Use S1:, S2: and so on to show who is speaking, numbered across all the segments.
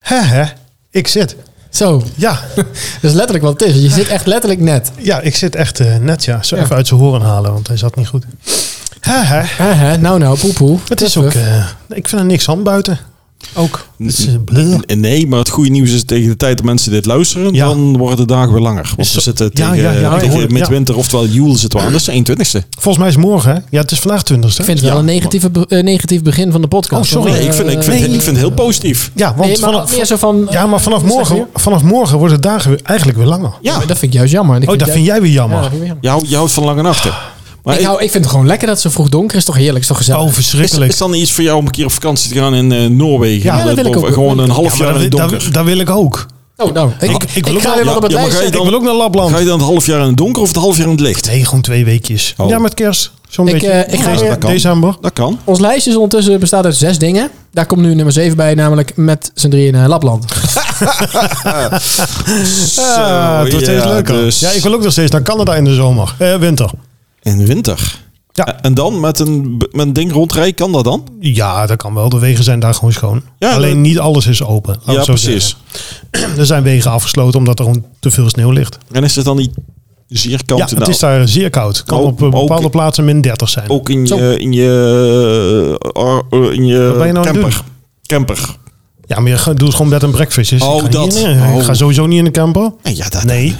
S1: hè, hè, ik zit.
S2: Zo,
S1: Ja,
S2: dat is letterlijk wat het is. Je zit echt letterlijk net.
S1: ja ik zit echt eh, net, ja. Zo
S2: Ja.
S1: even uit zijn horen halen, want hij zat niet goed. Hè, hè.
S2: Hè, hè, nou nou, poepoe.
S1: Het is ook, eh, ik vind er niks aan buiten. Ook. Het is, eh, bleh.
S3: N- Nee, maar het goede nieuws is tegen de tijd dat mensen dit luisteren,
S1: Ja.
S3: dan worden de dagen weer langer. Want
S1: Zo-
S3: we
S1: Ja,
S3: zitten tegen,
S1: ja, ja,
S3: tegen
S1: hoor ik, ja.
S3: midwinter, oftewel juli zitten we aan. Dat is de 21ste.
S1: Volgens mij is morgen, hè? Ja, het is vandaag 20
S2: Ik vind het wel een negatieve, be- eh, negatief begin van de podcast. Eh,
S1: Oh, sorry.
S3: Nee, ik vind, ik vind,
S1: nee.
S3: ik vind het heel positief.
S1: Ja, want
S2: nee, maar
S1: vanaf,
S2: meer zo van...
S1: ja, maar vanaf morgen, vanaf morgen worden de dagen weer, eigenlijk weer langer.
S3: Ja,
S2: Dat vind ik juist jammer.
S1: Oh, dat vind jij weer
S2: Ja,
S1: jammer.
S2: dat vind ik jammer.
S3: je houdt, je houdt van lange nachten. Maar
S2: ik,
S3: is-
S2: hou, ik vind het gewoon lekker dat het zo vroeg donker is. Toch heerlijk, is toch gezellig.
S1: Oh,
S3: is,
S1: verschrikkelijk.
S3: is dan iets voor jou om een keer op vakantie te gaan in eh, Noorwegen?
S2: Ja, dat wil ik
S3: boven-
S2: ook.
S3: Gewoon een half
S1: Ja,
S3: jaar
S1: maar
S3: in
S1: dat,
S3: het
S1: wil-
S3: donker.
S1: dat, dat wil ik ook.
S2: Oh, nou. Ik,
S1: Ik-
S2: ik,
S1: ik wil ook
S2: ga
S1: wel-
S2: weer wat op het
S3: ja, maar
S2: lijst
S3: ga
S2: zetten.
S3: je dan-
S1: ik wil ook naar Lapland.
S3: Ga je dan het half jaar in het donker of het half jaar in het licht?
S1: Nee, gewoon twee weekjes.
S3: Oh.
S1: Ja, met kerst. Zo'n
S2: Ik,
S1: beetje.
S2: eh, ik ga
S1: Deze-
S3: weer-
S1: December.
S3: Dat kan.
S2: Ons lijstje is ondertussen bestaat uit zes dingen. Daar komt nu nummer zeven bij, namelijk met z'n drieën naar Lapland.
S1: Ah, het wordt
S3: ja,
S1: steeds leuker.
S3: dus-
S1: Ja, ik wil ook nog steeds naar Canada in de zomer. Eh, winter.
S3: In winter.
S1: Ja.
S3: Eh, En dan met een, met een ding rondrijden, kan dat dan?
S1: Ja, dat kan wel. De wegen zijn daar gewoon schoon.
S3: Ja,
S1: Alleen
S3: dat-
S1: niet alles is open. laat ik
S3: ja,
S1: het zo
S3: precies.
S1: zeggen. Er zijn wegen afgesloten omdat er gewoon te veel sneeuw ligt.
S3: En is het dan die zeer kant
S1: ja, het is daar zeer koud. Kan
S3: Oh,
S1: op eh,
S3: ook-
S1: bepaalde plaatsen min 30 zijn.
S3: Ook in
S2: Zo.
S3: je, in je, eh, eh, in je
S1: Wat ben je nou aan het
S3: camper. camper.
S1: Ja, maar je gaat- doet gewoon bed en breakfast. Dus ik
S3: Oh,
S1: ga niet
S3: dat.
S1: in, eh, Ik
S3: Oh.
S1: ga sowieso niet in de camper.
S3: En ja, dat,
S1: Nee,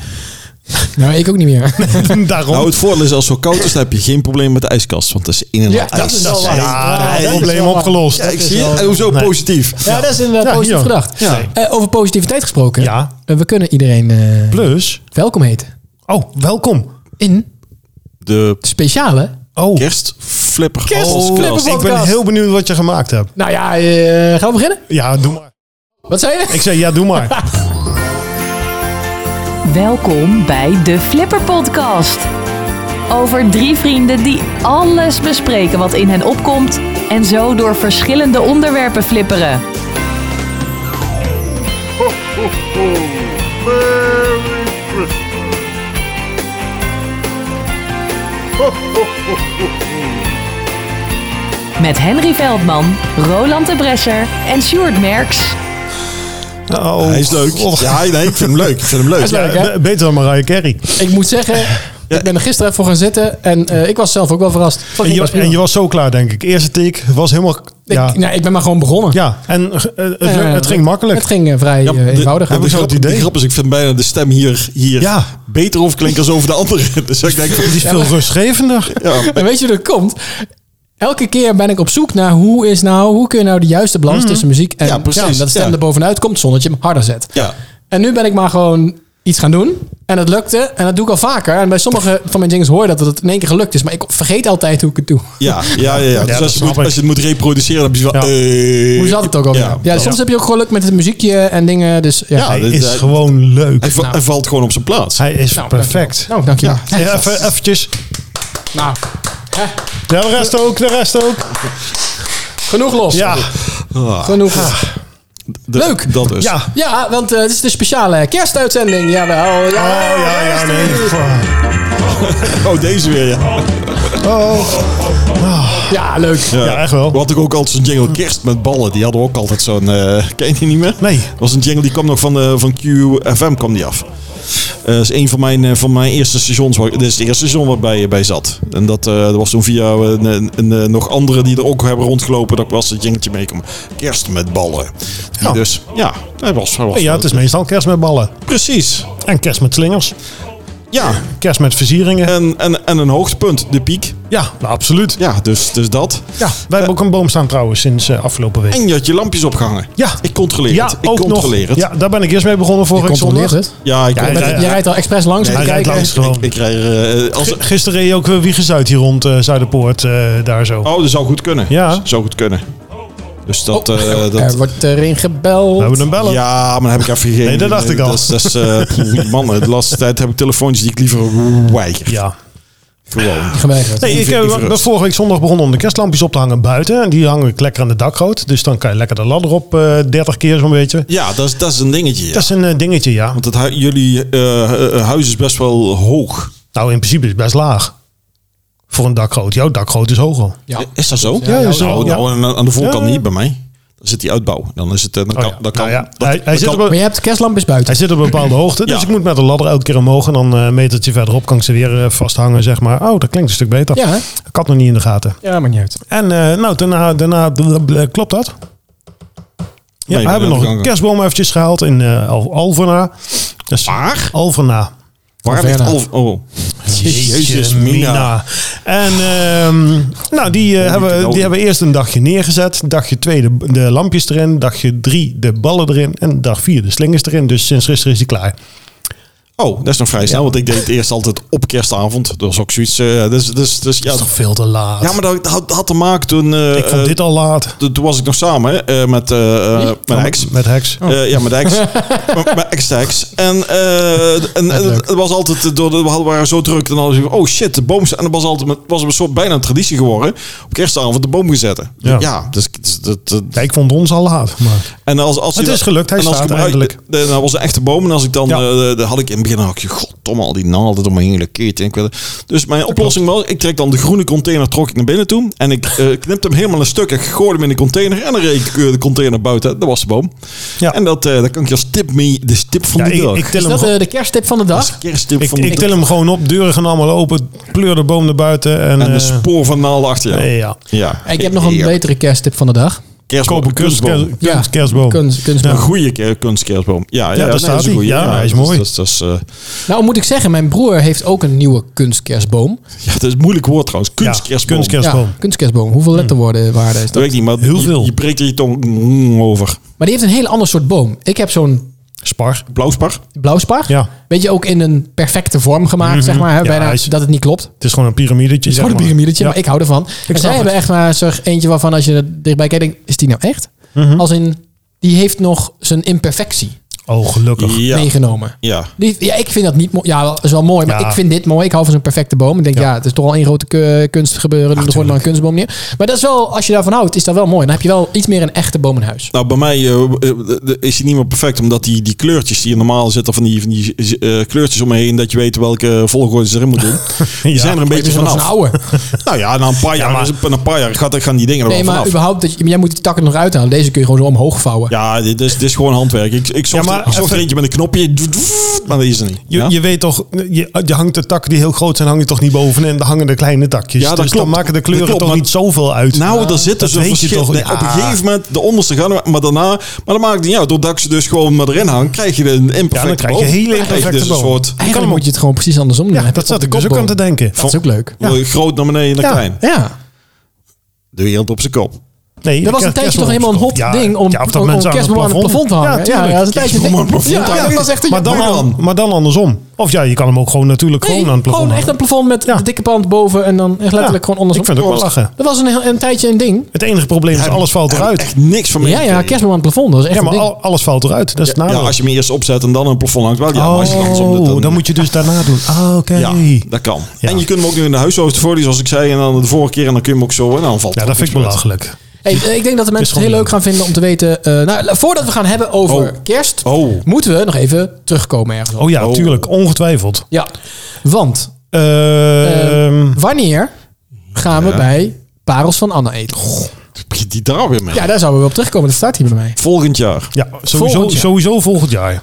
S2: Nou, ik ook niet meer.
S1: daarom.
S3: Nou, het voordeel is als het zo koud is, dan heb je geen probleem met de ijskast. Want dat is in en
S2: Ja,
S3: al
S2: dat
S3: ijs.
S2: is wel waar.
S1: ja,
S2: Ja,
S1: dat
S2: dat is
S1: probleem
S2: wel waar.
S1: opgelost.
S3: Ja, ik
S2: is
S3: zie
S2: wel-
S3: het. En hoezo
S1: Nee.
S3: positief?
S2: Ja, dat is inderdaad
S1: Ja,
S2: positief
S1: joh.
S2: gedacht.
S3: Ja.
S1: Nee.
S2: Eh, over positiviteit gesproken.
S1: Ja.
S2: Eh, we kunnen iedereen eh,
S1: Plus,
S2: welkom heten.
S1: oh, welkom.
S2: In
S3: De
S2: de speciale...
S1: Oh,
S3: kerstflipper. Oh,
S2: Kerstflipper.
S3: podcast.
S1: ik ben
S2: podcast.
S1: heel benieuwd wat je gemaakt hebt.
S2: Nou ja, eh, gaan we beginnen?
S1: Ja, doe maar.
S2: Wat zei je?
S1: Ik zei, ja, doe maar.
S4: Welkom bij de Flipper Podcast. Over drie vrienden die alles bespreken wat in hen opkomt en zo door verschillende onderwerpen flipperen. Met Henry Veldman, Roland de Bresser en Sjoerd Merks.
S1: Oh,
S3: Hij is leuk.
S1: God.
S3: Ja, nee, ik vind hem leuk. Ik vind hem leuk.
S2: is leuk, hè?
S1: Be- Beter dan Mariah Carey.
S2: Ik moet zeggen, ik ben er gisteren even voor gaan zitten en eh, ik was zelf ook wel verrast. Vond
S1: En
S2: ik
S1: je,
S2: best
S1: was,
S2: prima.
S1: en je was zo klaar, denk ik. Eerste tik was helemaal...
S2: Ik,
S1: Ja,
S2: nou, ik ben maar gewoon begonnen.
S1: ja. en eh, het,
S2: Eh,
S1: het ging makkelijk.
S2: Het ging eh, vrij
S3: Ja,
S2: eh,
S3: de-
S2: eenvoudig.
S3: de-
S1: Heb ik
S3: de
S1: zo'n
S3: grap-
S1: idee?
S3: De grap is, ik vind bijna de stem hier, hier
S1: Ja.
S3: beter overklinken als over de andere. Dus ik denk,
S1: Die is veel rustgevender.
S3: ja,
S2: En weet je hoe dat komt? Elke keer ben ik op zoek naar hoe is nou, hoe kun je nou de juiste balans tussen muziek en
S3: Ja, precies,
S2: sound, dat stem
S3: ja.
S2: er bovenuit komt zonder dat je hem harder zet.
S3: ja.
S2: En nu ben ik maar gewoon iets gaan doen. En dat lukte. En dat doe ik al vaker. En bij sommige van mijn jingles hoor je dat het in één keer gelukt is. Maar ik vergeet altijd hoe ik het doe.
S3: Ja, ja, ja. ja. Dus
S1: dat
S3: als je,
S1: snap
S3: moet,
S1: ik.
S3: als je het moet reproduceren, dan heb je wel...
S1: Ja.
S3: eh,
S2: Hoe zat het ook alweer? Ja,
S3: Ja,
S2: soms heb je ook geluk met het muziekje en dingen. Dus ja.
S3: Ja,
S1: Hij
S3: dit-
S1: is
S3: hij-
S1: gewoon leuk.
S3: Hij, va- hij valt gewoon op zijn plaats.
S1: Hij is
S2: Nou,
S1: perfect.
S2: dankjewel. Nou, dankjewel.
S1: Ja, even, eventjes.
S2: Nou, hè,
S1: Ja, de rest ook, de rest ook.
S2: genoeg los.
S1: Ja,
S3: Ah,
S2: Genoeg los.
S3: de-
S2: leuk.
S3: Dat dus.
S1: ja.
S2: Ja, want eh, dit is de speciale kerstuitzending. Jawel.
S1: Oh,
S2: Ja,
S1: ja, ja, nee.
S3: Oh, deze weer, ja.
S2: ja leuk.
S1: Ja, echt wel.
S3: Wat ik ook altijd zo'n jingle kerst met ballen. Die hadden we ook altijd zo'n... eh, ken je die niet meer?
S1: Nee.
S3: Dat was een jingle die kwam nog van, eh, van QFM kwam die af. Eh, Dat is een van mijn, eh, van mijn eerste seizoens. Waar, dit is het eerste seizoen waarbij je bij zat. En dat, eh, dat was toen via een, een, een, eh, nog anderen die er ook hebben rondgelopen. Dat was het jingletje meekomen. Kerst met ballen. Die
S1: Ja.
S3: Dus ja, dat was, dat was
S1: Ja, het is meestal kerst met ballen.
S3: precies.
S1: En kerst met slingers.
S3: Ja,
S1: Kerst met versieringen.
S3: en, en, en een hoogtepunt, de piek.
S1: Ja, nou, absoluut.
S3: Ja, dus, dus dat.
S1: Ja, wij hebben ook een boom staan trouwens sinds eh, afgelopen week.
S3: En je had je lampjes opgehangen.
S1: Ja.
S3: Ik controleer
S1: ja,
S3: het. Ik controleer
S1: nog.
S3: het.
S1: Ja, daar ben ik eerst mee begonnen
S2: Je
S1: vorige
S2: controleert
S1: zondag.
S2: het.
S3: Ja, ik,
S1: Ja,
S3: ik,
S1: ja,
S2: Je rijdt al expres langs om
S1: Hij
S2: te
S1: rijdt
S2: kijken.
S1: langs gewoon.
S3: ik krijg er... eh, als,
S1: G- Gisteren reed je ook weer Wiegenzuid hier rond eh Zuiderpoort, eh, daar zo.
S3: oh, dat zou goed kunnen.
S1: Ja.
S3: Z- Zou goed kunnen. Dus dat...
S2: Oh,
S3: eh,
S2: Er
S3: dat
S2: wordt erin gebeld.
S1: We hebben een bellen.
S3: ja, maar dat heb ik even geen...
S1: Nee, dat dacht ik al.
S3: Dat is, dat is, eh, man, de laatste tijd heb ik telefoontjes die ik liever weiger.
S1: Ja.
S3: Gewoon.
S2: Geweigerd.
S1: Nee, ik
S3: vind-
S1: eh,
S3: ik
S1: ben
S3: verrast.
S1: vorige week zondag begonnen om de kerstlampjes op te hangen buiten. En die hangen ik lekker aan de dakgoot. Dus dan kan je lekker de ladder op eh 30 keer zo'n beetje.
S3: Ja, dat is, dat is een dingetje. ja.
S1: Dat is een eh, dingetje, ja.
S3: Want het hu- jullie eh, eh, huis is best wel hoog.
S1: Nou, in principe is het best laag. Voor een dakgoot. Jouw dakgoot is hoger.
S2: Ja.
S3: Is dat zo?
S1: Ja, ja,
S3: nou,
S1: ja.
S3: nou, aan de voorkant
S1: Ja.
S3: niet bij mij. Dan zit die uitbouw. Dan is het. eh, Dan kan.
S1: Oh ja.
S3: Dan kan
S1: Nou ja,
S3: dat-
S1: hij-
S3: dat
S1: hij zit
S3: kan-
S1: op een-
S2: Maar je hebt de kerstlampjes
S1: Hij
S2: buiten.
S1: zit op een bepaalde hoogte, dus
S3: Ja.
S1: ik moet met de ladder elke keer omhoog. En dan eh, een metertje verderop kan ik ze weer eh, vasthangen, zeg maar. Oh, dat klinkt een stuk beter.
S2: Ja, hè?
S1: Ik had nog niet in de gaten.
S2: ja, maakt niet uit.
S1: En eh, nou, daarna, daarna eh, klopt dat. Ja,
S3: Nee,
S1: we hebben
S3: dat
S1: nog
S3: kan
S1: een
S3: ook.
S1: kerstboom eventjes gehaald in eh, Al- Alverna. Dus
S3: Waar?
S1: Alverna.
S3: Waar ligt
S2: Verna.
S3: Alf? Oh. Jezus,
S1: Mina.
S3: Mina.
S1: En ehm, nou, die, eh, hebben, die hebben eerst een dagje neergezet. Dagje twee de, de lampjes erin. Dagje drie de ballen erin. En dag vier de slingers erin. Dus sinds gisteren is die klaar.
S3: Oh, dat is nog vrij snel, want ik deed het eerst altijd op kerstavond. Dat was ook zoiets. eh, dus, dus, dus, ja,
S1: Dat is toch veel te laat.
S3: ja, maar dat had, had te maken toen. eh,
S1: ik vond
S3: eh,
S1: dit al laat.
S3: toen- toen was ik nog samen hè, eh, met eh, eh, mijn ex.
S1: Met heks.
S3: Eh, ja, met ex. M- mijn ex-ex. En, eh, en, en het het was altijd eh, door de, we hadden- waren zo druk en alles. Oh shit, de boom. sta- En dat was altijd met- was een soort bijna een traditie geworden. Op kerstavond de boom gezetten.
S1: Ja.
S3: Ja, dus, dat, dat,
S1: Ja, ik vond ons al laat. Maar
S3: en als, als
S1: Het
S3: je-
S1: is gelukt, hij
S3: en als
S1: staat
S3: ik hem uit-
S1: eindelijk.
S3: de- Dat was een echte boom. En als ik dan,
S1: Ja.
S3: eh, de- had ik in het begin, dan had ik, goddomme, al die naalden door mijn hele keet. En ik wilde- dus mijn oplossing was, ik trek dan de groene container, trok ik naar binnen toe. En ik eh, knipte hem helemaal een stuk en gooi hem in de container. En dan reed ik eh, de container buiten. Dat was de boom.
S1: Ja.
S3: En dat, eh dat kan ik als tip mee, de tip van
S1: ja,
S3: de
S1: ik,
S3: dag.
S1: ik
S2: Is
S1: tel hem
S2: dat
S1: gewoon-
S2: eh, de kersttip van de dag?
S3: Kersttip
S1: ik,
S3: van
S1: ik
S3: de
S1: tel hem gewoon op. Deuren gaan allemaal open. Pleur de boom naar buiten. En,
S3: en
S1: eh,
S3: een spoor van naalden achter jou.
S1: nee, ja.
S3: Ja.
S2: Ik heb nog een
S3: Ja.
S2: betere kersttip van de dag.
S3: Kerstboom,
S1: Koop een kunst,
S3: kunstboom.
S1: kerst- kunst- kerstboom.
S2: Kunst, kunstboom.
S3: Een goede ke- kunstkerstboom. Ja, ja,
S1: daar
S3: nee, dat
S1: staat
S3: is een
S1: hij.
S3: goeie.
S1: Ja, hij is
S3: dat
S1: mooi.
S3: Dat is, dat is, eh,
S2: Nou, moet ik zeggen, mijn broer heeft ook een nieuwe kunstkerstboom.
S3: ja, dat is een moeilijk woord trouwens.
S1: Ja,
S3: Kunstkerstboom.
S1: kunstkerstboom.
S2: Ja, kunstkerstboom. Hoeveel
S1: Hmm.
S2: letterwoorden waren is
S3: Dat
S2: dat?
S3: weet ik niet, maar
S1: Heel
S3: je-
S1: veel.
S3: Je, breekt er je tong mm, over.
S2: Maar die heeft een hele ander soort boom. Ik heb zo'n
S1: Spar.
S3: Blauwspar.
S2: blauwspar.
S1: Ja. Mhm.
S2: Weet je, ook in een perfecte vorm gemaakt, zeg maar. Hè?
S1: Ja,
S2: Bijna
S1: hij is-
S2: dat het niet klopt.
S1: Het is gewoon een piramidetje.
S2: Het is
S1: zeg
S2: gewoon een
S1: maar.
S2: piramidetje,
S1: Ja.
S2: maar ik hou ervan. en zij
S1: het.
S2: hebben echt maar zo'n eentje waarvan als je er dichtbij kijkt, denkt, is die nou echt?
S1: Mhm.
S2: Als in, die heeft nog zijn imperfectie
S1: Oh, gelukkig.
S3: Ja.
S2: meegenomen.
S3: Ja.
S2: Die, ja, ik vind dat niet mooi. Ja, wel, is wel mooi, maar
S1: Ja.
S2: ik vind dit mooi. Ik hou van zo'n perfecte boom. Ik denk, ja, het is toch al één grote ke- kunstgebeuren. Doe er gewoon maar een kunstboom neer. Maar dat is wel, als je daarvan houdt, is dat wel mooi. Dan heb je wel iets meer een echte boom in huis.
S3: Nou, bij mij eh, eh, is hij niet meer perfect, omdat die, die kleurtjes die je normaal zitten, van die, van die eh, kleurtjes omheen, dat je weet welke volgorde ze erin moeten doen, die zijn er een beetje
S2: Dus nog een
S3: vanaf.
S2: oude.
S3: Nou ja, na een paar jaar,
S1: maar-
S3: is- na een paar jaar gaat, gaan die dingen er
S2: Nee,
S3: wel
S2: maar
S3: vanaf.
S2: überhaupt, dat je, jij moet die takken er nog uithalen. Deze kun je gewoon zo omhoog vouwen.
S3: Ja, dit is, dit is gewoon handwerk. Ik, ik zocht,
S1: Ja, maar
S3: ik zocht
S1: even-
S3: er eentje met een knopje, doet- doet, maar dat is er niet.
S1: Je,
S3: ja?
S1: je weet toch, je, je hangt de takken die heel groot zijn, hang je toch niet bovenin. Dan hangen de kleine takjes.
S3: Ja, dat
S1: dus dan
S3: klopt.
S1: maken de
S3: Dat
S1: kleuren
S3: klopt,
S1: toch
S3: maar-
S1: niet zoveel uit.
S3: Nou, daar zit
S1: dat
S3: dus een
S1: weet je
S3: verschil.
S1: toch, Ah.
S3: Nee,
S1: ja.
S3: Op een gegeven moment, de onderste gaan, we- maar daarna... Maar dan maakt het niet uit. Doordat ik ze dus gewoon maar erin hang, krijg je een imperfecte
S1: ja, dan krijg je
S3: boom.
S1: hele
S3: Dan krijg je
S1: imperfecte
S3: dus
S1: boom.
S3: Een soort
S1: kan
S2: Eigenlijk
S1: hem
S2: moet
S1: ook-
S2: je het gewoon precies andersom doen.
S1: ja, dat zat ik dus ook aan te denken.
S2: Dat is ook leuk.
S3: Wil je eh, groot naar beneden en dan klein.
S2: Ja.
S3: Doe je hand op zijn kop.
S1: Nee,
S2: Dat was een
S1: kerst-
S2: tijdje toch helemaal een hot
S1: Ja,
S2: ding om,
S1: ja, of dat
S2: om, om
S1: mensen
S2: kerstboom aan het plafond te hangen.
S1: Ja,
S2: dat
S1: tuurlijk.
S2: was een tijdje
S3: Kerstboom aan het plafond
S2: Ja,
S3: hangen.
S2: dat was echt een
S1: maar, dan
S2: Nee,
S1: al- maar dan andersom. Of ja, je kan hem ook gewoon natuurlijk gewoon aan het plafond
S2: Gewoon echt een
S1: hangen.
S2: plafond met
S1: Ja.
S2: een dikke pand boven en dan echt letterlijk
S1: Ja,
S2: gewoon andersom.
S1: Ik vind het ook wel lachen.
S2: Dat was een, heel- een tijdje een ding.
S1: Het enige probleem is, alles valt
S3: Daar heb ik
S1: eruit.
S3: echt niks van
S2: Ja, ja,
S3: meegekregen.
S2: kerstboom aan het plafond. Dat was echt
S1: Ja, maar
S2: een ding.
S1: al- alles valt eruit. Dat is het
S3: Ja,
S1: nadeel.
S3: als je hem eerst opzet en dan een plafond hangt, wel ja. maar als je dan
S1: Oh, dan, moet je dus daarna doen. Ah, oké.
S3: Ja, dat kan.
S1: Ja.
S3: En je kunt hem ook nu in de huishoudfolie, zoals ik zei, en dan de vorige keer, en dan kun je hem ook zo, en dan valt
S1: Ja,
S3: er
S1: dat
S3: ook
S1: vind ik
S3: niks meer uit.
S1: belachelijk.
S2: Hey, eh, ik denk dat de mensen het
S1: gewoon
S2: heel leuk gaan vinden om te weten. eh, nou, la- voordat we gaan hebben over
S3: Oh.
S2: kerst,
S3: Oh.
S2: moeten we nog even terugkomen ergens. op.
S1: Oh ja,
S3: Oh.
S1: tuurlijk. Ongetwijfeld.
S2: Ja, want
S1: Ehm,
S2: wanneer gaan we bij Parels van Anna eten?
S3: Begint die daar weer mee?
S2: Ja, daar zouden we op terugkomen. Dat staat hier bij mij.
S3: Volgend jaar.
S1: ja, sowieso
S2: Volgend
S1: volgend,
S2: jaar.
S1: sowieso volgend jaar.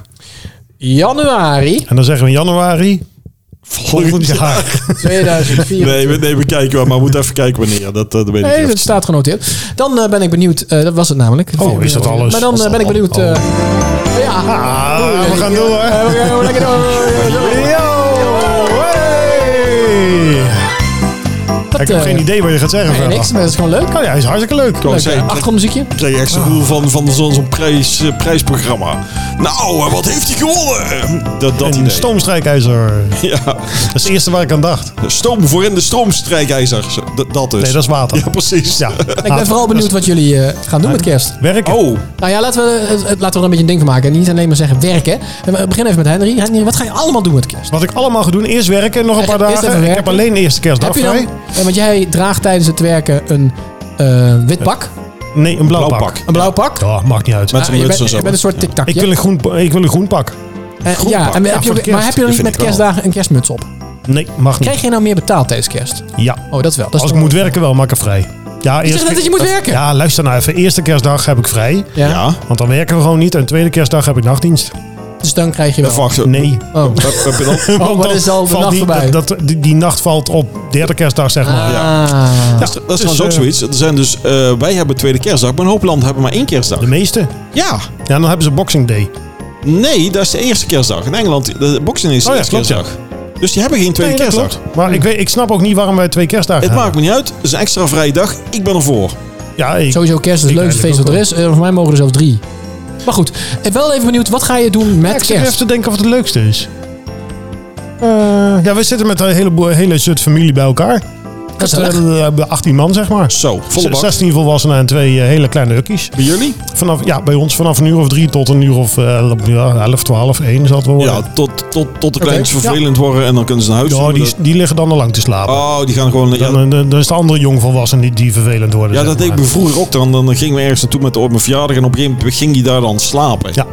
S2: Januari
S1: En dan zeggen we in januari. Volgend
S3: Volgend
S1: jaar.
S2: 2024.
S3: Nee, we, nee, we kijken wel, maar we moeten even kijken wanneer. Dat, eh, dat weet ik
S2: Nee,
S3: even
S2: dat
S3: niet.
S2: staat genoteerd. Dan eh, ben ik benieuwd. eh, dat was het namelijk.
S1: Oh, is dat alles?
S2: Maar dan eh, ben ik benieuwd. eh, ja.
S1: Ah, we gaan door.
S2: Eh, we gaan lekker door. eh, Dat,
S1: Ik heb
S2: eh,
S1: geen idee wat je gaat zeggen.
S2: Nee,
S1: verder.
S2: niks. maar Dat is gewoon leuk.
S1: Oh ja, hij is hartstikke leuk.
S3: Kom,
S2: Leuk,
S3: zeg,
S2: eh,
S3: ik-
S2: Achtergrondmuziekje.
S3: Ik kreeg echt zo'n gevoel van, van zo'n zo'n prijs, eh, prijsprogramma. Nou, eh, wat heeft hij gewonnen? Dat, dat
S1: Een
S3: idee.
S1: stoomstrijkijzer.
S3: Ja,
S1: Dat is het eerste waar ik aan dacht.
S3: stoom voor in de stroomstrijkijzer. Zo, Dat, dat dus.
S1: Nee, dat is water.
S3: Ja, precies.
S1: Ja.
S2: Ik ben vooral benieuwd wat jullie eh, gaan
S1: Ah.
S2: doen met kerst.
S1: Werken.
S3: Oh,
S2: Nou ja, laten we, eh, eh, laten we er een beetje een ding van maken. En niet alleen maar zeggen werken. En we beginnen even met Henry. Henry, wat ga je allemaal doen met kerst?
S1: Wat ik allemaal ga doen, eerst werken, nog een paar
S2: Eerst even
S1: dagen. Ik heb
S2: werken.
S1: alleen de eerste kerstdag
S2: Heb je dan,
S1: vrij.
S2: eh, want jij draagt tijdens het werken een eh, wit pak,
S1: Nee, een blauw,
S3: Blauw
S1: pak.
S3: pak.
S2: een blauw pak.
S1: Ja, maakt niet uit.
S3: Met
S2: Ah,
S3: zo'n
S2: je,
S3: muts
S2: bent,
S3: en zo.
S2: je bent een soort
S1: Ik
S2: tiktakje.
S1: wil, een groen, ik wil een groen pak.
S2: Eh,
S3: groen
S2: ja,
S3: pak.
S2: en
S1: Ja,
S2: heb je,
S1: voor de
S2: maar
S1: kerst.
S2: heb je dan
S3: Dat
S2: niet
S3: vind
S2: met
S3: ik wel.
S2: kerstdagen een kerstmuts op?
S1: Nee, mag niet.
S2: Krijg je nou meer betaald tijdens kerst?
S1: Ja.
S2: Oh, dat wel. Dat is
S1: Als ik
S2: toch-
S1: moet werken wel, maak ik er vrij. Ja,
S2: zegt net dat je moet werken?
S1: Ja, luister nou even. Eerste kerstdag heb ik vrij.
S2: Ja.
S3: Ja.
S1: Want dan werken we gewoon niet. En tweede kerstdag heb ik nachtdienst.
S2: Dus dan krijg je
S3: Even
S2: wel.
S3: wachten.
S1: Nee.
S2: Oh.
S3: Heb, eh, heb je dan?
S2: Oh,
S1: Want
S2: maar
S1: dan
S2: is al de
S1: valt
S2: nacht
S1: die,
S2: voorbij.
S1: Dat, dat- die, die nacht valt op derde kerstdag, zeg maar.
S2: Ah.
S3: Dat is, dat is trouwens
S1: dus,
S3: ook
S1: eh,
S3: zoiets. Er zijn dus, eh, wij hebben tweede kerstdag, maar een hoop landen hebben maar één kerstdag.
S1: eh, De meeste.
S3: Ja.
S1: Ja, dan hebben ze Boxing Day.
S3: Nee, dat is de eerste kerstdag. In Engeland, de boxing is de
S1: Oh ja,
S3: eerste
S1: klopt, ja.
S3: kerstdag. Dus die hebben geen tweede
S1: Nee, dat
S3: kerstdag.
S1: klopt. Maar ik, weet, ik snap ook niet waarom wij twee kerstdagen
S3: Het
S1: hebben.
S3: maakt me niet uit. Het is een extra vrije dag. Ik ben ervoor.
S1: Ja, ik,
S2: Sowieso kerst is
S1: Ik
S2: het leukste feest
S1: eigenlijk
S2: wat er is. Eh, voor mij mogen er zelfs drie. Maar goed, ik ben wel even benieuwd, wat ga je doen
S1: Ja,
S2: met
S1: ik zit even
S2: kerst?
S1: te denken wat het leukste is. Eh, ja, we zitten met een heleboel, hele zut familie bij elkaar.
S2: Dat is
S1: We
S2: wel-
S1: hebben- eh, we hebben 18 man, zeg maar.
S3: Zo, volle bak.
S1: 16 volwassenen en twee eh, hele kleine hukkies.
S3: Bij jullie?
S1: Vanaf, ja, bij ons vanaf een uur of drie tot een uur of eh, ja, 11, 12, 1 zal het wel worden.
S3: Ja, tot, tot, tot de kleintjes
S1: ja.
S3: vervelend worden en dan kunnen ze naar huis.
S1: Ja,
S3: toe.
S1: die, die liggen dan al lang te slapen.
S3: Oh, die gaan gewoon... Ja,
S1: Dan, eh, dan, dan is de andere jongvolwassenen die, die vervelend worden.
S3: ja,
S1: zeg
S3: dat deed ik
S1: maar.
S3: me vroeger ook dan. Dan gingen we ergens naartoe met op mijn verjaardag en op een gegeven moment ging die daar dan slapen.
S1: Ja.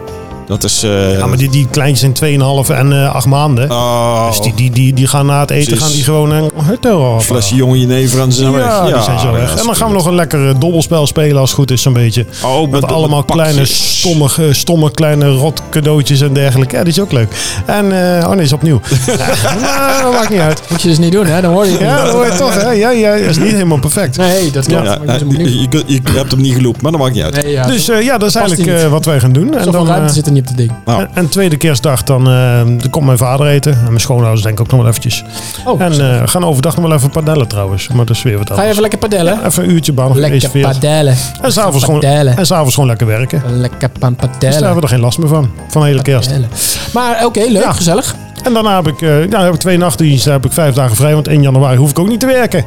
S3: Dat is... eh,
S1: Ja, maar die, die kleintjes zijn 2,5 en eh 8 maanden.
S3: oh,
S1: Dus die, die, die, die gaan na het eten
S3: Precies.
S1: gaan die gewoon eh, een hut erop.
S3: flesje jonge jenever en ze zijn weg.
S1: Ja, die zijn zo weg. En dan gaan we nog een lekker eh, dobbelspel spelen als het goed is zo'n beetje.
S3: Oh, met-
S1: Met
S3: met
S1: allemaal
S3: pakjes.
S1: kleine, stomme, eh, stomme kleine rot cadeautjes en dergelijke. Ja, die is ook leuk. En, eh, oh nee, is opnieuw. ja, maar dat maakt niet uit.
S2: Moet je dus niet doen, hè? Dan hoor je...
S1: Ja, dat hoor je toch, hè? Ja, ja, is niet helemaal perfect.
S2: Nee, dat
S3: Ja,
S2: klopt. maar ik ben zo
S3: je,
S2: benieuwd.
S3: je, kunt- je hebt hem niet gelopen, maar dat maakt niet uit.
S2: Nee, ja.
S1: Dus eh, ja, dat is
S2: Past
S1: eigenlijk
S2: niet.
S1: eh, wat wij gaan doen. En
S2: Zoveel
S1: dan,
S2: ruimte
S1: eh,
S2: zit er niet op de ding.
S3: Nou,
S1: en, en tweede kerstdag, dan, eh, dan komt mijn vader eten. En mijn schoonouders denk ik ook nog wel eventjes.
S2: Oh,
S1: En eh, we gaan overdag nog wel even padellen trouwens. Maar dat is weer wat
S2: ga je
S1: anders.
S2: even lekker padellen?
S1: Even een E uurtje baan
S2: lekker padellen.
S1: En s'avonds gewoon,
S2: Padellen.
S1: en 's avonds gewoon lekker werken.
S2: Lekker pan
S1: Dus daar
S2: padellen.
S1: hebben we er geen last meer van. Van de hele kerst.
S2: Padellen. Maar oké, leuk,
S1: Ja.
S2: gezellig.
S1: En daarna heb ik, eh, ja, heb ik twee nachtdiensten. Heb ik vijf dagen vrij. Want 1 januari hoef ik ook niet te werken.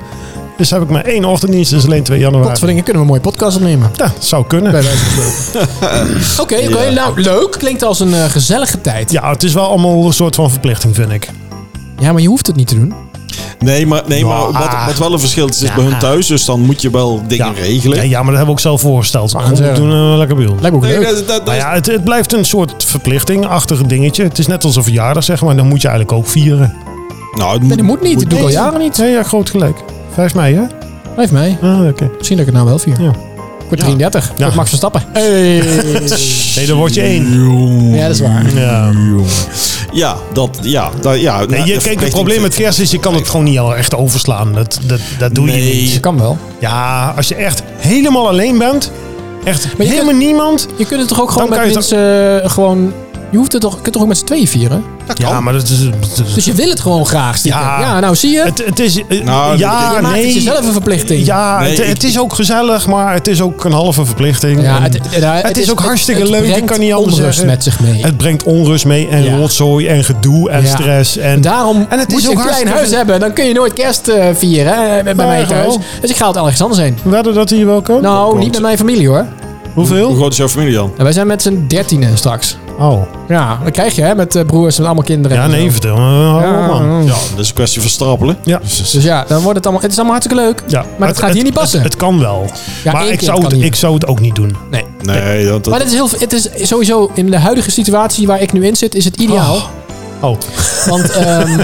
S1: Dus heb ik maar één ochtenddienst. Dus alleen 2
S2: Wat voor
S1: januari.
S2: dingen kunnen we een mooie podcast opnemen?
S1: Ja, zou kunnen.
S2: Bij wijze van spreken. Oké, oké,
S3: Ja.
S2: nou leuk. Klinkt als een eh, gezellige tijd.
S1: Ja, het is wel allemaal een soort van verplichting, vind ik.
S2: Ja, maar je hoeft het niet te doen.
S3: nee, maar, nee, maar
S1: Nou,
S3: wat, wat wel een verschil is, is bij hun thuis. Dus dan moet je wel dingen regelen.
S1: Ja, ja, maar dat hebben we ook zelf voorgesteld.
S2: gaan
S1: Maar
S2: ze
S1: we doen een lekker bij ons.
S2: Lijkt me ook
S3: Nee,
S2: leuk.
S3: dat, dat- dat
S1: Nou
S3: is-
S1: ja, het, het blijft een soort verplichting-achtig dingetje. Het is net als een verjaardag, zeg maar. Dan moet je eigenlijk ook vieren.
S3: nou, het
S2: Nee, dat moet niet. Dat doe ik al
S1: Nee,
S2: jaren niet.
S1: Nee, ja, groot gelijk. 5 mei, hè?
S2: Blijf mee.
S1: Ah, oké.
S2: Misschien dat ik het nou wel vier.
S1: Ja.
S2: Kort 33.
S1: Ja.
S2: Kort Max Verstappen. Hey.
S1: Nee, dan word je één.
S2: ja, dat is waar.
S1: Ja.
S3: Ja, dat, ja, dat, ja.
S1: Nee, je,
S3: nou, dat
S1: kijk, het
S3: verplichting
S1: probleem met
S3: vind ik-
S1: kerst is, je kan het gewoon niet al echt overslaan. Dat, dat, dat doe je
S3: Nee.
S1: niet.
S2: Je kan wel.
S1: Ja, als je echt helemaal alleen bent, echt
S2: je
S1: helemaal niemand.
S2: Je kunt het toch ook gewoon
S1: Dan
S2: met
S1: kan je
S2: mensen... eh, gewoon, je hoeft het toch, je kunt toch ook met z'n tweeën vieren?
S1: Ja, maar dat is... dat is-
S2: Dus je wil het gewoon graag stiekem.
S1: Ja.
S2: Ja, nou zie je.
S1: het, het is... eh,
S3: Nou,
S1: ja,
S2: je maakt
S1: nee.
S2: het jezelf een verplichting.
S1: Ja,
S3: Nee,
S1: het,
S3: ik-
S1: het is ook gezellig, maar het is ook een halve verplichting.
S2: Ja,
S1: En
S2: het, ja,
S1: het is ook hartstikke
S2: het
S1: leuk, ik
S2: brengt
S1: kan niet anders
S2: onrust
S1: zeggen.
S2: met zich mee.
S1: het brengt onrust mee en
S2: Ja.
S1: rotzooi en gedoe en
S2: Ja.
S1: stress. En,
S2: Daarom
S1: en het
S2: moet
S1: is
S2: je
S1: ook
S2: een klein
S1: hartstikke-
S2: huis hebben. Dan kun je nooit kerst eh, vieren hè, bij mij
S1: Ja,
S2: thuis.
S1: wel.
S2: Dus ik ga het ergens anders heen.
S1: Werden dat hier wel komen?
S2: Nou,
S3: komt-
S2: niet met mijn familie hoor.
S1: Hoeveel?
S3: Hoe groot is jouw familie dan?
S2: Nou, wij zijn met z'n dertienen straks.
S1: Oh.
S2: Ja, dat krijg je hè, met eh, broers en allemaal kinderen.
S1: Ja,
S2: en
S1: nee,
S2: zo.
S1: vertel me. Hou
S2: Ja,
S1: op, man.
S3: Ja, Oh, dat is een kwestie van stapelen.
S1: Ja.
S2: Dus ja, dan wordt het allemaal, het is allemaal hartstikke leuk.
S1: Ja,
S2: Maar dat gaat hier niet passen.
S1: Het, het kan wel.
S2: Ja,
S1: maar
S2: één
S1: ik
S2: keer
S1: zou,
S2: kan
S1: het,
S2: niet.
S1: ik zou het ook niet doen.
S2: Nee.
S3: Nee, dat, dat-
S2: Maar het is, heel, het is sowieso in de huidige situatie waar ik nu in zit, is het ideaal.
S1: Oh. Oh,
S2: Want ehm,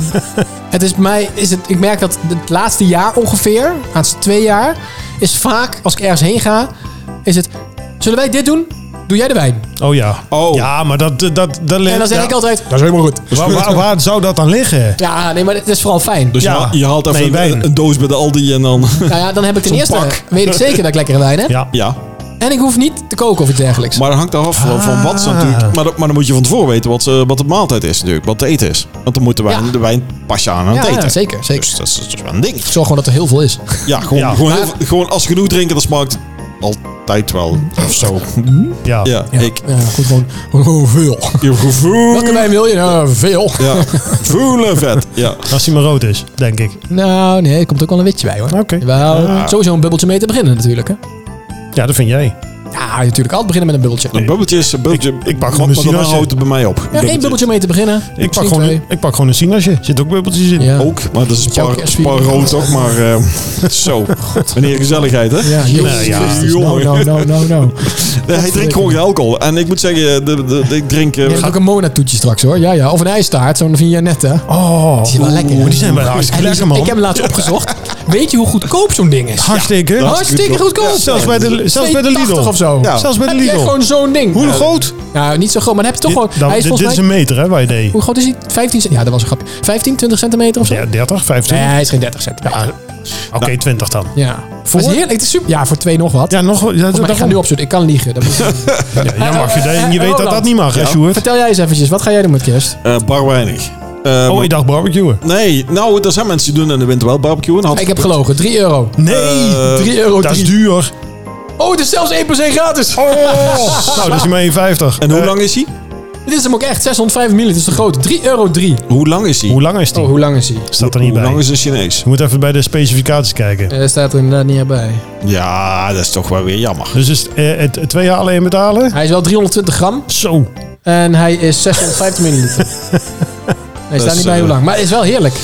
S2: het is bij mij, is het, ik merk dat het laatste jaar ongeveer, laatste twee jaar, is vaak als ik ergens heen ga, is het, zullen wij dit doen? Doe jij de wijn?
S1: oh ja.
S3: Oh.
S1: Ja, maar dat... dat, dat,
S2: En dan zeg
S1: ja.
S2: ik altijd,
S1: Dat is helemaal goed. Waar, waar, waar zou dat dan liggen?
S2: ja, nee, maar het is vooral fijn.
S3: dus je
S1: ja.
S3: haalt- je haalt even
S1: Nee,
S3: een-
S1: wijn.
S3: een, doos bij de Aldi en dan...
S2: nou ja, dan heb ik ten
S1: Zo'n
S2: eerste,
S1: pak.
S2: weet ik zeker dat ik lekkere wijn heb.
S1: Ja.
S3: ja,
S2: En ik hoef niet te koken of iets dergelijks.
S3: maar dat hangt af van, van wat
S1: Ah.
S3: ze natuurlijk... Maar, dat- maar dan moet je van tevoren weten wat, ze- wat de maaltijd is natuurlijk. Wat te eten is. Want dan moet de wijn,
S2: Ja.
S3: de wijn pas je aan aan het
S2: Ja, ja,
S3: eten.
S2: zeker, zeker.
S3: Dus dat is, dat is wel een ding.
S2: Ik zorg gewoon dat er heel veel is.
S3: Ja, gewoon,
S1: Ja.
S3: gewoon, heel
S2: Maar-
S3: veel- gewoon als genoeg drinken, dat smaakt altijd wel. Of zo.
S1: Ja.
S3: Ja, ik...
S2: Ja, goed, gewoon, gewoon veel.
S3: Je gevoel...
S2: Welke wijn wil je? Nou, veel.
S3: Ja, voelen vet. Ja.
S1: Als hij maar rood is, denk ik.
S2: Nou, nee, er komt ook wel een witje bij hoor.
S1: Oké.
S2: Wel, sowieso een bubbeltje mee te beginnen natuurlijk. Hè?
S1: Ja, dat vind jij.
S2: Ja, natuurlijk altijd beginnen met een bubbeltje.
S3: Een bubbeltje is een bubbeltje.
S1: Ik- ik pak gewoon
S3: maar
S1: een
S3: daarna
S1: sinaasappel.
S3: houdt het bij mij op.
S2: Ja, één bubbeltje om mee te beginnen.
S1: dus. Ik pak, gewoon een, ik pak gewoon een sinasje. Zit ook bubbeltjes in.
S2: Ja.
S3: Ook, maar dat is
S2: Met jouw
S3: spar,
S2: kerstvier.
S3: spar rood toch, maar eh, zo. Meneer gezelligheid, hè? Nou
S2: Ja, jezus
S1: Nee, ja.
S2: Christus. Nou, No,
S3: Jongen.
S2: no, no, no, no.
S3: Nee, hij drinkt gewoon geen alcohol. En ik moet zeggen, de, de, de- ik drink... eh,
S2: Je hebt ook een Mona-toetje straks hoor. Ja, ja. Of een ijstaart, zo'n vignette. Die
S1: Oh,
S2: is wel lekker. hè?
S1: die zijn wel hartstikke
S2: En die is-
S1: lekker, man.
S2: Ik heb hem laatst opgezocht. Weet je hoe goedkoop zo'n ding is?
S1: hartstikke.
S2: Ja. Hartstikke goedkoop.
S1: Ja, zelfs bij de- zelfs bij de Lidl.
S2: 2,80 of zo.
S3: Ja.
S1: Zelfs bij de
S2: Heb jij
S1: Lidl.
S2: gewoon zo'n ding?
S1: Hoe
S2: Ja.
S1: groot?
S2: Nou, niet zo groot, maar dan heb je toch
S1: Dit,
S2: gewoon...
S1: dan-
S2: hij is
S1: dit, dit
S2: volgens
S1: is
S2: mij...
S1: een meter, hè, wij deden.
S2: Hoe groot is hij? 15 cent- Ja, dat was een grapje. 15, 20 centimeter of zo?
S1: Ja, 30, 15.
S2: Nee, hij is geen 30 centimeter.
S1: Ja,
S2: Ja.
S1: Oké, 20 dan.
S2: Voor? is heerlijk. Het is super. Ja, voor twee nog wat.
S1: Ja, nog wel- ja,
S2: maar ik ga
S1: daarom.
S2: nu opzoeken. Ik kan liegen. Dat moet ik doen.
S1: Ja, ja, mag je, dat-
S2: Eh, eh,
S1: je weet dat
S2: Roland.
S1: dat niet mag, hè,
S3: Ja.
S1: Sjoerd?
S2: Vertel jij eens eventjes. Wat ga jij doen met kerst?
S3: eh, bar weinig. Eh,
S1: Oh, ik dacht barbecuen.
S3: Nee, nou, er zijn mensen die doen in de winter wel barbecue. Had
S2: Ik heb gelogen. 3 euro.
S1: Nee,
S3: Eh,
S2: 3 euro.
S1: dat is
S2: drie.
S1: duur.
S2: Oh, het is zelfs 1 per se gratis.
S1: Oh, nou, dat is maar 1,50.
S3: En hoe
S1: Eh,
S3: lang is hij?
S2: Dit is hem ook echt. 605 ml. Het is te groot. 3 euro 3.
S3: Hoe lang is hij?
S1: Hoe lang is die?
S2: Oh, hoe lang is hij?
S1: Staat er niet
S3: Hoe
S1: bij.
S3: lang is een Chinees?
S1: Je moet even bij de specificaties kijken.
S2: Eh staat er inderdaad niet bij.
S3: Ja, dat is toch wel weer jammer.
S1: Dus is het, eh, het, het twee jaar alleen betalen?
S2: Hij is wel 320 gram.
S1: Zo.
S2: En hij is 650 milliliter. Hij staat
S3: Dus,
S2: niet bij hoe
S3: eh,
S2: lang. Maar het is wel heerlijk.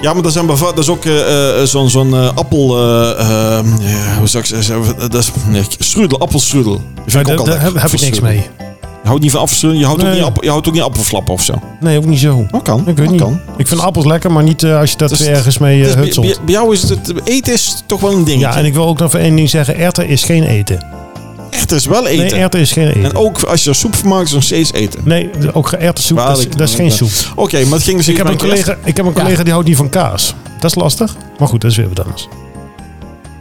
S3: Ja, maar dat, zijn beva- dat is ook eh, eh, zo'n zo'n eh, appel... eh, eh, ja, hoe zou ik zeggen? eh, Dat is, nee, strudel, appelstrudel. Die vind
S1: Ja,
S3: ik ook
S1: daar
S3: al
S1: daar
S3: lekker.
S1: heb, heb ik niks
S3: Appelstrudel.
S1: mee.
S3: Je houdt niet van appelstrudel? Je houdt,
S1: Nee.
S3: ook, niet appel, je houdt ook niet appelflappen of zo?
S1: Nee, ook niet zo.
S3: Dat kan.
S1: Ik weet
S3: dat
S1: niet.
S3: kan.
S1: Ik vind appels lekker, maar niet eh, als je dat
S3: Dus-
S1: weer ergens mee eh,
S3: Dus bij- bij,
S1: hutselt.
S3: bij jou is het, het eten is toch wel een ding.
S1: Ja, en ik wil ook nog even één ding zeggen. Erten is geen eten.
S3: echt is wel eten.
S1: Nee, erten is geen
S3: en
S1: eten.
S3: ook als je een soep vermaakt, is het nog steeds eten.
S1: Nee, ook geen erwtensoep,
S3: Waar
S1: dat is,
S3: ik-
S1: dat is geen soep.
S3: Oké, maar het ging dus
S1: Ik heb,
S3: even
S1: een
S3: naar kerst.
S1: collega, ik heb een collega die houdt niet van kaas. Dat is lastig. Maar goed, dat is weer wat anders.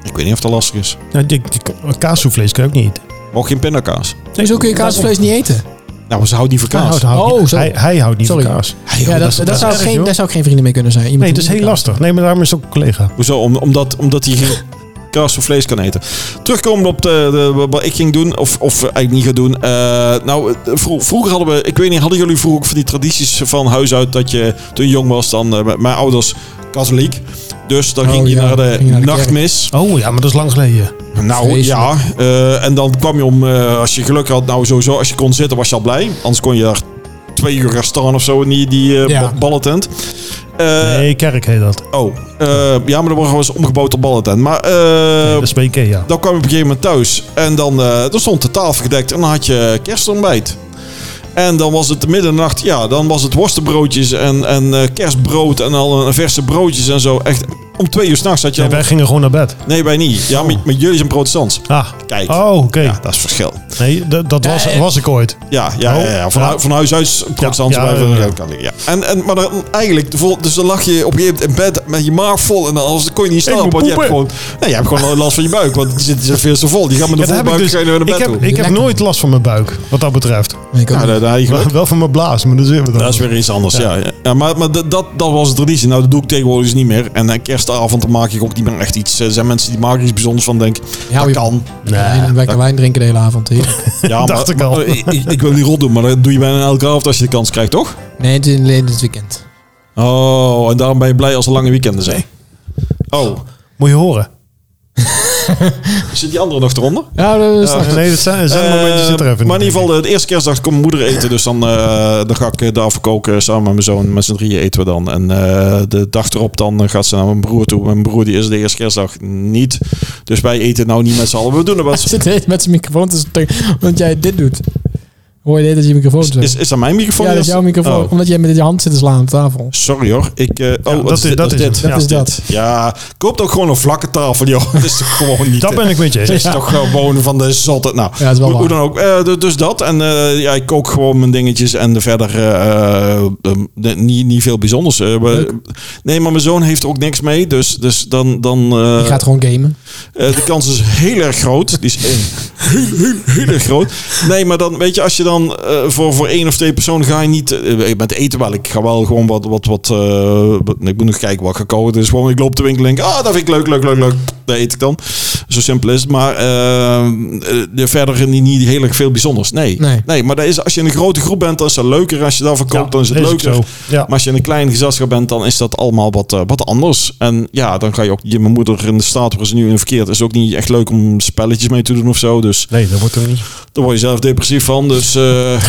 S3: Ik weet niet of dat lastig is.
S1: Nou, die, die, kaassoufflés kan je ook niet eten.
S3: Mocht geen pindakaas.
S2: Hoezo kun je kaasvlees niet eten?
S3: Nou, ze houdt niet van
S1: Hij
S3: kaas.
S1: houdt, houdt
S2: Oh,
S1: niet,
S2: zo.
S1: hij, hij houdt niet
S2: Sorry.
S1: van kaas.
S2: Ja, dat, dat, zou
S1: erg,
S2: geen,
S1: joh.
S2: daar zou ik geen vrienden mee kunnen zijn. Iemand
S1: Nee, het
S2: die
S1: is
S2: niet
S1: heel
S2: kan.
S1: lastig. Nee, maar daarom is het ook een collega.
S3: Hoezo? Om, omdat, omdat hij geen kaas of vlees kan eten. Terugkomen op de, de- wat ik ging doen, of, of eigenlijk niet ga doen. Eh, nou, eh, vro- vroeger hadden we, ik weet niet, hadden jullie vroeger ook van die tradities van huis uit dat je toen je jong was, dan eh, met mijn ouders katholiek. Dus dan
S2: Oh,
S3: ging je
S2: ja,
S3: naar de
S2: ging je naar de
S3: nachtmis.
S1: Oh ja, maar dat is lang geleden.
S3: Nou
S2: Vreselijk.
S3: ja, eh, en dan kwam je om, eh, als je geluk had, nou sowieso, als je kon zitten was je al blij. Anders kon je daar twee uur gaan staan of zo in die, die eh,
S2: Ja.
S3: ba- ballentent. Eh,
S1: Nee, kerk heet dat.
S3: Oh, eh, ja, maar dat was gewoon omgebouwd tot ballentent. Maar eh,
S1: dat is bij Ikea.
S3: dan kwam je op een gegeven moment thuis en dan, eh, dan stond de tafel gedekt en dan had je kerstontbijt. En dan was het midden in de nacht, ja, dan was het worstenbroodjes en, en eh, kerstbrood en al een verse broodjes en zo. Echt, om twee uur s'nachts had je...
S1: Nee,
S3: al-
S1: wij gingen gewoon naar bed.
S3: nee, wij niet. Ja, maar, maar jullie zijn protestants.
S1: Ah.
S3: Kijk.
S1: Oh, oké.
S3: Ja, dat is verschil.
S1: Nee, dat, dat was, was ik ooit.
S3: Ja, ja, ja, ja. Van,
S1: Nou, Ja.
S3: hu- van huis uit protestants
S1: Ja, ja,
S3: blijven.
S1: ja,
S3: Ja,
S1: ja.
S3: kan ik, ja. En, en, maar dan, eigenlijk, de vol- dus dan lag je op je in bed met je maag vol. En dan anders kon je niet slapen.
S1: moet
S3: Want je hebt,
S1: poepen.
S3: gewoon, nee, je hebt gewoon last van je buik. Want die zit die zit veel te vol. Die gaat met de
S1: Ja, dat
S3: volle
S1: heb ik dus.
S3: buik ga je weer naar
S1: Ik
S3: bed
S1: heb,
S3: toe.
S1: ik heb
S2: Lekker.
S1: nooit last van mijn buik, wat dat betreft.
S2: Nee, ik ook
S3: Ja,
S2: niet.
S3: daar, daar had je geluk.
S1: Wel van mijn blaas, maar dat is weer wat
S3: dat is
S1: anders.
S3: weer iets anders, ja. ja. Ja, maar maar dat, dat, dat was de traditie. Nou, dat doe ik tegenwoordig dus niet meer. En eh, kerstavond dan maak ik ook niet meer echt iets. Er zijn mensen die maken iets bijzonders van. Denk,
S2: Ja,
S3: dat
S2: je-
S3: kan.
S2: Nee, dan ben ik wijn drinken de hele avond. heerlijk.
S3: Ja,
S1: Dacht
S3: maar,
S1: ik al.
S3: maar, eh, ik, ik wil niet rot doen, maar dat doe je bijna elke avond als je de kans krijgt, toch?
S2: Nee, het is alleen dit weekend.
S3: Oh, en daarom ben je blij als er lange weekenden zijn. Oh,
S1: Moet je horen.
S3: zit die andere nog eronder?
S2: Ja, dat is
S1: Nee, nee, dat zijn, zijn momentjes zit er even
S3: Oh. Eh, maar in ieder geval, eh, de eerste kerstdag komt mijn moeder eten. Dus dan, eh, dan ga ik eh, daarvoor koken samen met mijn zoon. Met z'n drieën eten we dan. En eh, de dag erop dan eh, gaat ze naar mijn broer toe. Mijn broer die is de eerste kerstdag niet. Dus wij eten nou niet met z'n allen. We doen er
S2: Hij
S3: wat.
S2: Ah, zit de hele tijd met zijn microfoon te spreken, want jij dit doet. Hoor je dit dat je microfoon zo?
S3: Is, is dat mijn microfoon?
S2: ja, dat is jouw microfoon.
S3: Oh,
S2: Omdat jij met je hand zit te slaan op tafel.
S3: Sorry hoor. Ik, eh, oh,
S1: Ja,
S3: wat
S1: dat
S3: is,
S1: is-
S3: dit?
S1: dat
S3: Wat
S1: is
S3: dit?
S1: het. Ja.
S2: Dat is dat.
S3: Ja, koop ook gewoon een vlakke tafel, joh. Dat is toch gewoon niet...
S1: Dat ben ik met je.
S3: Het is
S1: eens.
S3: toch gewoon van de zotte. Nou,
S2: Ja, het is wel
S3: hoe, hoe
S2: waar.
S3: dan ook. Eh, du- dus dat. En eh, ja, ik kook gewoon mijn dingetjes. En verder eh, eh, eh, niet, niet veel bijzonders. Eh, we-
S2: Leuk.
S3: nee, maar mijn zoon heeft er ook niks mee. Dus, dus dan... dan eh,
S2: Je gaat gewoon gamen.
S3: eh, de kans is heel erg groot. Die is eh, heel, heel, heel erg groot. Nee, maar dan weet je, als je dan dan eh, voor, voor één of twee personen ga je niet... eh, met eten wel. Ik ga wel gewoon wat... wat, wat eh, wat- nee, ik moet nog kijken wat gekookt is. Gewoon, ik loop de winkel en denk... Ah, dat vind ik leuk, leuk, leuk, leuk. Dat eet ik dan. Zo simpel is het. Maar eh, eh, de verder niet, niet heel erg veel bijzonders. Nee.
S2: Nee.
S3: maar dat is, als je in een grote groep bent, dan is dat leuker. Als je daarvoor koopt, dan is het
S1: dat is ook
S3: leuker.
S1: zo. Ja.
S3: Maar als je in een klein gezelschap bent, dan is dat allemaal wat, eh, wat anders. En ja, dan ga je ook... Je, mijn moeder in de staat waar ze nu in verkeerd is ook niet echt leuk om spelletjes mee te doen of zo. Dus...
S1: Nee, dat wordt er niet.
S3: Daar word je zelf depressief van. Dus eh,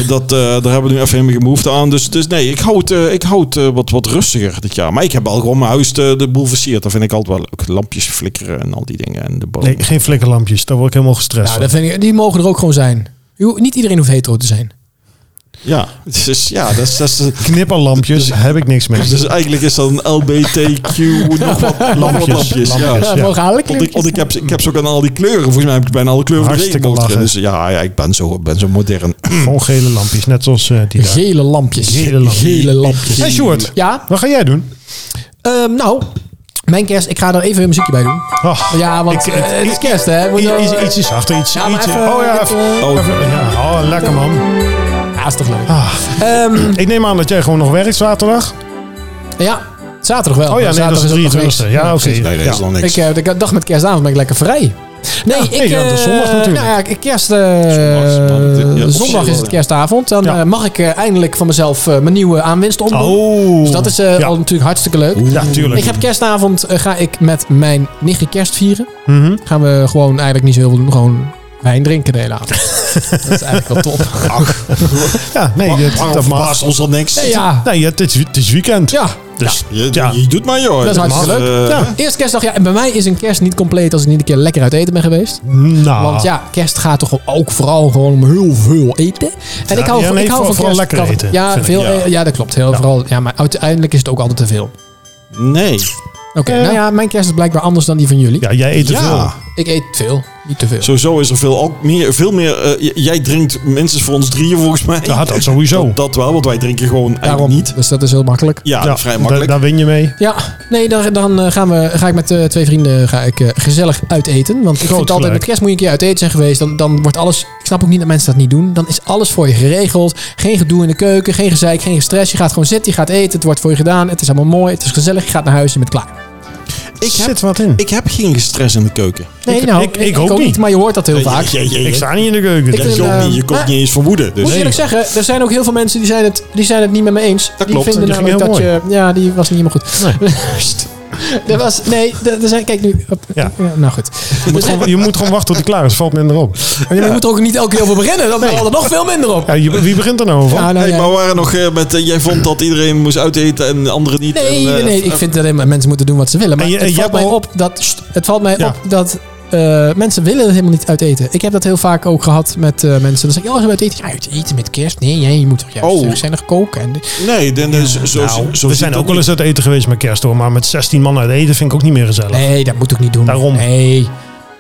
S3: dat, eh, daar hebben we nu even helemaal geen behoefte aan. Dus, dus nee, ik houd, eh, ik houd eh, wat, wat rustiger dit jaar. Maar ik heb al gewoon mijn huis eh, de boel versierd. Dat vind ik altijd wel leuk. Lampjes flikkeren en al die dingen. En de boom.
S1: Nee, geen flikkerlampjes. Daar word ik helemaal gestrest
S2: Nou,
S1: van.
S2: dat vind ik, die mogen er ook gewoon zijn. Je hoeft- Niet iedereen hoeft hetero te zijn.
S3: Ja, dus, ja dat, is, dat, is,
S1: Knipperlampjes heb ik niks mee.
S3: dus eigenlijk is dat een LBTQ nog wat lampjes. Nog wat lampjes ja.
S1: Lampjes.
S2: Dat
S1: Ja.
S2: mogen alle
S3: Want ik, want
S2: kleurtjes.
S3: ik, heb, ze- ik heb ze ook aan al die kleuren. Volgens mij heb ik bijna alle kleuren van de
S1: Hartstikke
S3: regenboog erin.
S1: lachen.
S3: Dus ja, ja ik ben zo, ben zo modern.
S1: Gewoon gele lampjes. Net zoals eh, die daar.
S2: Gele lampjes.
S1: Gele lampjes.
S2: Gele lampjes.
S1: Hey Sjoerd,
S2: Ja,
S1: wat ga jij doen?
S2: ehm, nou, mijn kerst. Ik ga er even een muziekje bij doen.
S1: Ah,
S2: Ja, want
S1: ik-
S2: eh, het is
S1: ik-
S2: kerst, hè? We moeten-
S1: iets, iets, iets zachter, iets...
S2: Ja, maar
S1: iets
S2: even-
S1: oh ja,
S2: even-
S1: even-
S3: Oh,
S1: even- ja, oh, lekker man.
S2: Ja, is toch leuk.
S1: Ah,
S2: Ehm,
S1: ik neem aan dat jij gewoon nog werkt zaterdag.
S2: ja, zaterdag wel.
S1: Oh ja, nee, dat
S2: Zaterdag
S1: is
S2: ook nog
S1: 23
S2: niks.
S1: Ja, oké.
S2: precies.
S3: Nee, dat
S1: Ja.
S3: is dan niks.
S2: Ik, eh, de dag met kerstavond ben ik lekker vrij. Nee, ik...
S1: nee, ja, dat is
S2: eh,
S1: zondag natuurlijk.
S2: Nou ja, ik- kerst... eh,
S3: zondag is het,
S2: zondag
S3: ja,
S2: is het
S3: officieel,
S2: kerstavond. Dan
S1: Ja.
S2: eh, mag ik eh, eindelijk van mezelf eh, mijn nieuwe aanwinst omdoen.
S1: Oh.
S2: Dus dat is eh,
S1: ja.
S2: al natuurlijk hartstikke leuk.
S1: Ja, tuurlijk.
S2: Ik heb kerstavond eh, ga ik met mijn nichtje kerst vieren.
S1: Mhm.
S2: Gaan we gewoon eigenlijk niet zo heel veel doen. Gewoon wijn drinken de hele avond. dat is eigenlijk wel top.
S1: Ja, nee, dat,
S3: Waarom
S1: dat mag. Ah.
S3: verbaast ons dat niks?
S2: Nee, ja.
S1: Nee, het is, het is weekend.
S2: ja.
S1: Dus
S3: Je,
S1: Ja.
S3: je doet maar joh.
S2: Dat is hartstikke
S3: mag.
S2: leuk.
S3: Eh,
S1: Ja.
S2: Eerst kerstdag. Ja, en bij mij is een kerst niet compleet als ik niet een keer lekker uit eten ben geweest.
S1: nou...
S2: Want ja, kerst gaat toch ook vooral gewoon om heel veel eten. En
S1: Ja,
S2: ik hou,
S1: ja, nee,
S2: ik
S1: vooral-
S2: hou van
S1: vooral
S2: kerst-
S1: lekker
S2: kan-
S1: eten,
S2: Ja,
S1: vind ik,
S2: veel,
S3: ja.
S2: ja. ja dat klopt. Heel, Vooral, ja, maar uiteindelijk is het ook altijd te veel.
S3: Nee.
S2: Oké,
S1: Eh.
S2: nou ja, mijn kerst is blijkbaar anders dan die van jullie.
S1: Ja, jij eet te
S3: Ja.
S1: veel.
S2: Ik eet veel, niet te veel.
S3: Sowieso is er veel, ook meer, veel meer... eh, j- jij drinkt minstens voor ons drieën volgens mij.
S1: Ja, dat sowieso.
S3: Dat, dat wel, want wij drinken gewoon eigenlijk niet.
S2: Dus dat is heel makkelijk.
S3: Ja,
S1: Ja,
S3: vrij
S1: da-
S3: makkelijk.
S1: daar win je mee.
S2: Ja, nee, dan, dan eh, gaan we, ga ik met eh, twee vrienden ga ik, eh, gezellig uit eten. Want ik
S1: Groot
S2: vind altijd,
S1: gelijk.
S2: met kerst moet je een keer uit eten zijn geweest. Dan, dan wordt alles, ik snap ook niet dat mensen dat niet doen. Dan is alles voor je geregeld. Geen gedoe in de keuken, geen gezeik, geen stress. Je gaat gewoon zitten, je gaat eten, het wordt voor je gedaan. Het is allemaal mooi, het is gezellig, je gaat naar huis en je bent klaar.
S3: ik, heb,
S1: zit wat in.
S3: ik heb geen stress in de keuken.
S2: Nee,
S1: Ik-
S2: nou,
S1: ik- ik ook niet.
S2: maar je hoort dat heel
S3: Eh,
S2: vaak.
S3: je- je- je-
S1: Ik sta niet in de keuken.
S2: Ik
S3: je
S2: vind,
S3: kookt
S2: eh,
S3: niet, je kookt
S2: maar-
S3: niet eens van woede. Dus
S2: Moet ik eerlijk zeggen, er zijn ook heel veel mensen die zijn het, die zijn het niet met me eens. die
S3: klopt,
S2: vinden
S1: die ging
S2: namelijk dat
S1: heel
S2: je. Ja, die was niet helemaal goed. er was, nee, er er zijn. Kijk nu. op-
S1: Ja.
S2: nou goed.
S1: je, moet
S2: Dus,
S1: gewoon, je moet gewoon wachten tot hij klaar is. Valt minder op.
S2: Maar je moet er ook niet elke keer over beginnen. Dan valt er nog veel minder op.
S1: Ja, je- wie begint er nou over?
S2: Ja, nou
S3: Hey,
S2: ja.
S3: maar we waren nog eh, met... eh, jij vond dat iedereen moest uiteten en anderen niet.
S2: Nee,
S3: en,
S2: nee,
S3: eh,
S2: nee. Ik vind dat mensen moeten doen wat ze willen. Maar
S1: En je-
S2: het,
S1: en
S2: valt
S1: jij
S2: mij
S1: hebt al-
S2: op dat, het valt mij
S1: Ja.
S2: op dat eh, mensen willen het helemaal niet uit eten. Ik heb dat heel vaak ook gehad met eh, mensen. Dan zeg ik, oh, ze uit eten. Ja, uit eten met kerst? Nee, nee, je moet toch juist
S3: Oh.
S2: gezellig koken. En,
S3: Nee, dan, eh, zo, zo,
S1: Nou,
S3: zo
S1: we
S3: ziet
S1: zijn
S3: dat
S1: ook wel
S3: niet.
S1: eens uit eten geweest met kerst hoor. Maar met 16 man uit eten vind ik ook niet meer gezellig.
S2: nee, dat moet ook niet doen.
S1: Daarom.
S2: Nee.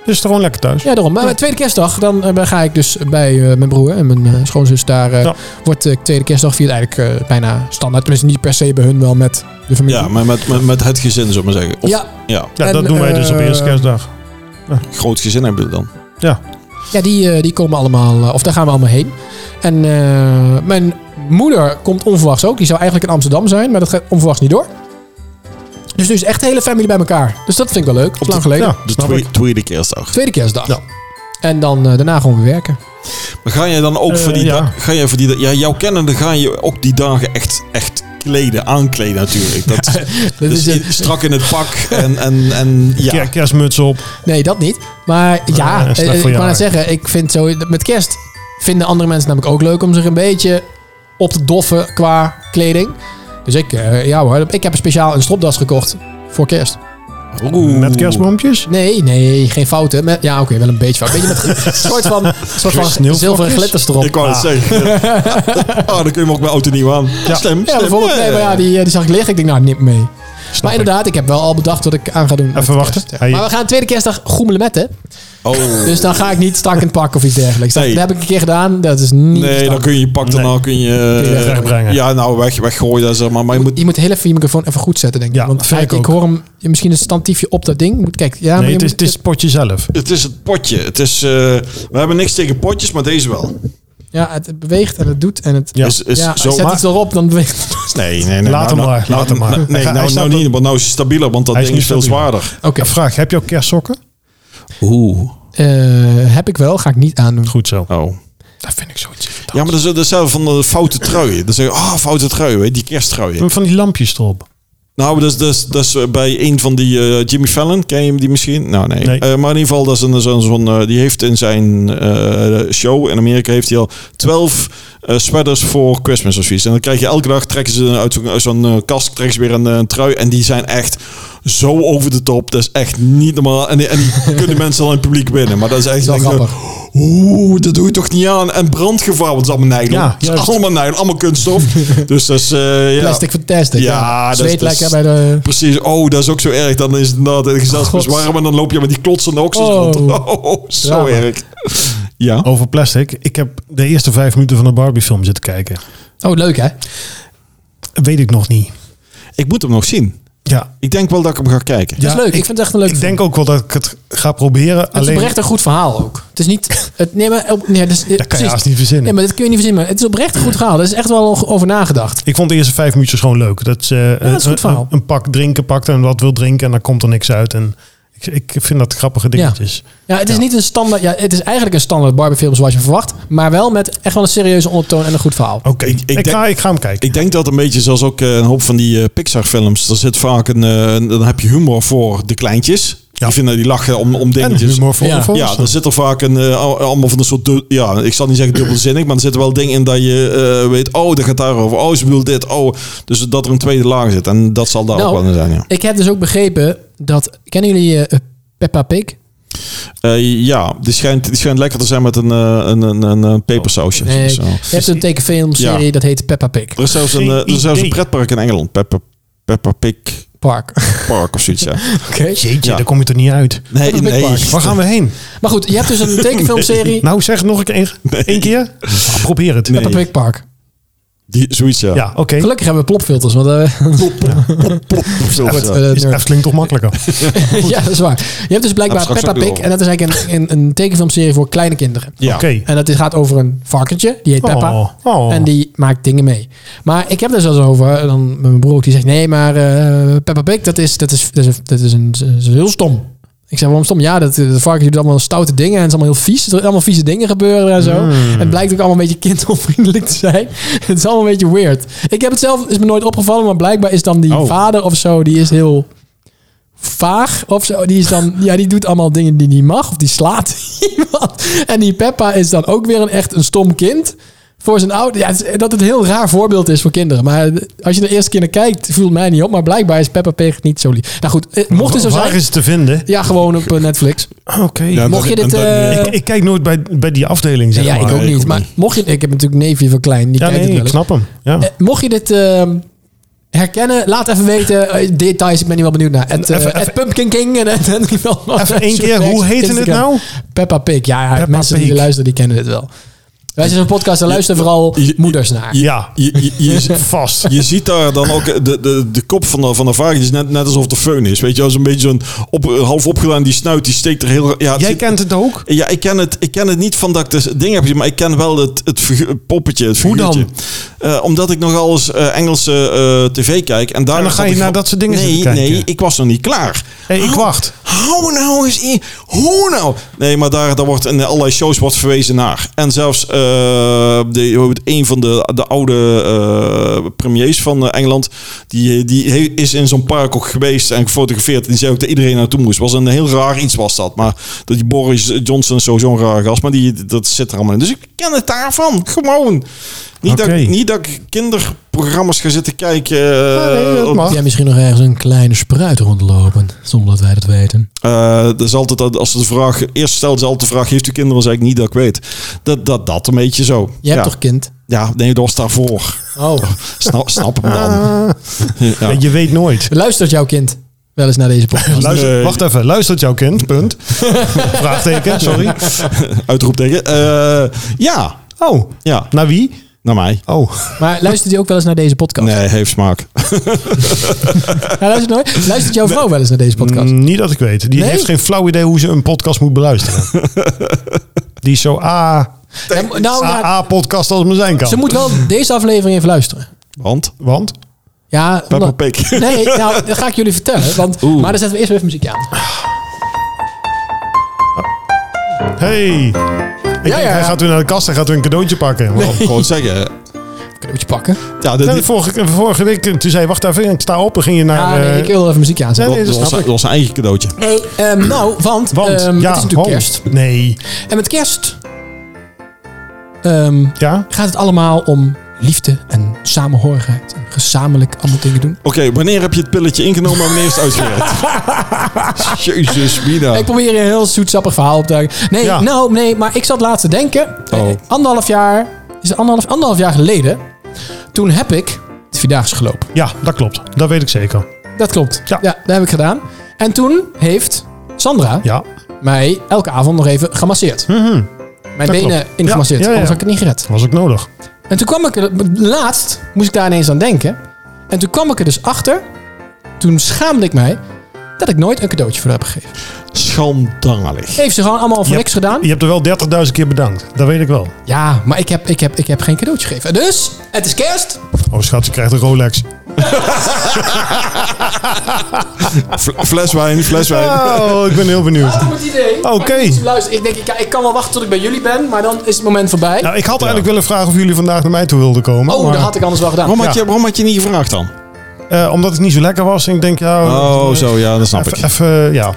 S1: Dus het gewoon lekker thuis.
S2: Ja, daarom. Maar tweede kerstdag, dan eh, ga ik dus bij eh, mijn broer en mijn eh, schoonzus daar. eh,
S1: Ja.
S2: Wordt de tweede kerstdag viert eigenlijk eh, bijna standaard. Tenminste, niet per se bij hun, wel met de familie.
S3: Ja, maar met, met, met het gezin, zullen we maar zeggen. Of,
S2: ja,
S3: ja.
S1: Ja,
S2: En,
S1: dat doen wij dus op
S2: eh,
S1: eerste kerstdag.
S3: groot gezin hebben we dan.
S2: ja, die, eh, die komen allemaal, eh, of daar gaan we allemaal heen. En eh, mijn moeder komt onverwachts ook. Die zou eigenlijk in Amsterdam zijn, maar dat gaat onverwachts niet door. Dus nu is echt de hele familie bij elkaar. Dus dat vind ik wel leuk. Dat is
S3: de-
S2: lang geleden.
S1: Ja,
S3: De
S1: snap ik.
S3: tweede, tweede kerstdag.
S2: Tweede kerstdag.
S1: Ja.
S2: En dan eh, daarna gewoon weer werken.
S3: Maar ga je dan ook
S1: Eh,
S3: voor die,
S1: ja.
S3: da- ga je voor die da- ja, jouw kennende ga je ook die dagen echt, echt kleden, aankleden natuurlijk. Dat,
S2: Dit
S3: dus
S2: is het-
S3: in- strak in het pak en, en, en ja.
S1: Ja, kerstmuts op.
S2: Nee, dat niet. Maar ja,
S1: Ah, dat is
S2: eh,
S1: slecht
S2: ik
S1: voor je
S2: kan
S1: haar.
S2: het zeggen, ik vind zo met kerst vinden andere mensen namelijk ook leuk om zich een beetje op te doffen qua kleding. Dus ik, eh, ja hoor, ik heb speciaal een stropdas gekocht voor kerst.
S3: Oeh.
S1: Met kerstboompjes.
S2: Nee, nee, geen fouten. Met, ja, oké, wel een beetje fout. Beetje met een soort van, soort van
S1: Sneeuwvlokjes?
S2: zilveren glitters erop.
S3: Ik wou het zeggen. Ah, dan kun je hem ook bij auto nieuw aan. Stem, slim,
S2: ja, bijvoorbeeld, nee, maar ja, die, eh, die zag ik liggen. Ik denk, nou, neem mee. Maar inderdaad, ik heb wel al bedacht wat ik aan ga doen. met
S1: Even wachten.
S2: kerst.
S1: Hij-
S2: Maar we gaan tweede kerstdag goemelen met, hè?
S3: Oh.
S2: Dus dan ga ik niet strak in het pak of iets dergelijks. Dat,
S3: Nee.
S2: dat heb ik een keer gedaan. Dat is niet
S3: Nee,
S2: strak.
S3: dan kun je je pak daarna kun je... eh,
S1: Kun je wegbrengen.
S3: Ja, nou, weg, weggooien, dat is er, maar, maar je moet...
S2: Je moet heel even je microfoon even goed zetten, denk ik.
S1: Ja,
S2: Want
S1: vind
S2: kijk,
S1: ik
S2: ik,
S1: ook.
S2: hoor hem misschien een standiefje op dat ding. Moet, kijk, ja, maar
S1: Nee,
S2: je
S1: het is,
S2: moet-
S1: het is het potje zelf.
S3: Het is het potje. Het is, eh, we hebben niks tegen potjes, maar deze wel.
S2: Ja, het beweegt en het doet en het...
S1: Ja.
S3: Is, is
S2: ja,
S3: zo,
S2: zet
S3: maar-
S2: iets erop, dan beweegt het.
S3: Nee, nee, nee.
S1: Laat
S3: nou,
S1: hem maar,
S3: nou,
S1: laat hem maar.
S3: nou,
S1: Hij
S3: Nee,
S1: gaat-
S3: nou,
S1: hij
S3: nou
S1: staat
S3: niet, want nou is hij stabieler, want dat
S1: Hij is
S3: ding is
S1: nu
S3: veel
S1: stabieler.
S3: zwaarder.
S2: Oké,
S1: Vraag, heb je ook kerstsokken?
S3: Oeh.
S2: eh, heb ik wel, ga ik niet aandoen.
S1: Goed zo.
S3: Oh.
S2: Dat vind ik zoiets.
S3: Ja, maar dat is dat is zelf van de foute truien. Dan zeg je, ah, foute truien, weet je, die kersttruien.
S1: Van die lampjes erop.
S3: Nou, dat is, dat is, dat is eh, bij een van die eh, Jimmy Fallon. Ken je hem die misschien? Nou, nee.
S1: Nee.
S3: Eh, maar in ieder geval, dat is een, zo'n, zo'n, eh, die heeft in zijn eh, show in Amerika heeft hij al 12 eh, sweaters voor Christmas of zoiets. En dan krijg je elke dag, trekken ze uit zo'n, uit zo'n eh, kast trekken ze weer een, eh, een trui. En die zijn echt zo over de top. Dat is echt niet normaal. En die, en die kunnen mensen al in het publiek binnen. Maar dat is echt...
S2: Dat is wel
S3: denk ik, Oeh, dat doe je toch niet aan. En brandgevaar, want het is allemaal nylon.
S1: Ja,
S3: het is
S1: juist.
S3: allemaal nylon, allemaal kunststof. dus dat is... eh, ja.
S2: Plastic fantastic.
S3: Ja,
S2: Ja,
S3: dat is-
S2: Zweet
S3: dat is-
S2: lekker bij de...
S3: Precies. Oh, dat is ook zo erg. Dan is het inderdaad het gezelschap
S2: God.
S3: zwaar, maar dan loop je met die klotsende oksels
S2: Oh.
S3: rond. Oh, oh, zo
S2: Drama.
S3: erg. Ja.
S1: Over plastic. Ik heb de eerste vijf minuten van de Barbie film zitten kijken.
S2: Oh, leuk hè?
S1: Weet ik nog niet.
S3: Ik moet hem nog zien.
S1: Ja.
S3: Ik denk wel dat ik hem ga kijken.
S2: Dat is leuk. Ik, vind het echt een leuk
S1: Ik denk ook wel dat ik het ga proberen.
S2: Het is
S1: alleen
S2: oprecht een goed verhaal ook. Het is niet... Het, nee, maar... op- Nee, dus,
S1: dat kan je haast niet verzinnen.
S2: Nee, maar dit kun je niet verzinnen. Maar het is oprecht een goed verhaal. Er is echt wel over nagedacht.
S1: Ik vond de eerste vijf minuutjes gewoon leuk. Dat ze eh,
S2: dat is een goed
S1: een,
S2: verhaal.
S1: een pak drinken pakt en wat wil drinken en dan komt er niks uit. En ik, ik vind dat grappige dingetjes.
S2: Ja, het is niet een standaard... Ja, het is eigenlijk een standaard Barbie-film zoals je verwacht. Maar wel met echt wel een serieuze ondertoon en een goed verhaal.
S1: Oké,
S3: Ik-
S1: ik,
S3: ik denk-
S1: ga, ik ga hem kijken.
S3: Ik denk dat een beetje zoals ook eh, een hoop van die eh, Pixar-films. Er zit vaak een. eh, een- dan heb je humor voor de kleintjes. Die vinden die lachen om, om
S1: en
S3: dingetjes.
S1: humor voor de
S2: Ja.
S3: dus- Ja, dan
S1: volwassenen.
S3: zit er vaak een, eh, al- allemaal van een soort, du- ja, ik zal niet zeggen dubbelzinnig, maar er zitten wel dingen in dat je eh, weet, oh, dat gaat daarover, oh, ze bedoelt dit, oh. Dus dat er een tweede laag zit. En dat zal daar
S2: Nou,
S3: ook wel in zijn, ja.
S2: Ik heb dus ook begrepen dat... Kennen jullie eh, Peppa Pig?
S3: Eh, ja, die schijnt, die schijnt lekker te zijn met een, eh, een, een, een, een pepersausje.
S2: Oh, Nee,
S3: Zo.
S2: je hebt een tekenfilmserie
S3: Ja.
S2: dat heet Peppa Pig
S3: Er is zelfs een,
S1: Geen
S3: eh, er is zelfs een
S1: idee.
S3: pretpark in Engeland. Peppa, Peppa Pig
S2: Park. Oké.
S3: Park of zoiets, ja.
S1: Jeetje,
S3: Ja.
S1: daar kom je toch niet uit.
S3: Nee,
S2: Peppa Pig
S3: nee.
S2: Park.
S1: Waar gaan we heen?
S2: Maar goed, je hebt dus een tekenfilmserie
S1: Nou, zeg het nog een keer. Eén keer? Ah, probeer het.
S3: Nee.
S2: Peppa Pig Park.
S3: Die, zoiets, ja.
S1: Ja, oké.
S2: Gelukkig hebben we plopfilters, want eh,
S3: Plop, of zo.
S2: Goed,
S3: Ja.
S2: eh,
S1: Is Efteling toch makkelijker?
S2: ja, dat is waar. Je hebt dus
S3: Heb
S2: blijkbaar
S3: straks
S2: Peppa
S3: ook
S2: Pig
S3: weer over.
S2: en dat is eigenlijk een, een, een tekenfilmserie voor kleine kinderen.
S3: Ja.
S1: eh, Oké.
S2: En dat is- gaat over een varkentje, die heet Peppa.
S1: Oh, oh.
S2: En die maakt dingen mee. Maar ik heb daar zelfs over, eh, dan met mijn broer ook, die zegt, nee, maar eh, Peppa Pig, dat is, dat is, dat is, dat is, een, dat is heel stom. Ik zeg, waarom stom? Ja, dat, eh, dat varkentje doet allemaal stoute dingen en het is allemaal heel vies. Er zijn allemaal vieze dingen gebeuren en zo. En het blijkt ook allemaal een beetje kindonvriendelijk te zijn. het is allemaal een beetje weird. Ik heb het zelf, is me nooit opgevallen, maar blijkbaar is dan die
S3: Oh.
S2: vader of zo, die is heel vaag of zo. Die is dan, ja, die doet allemaal dingen die niet mag. Of die slaat iemand. En die Peppa is dan ook weer een echt een stom kind. Voor zijn ouders. Ja, het is- dat het een heel raar voorbeeld is voor kinderen. Maar als je de eerste keer naar kijkt, voelt het mij niet op. Maar blijkbaar is Peppa Pig niet zo lief. Nou goed, eh, mocht het zo
S1: Waar
S2: zijn.
S1: is het te vinden?
S2: Ja, gewoon op eh, Netflix.
S1: Oké.
S3: Ja,
S2: Mocht je
S3: dat-
S2: dit,
S3: en dat-
S2: eh,
S1: ik, ik kijk nooit bij, bij die afdeling, zeg
S2: ja, ik
S1: maar.
S2: ook
S3: ik
S2: niet.
S3: ook
S2: Maar
S3: niet.
S2: mocht je. Ik heb natuurlijk neefje van klein. Die
S1: Ja,
S2: kijkt
S1: nee,
S2: het wel
S1: ik
S2: eens.
S1: snap hem. Ja.
S2: Eh, Mocht je dit ehm, herkennen, laat even weten. Eh, details, ik ben hier wel benieuwd naar. Het, eh,
S1: Even-
S2: het Pumpkin King. En, en, en,
S1: Even één keer, hoe heette het nou?
S2: Peppa Pig. Ja, ja,
S1: Peppa
S2: mensen die
S1: Pig.
S2: luisteren, die kennen dit wel. Wij zijn een podcast, daar luisteren vooral
S3: je-
S2: moeders naar.
S1: Ja,
S3: Je, je, je,
S1: vast.
S3: je ziet daar dan ook eh, de, de, de kop van de, van de varkens is net, net alsof de föhn is. Weet je, als een beetje zo'n op, half opgedaan, die snuit, die steekt er heel... Ja, het
S1: Jij
S3: ziet-
S1: kent het ook?
S3: Ja, ik ken het, ik ken het niet van dat ik dus het ding heb gezien, maar ik ken wel het, het figu- het poppetje, het
S1: Hoe dan?
S3: figuurtje. Eh, omdat ik nogal eens eh, Engelse eh, tv kijk. En, daar
S1: En dan ga je naar dat soort dingen
S3: nee,
S1: zitten kijken.
S3: Nee, ik was nog niet klaar.
S1: Hé, ik
S3: Hou-
S1: wacht.
S3: Hou nou eens in. Hoe nou? Nee, maar daar, daar wordt in allerlei shows wordt verwezen naar. En zelfs eh, de, hoe heet het, een van de, de oude eh, premiers van eh, Engeland... Die, die he- is in zo'n park ook geweest en gefotografeerd. En die zei ook dat iedereen naartoe moest. was een heel raar iets was dat. Maar dat die Boris Johnson sowieso een raar gast. Maar die, dat zit er allemaal in. Dus ik ken het daarvan. Gewoon. Niet, dat,
S1: Oké.
S3: ik- niet dat ik kinderprogramma's ga zitten kijken. eh,
S1: nee, dat
S3: op-
S1: mag.
S2: Heb jij misschien nog ergens een kleine spruit rondlopen, zonder dat wij dat weten?
S3: eh dat is altijd, dat- als ze de vraag, eerst stelt ze altijd de vraag, heeft u kinderen? Zeg ik niet dat ik weet. Dat, dat, dat een beetje zo.
S2: Jij
S3: ja.
S2: hebt toch kind?
S3: Ja, nee, dat was daarvoor.
S2: Oh.
S3: Snap, snap hem dan. Ja.
S1: Je weet nooit.
S2: Luistert jouw kind wel eens naar deze podcast?
S1: Luister,
S3: Nee.
S1: Wacht even, luistert jouw kind, punt. Vraagteken, sorry.
S3: Uitroep tegen. Eh, ja,
S1: Oh,
S3: ja,
S1: naar wie?
S3: naar mij.
S1: Oh,
S2: Maar luistert hij ook wel eens naar deze podcast?
S3: Nee, heeft smaak.
S2: Hij luistert, nooit? luistert jouw vrouw wel eens naar deze podcast?
S1: mm, niet dat ik weet. Die
S2: Nee?
S1: heeft geen flauw idee hoe ze een podcast moet beluisteren. Die is zo, ah,
S2: Ja, nou, ja,
S1: AA-podcast als het maar zijn kan.
S2: ze moet wel deze aflevering even luisteren.
S3: Want?
S1: Want?
S2: Ja,
S3: Peppa
S2: omdat-
S3: Pig.
S2: Nee, nou, dat ga ik jullie vertellen. Want,
S3: Oeh.
S2: maar dan zetten we eerst weer even muziek aan.
S1: Hey. Ik denk,
S2: ja, ja.
S1: Hij gaat weer naar de kast en gaat weer een cadeautje pakken.
S3: Ik wou gewoon zeggen.
S2: Cadeautje pakken.
S3: Ja, dit,
S1: Nee,
S3: dit-
S1: vorige, vorige week eh, toen zei hij, wacht even, ik sta op. En ging je naar...
S2: Ah, nee,
S1: eh,
S2: ik wil wel even muziek
S1: nee,
S2: aanzetten.
S1: nee, dat
S3: dat was,
S1: snap ik.
S3: dat was zijn eigen cadeautje.
S2: Nee, ehm, nou, want,
S1: Want,
S2: ehm,
S1: ja,
S2: het is natuurlijk
S1: want.
S2: kerst.
S1: Nee.
S2: En met kerst ehm,
S1: Ja?
S2: gaat het allemaal om liefde en samenhorigheid. En gezamenlijk allemaal dingen doen.
S3: Oké, wanneer heb je het pilletje ingenomen en wanneer is het uitgewerkt? Jezus, Mina.
S2: Ik probeer een heel zoetsappig verhaal op te duiken. Nee,
S1: Ja.
S2: nou, nee, maar ik zat laatst te denken.
S3: Oh.
S2: Eh, Anderhalf jaar, is het anderhalf, anderhalf jaar geleden, toen heb ik de Vierdaagse gelopen.
S1: Ja, dat klopt. Dat weet ik zeker.
S2: Dat klopt. Ja.
S1: Ja.
S2: dat heb ik gedaan. En toen heeft Sandra
S1: Ja.
S2: mij elke avond nog even gemasseerd. Mijn
S1: dat
S2: benen
S1: klopt.
S2: ingemasseerd,
S1: Ja, ja, ja.
S2: anders had ik het niet gered.
S1: Was ook nodig.
S2: En toen kwam ik er, laatst moest ik daar ineens aan denken. En toen kwam ik er dus achter, toen schaamde ik mij, dat ik nooit een cadeautje voor haar heb gegeven.
S3: Schandalig.
S2: Heeft ze gewoon allemaal voor
S1: Je
S2: niks
S1: hebt-
S2: gedaan.
S1: Je hebt er wel 30.000 keer bedankt. Dat weet ik wel.
S2: Ja, maar ik heb, ik, heb, ik heb geen cadeautje gegeven. Dus, het is kerst.
S1: Oh schat, ze krijgt een Rolex.
S3: Fl- fles wijn, fles wijn.
S1: Oh, ik ben heel benieuwd.
S2: Goed idee.
S1: Oké.
S2: Luister, ik denk, ik, ik kan wel wachten tot ik bij jullie ben, maar dan is het moment voorbij.
S1: Nou, ik had eigenlijk willen vragen of jullie vandaag naar mij toe wilden komen.
S2: oh,
S1: maar,
S2: dat had ik anders wel gedaan.
S3: Waarom, had
S1: Ja.
S3: je, waarom had je niet gevraagd dan?
S1: eh, omdat het niet zo lekker was. En ik denk, ja...
S3: Oh,
S1: eh,
S3: zo, ja, dat snap
S1: Even,
S3: ik.
S1: even, ja.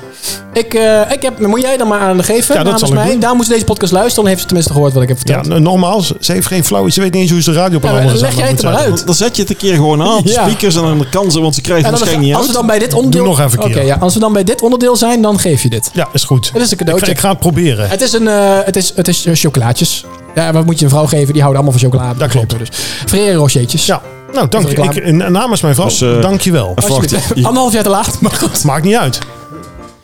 S2: Ik, eh, ik heb, moet jij dan maar aan geven
S1: Ja, dat
S2: namens
S1: zal ik
S2: mij.
S1: doen.
S2: Daar moet ze deze podcast luisteren, dan heeft ze tenminste gehoord wat ik heb
S1: ja,
S2: verteld.
S1: nogmaals, ze heeft geen flauw... Ze weet niet eens hoe ze de radio op een
S2: Ja, maar
S1: andere
S2: leg jij het er maar uit.
S3: Dan zet je het een keer gewoon aan. op de
S2: Ja.
S3: Speakers en aan de kansen, want ze krijgen
S2: En
S3: het
S2: dan,
S3: waarschijnlijk niet
S2: als
S3: uit.
S2: we dan bij dit onderdeel...
S1: nog even een
S2: Oké,
S1: keer.
S2: ja, als we dan bij dit onderdeel zijn, dan geef je dit.
S1: Ja, is goed.
S2: Het is een cadeautje.
S1: Ik, ga- ik ga het proberen.
S2: Het is, een, eh, het is, het is eh, chocolaatjes. Ja, wat moet je een vrouw geven? Die houden allemaal van chocolade.
S1: Dat klopt.
S2: Dus Ferrero Rochertjes.
S1: Ja, nou, dank je.
S2: reclame.
S1: Ik, en namens mijn vrouw,
S3: Dus, eh,
S1: dank je wel.
S3: even-
S2: Alsjeblieft.
S3: Wacht, je-
S2: Anderhalf jaar te laat, maar goed.
S1: Maakt niet uit.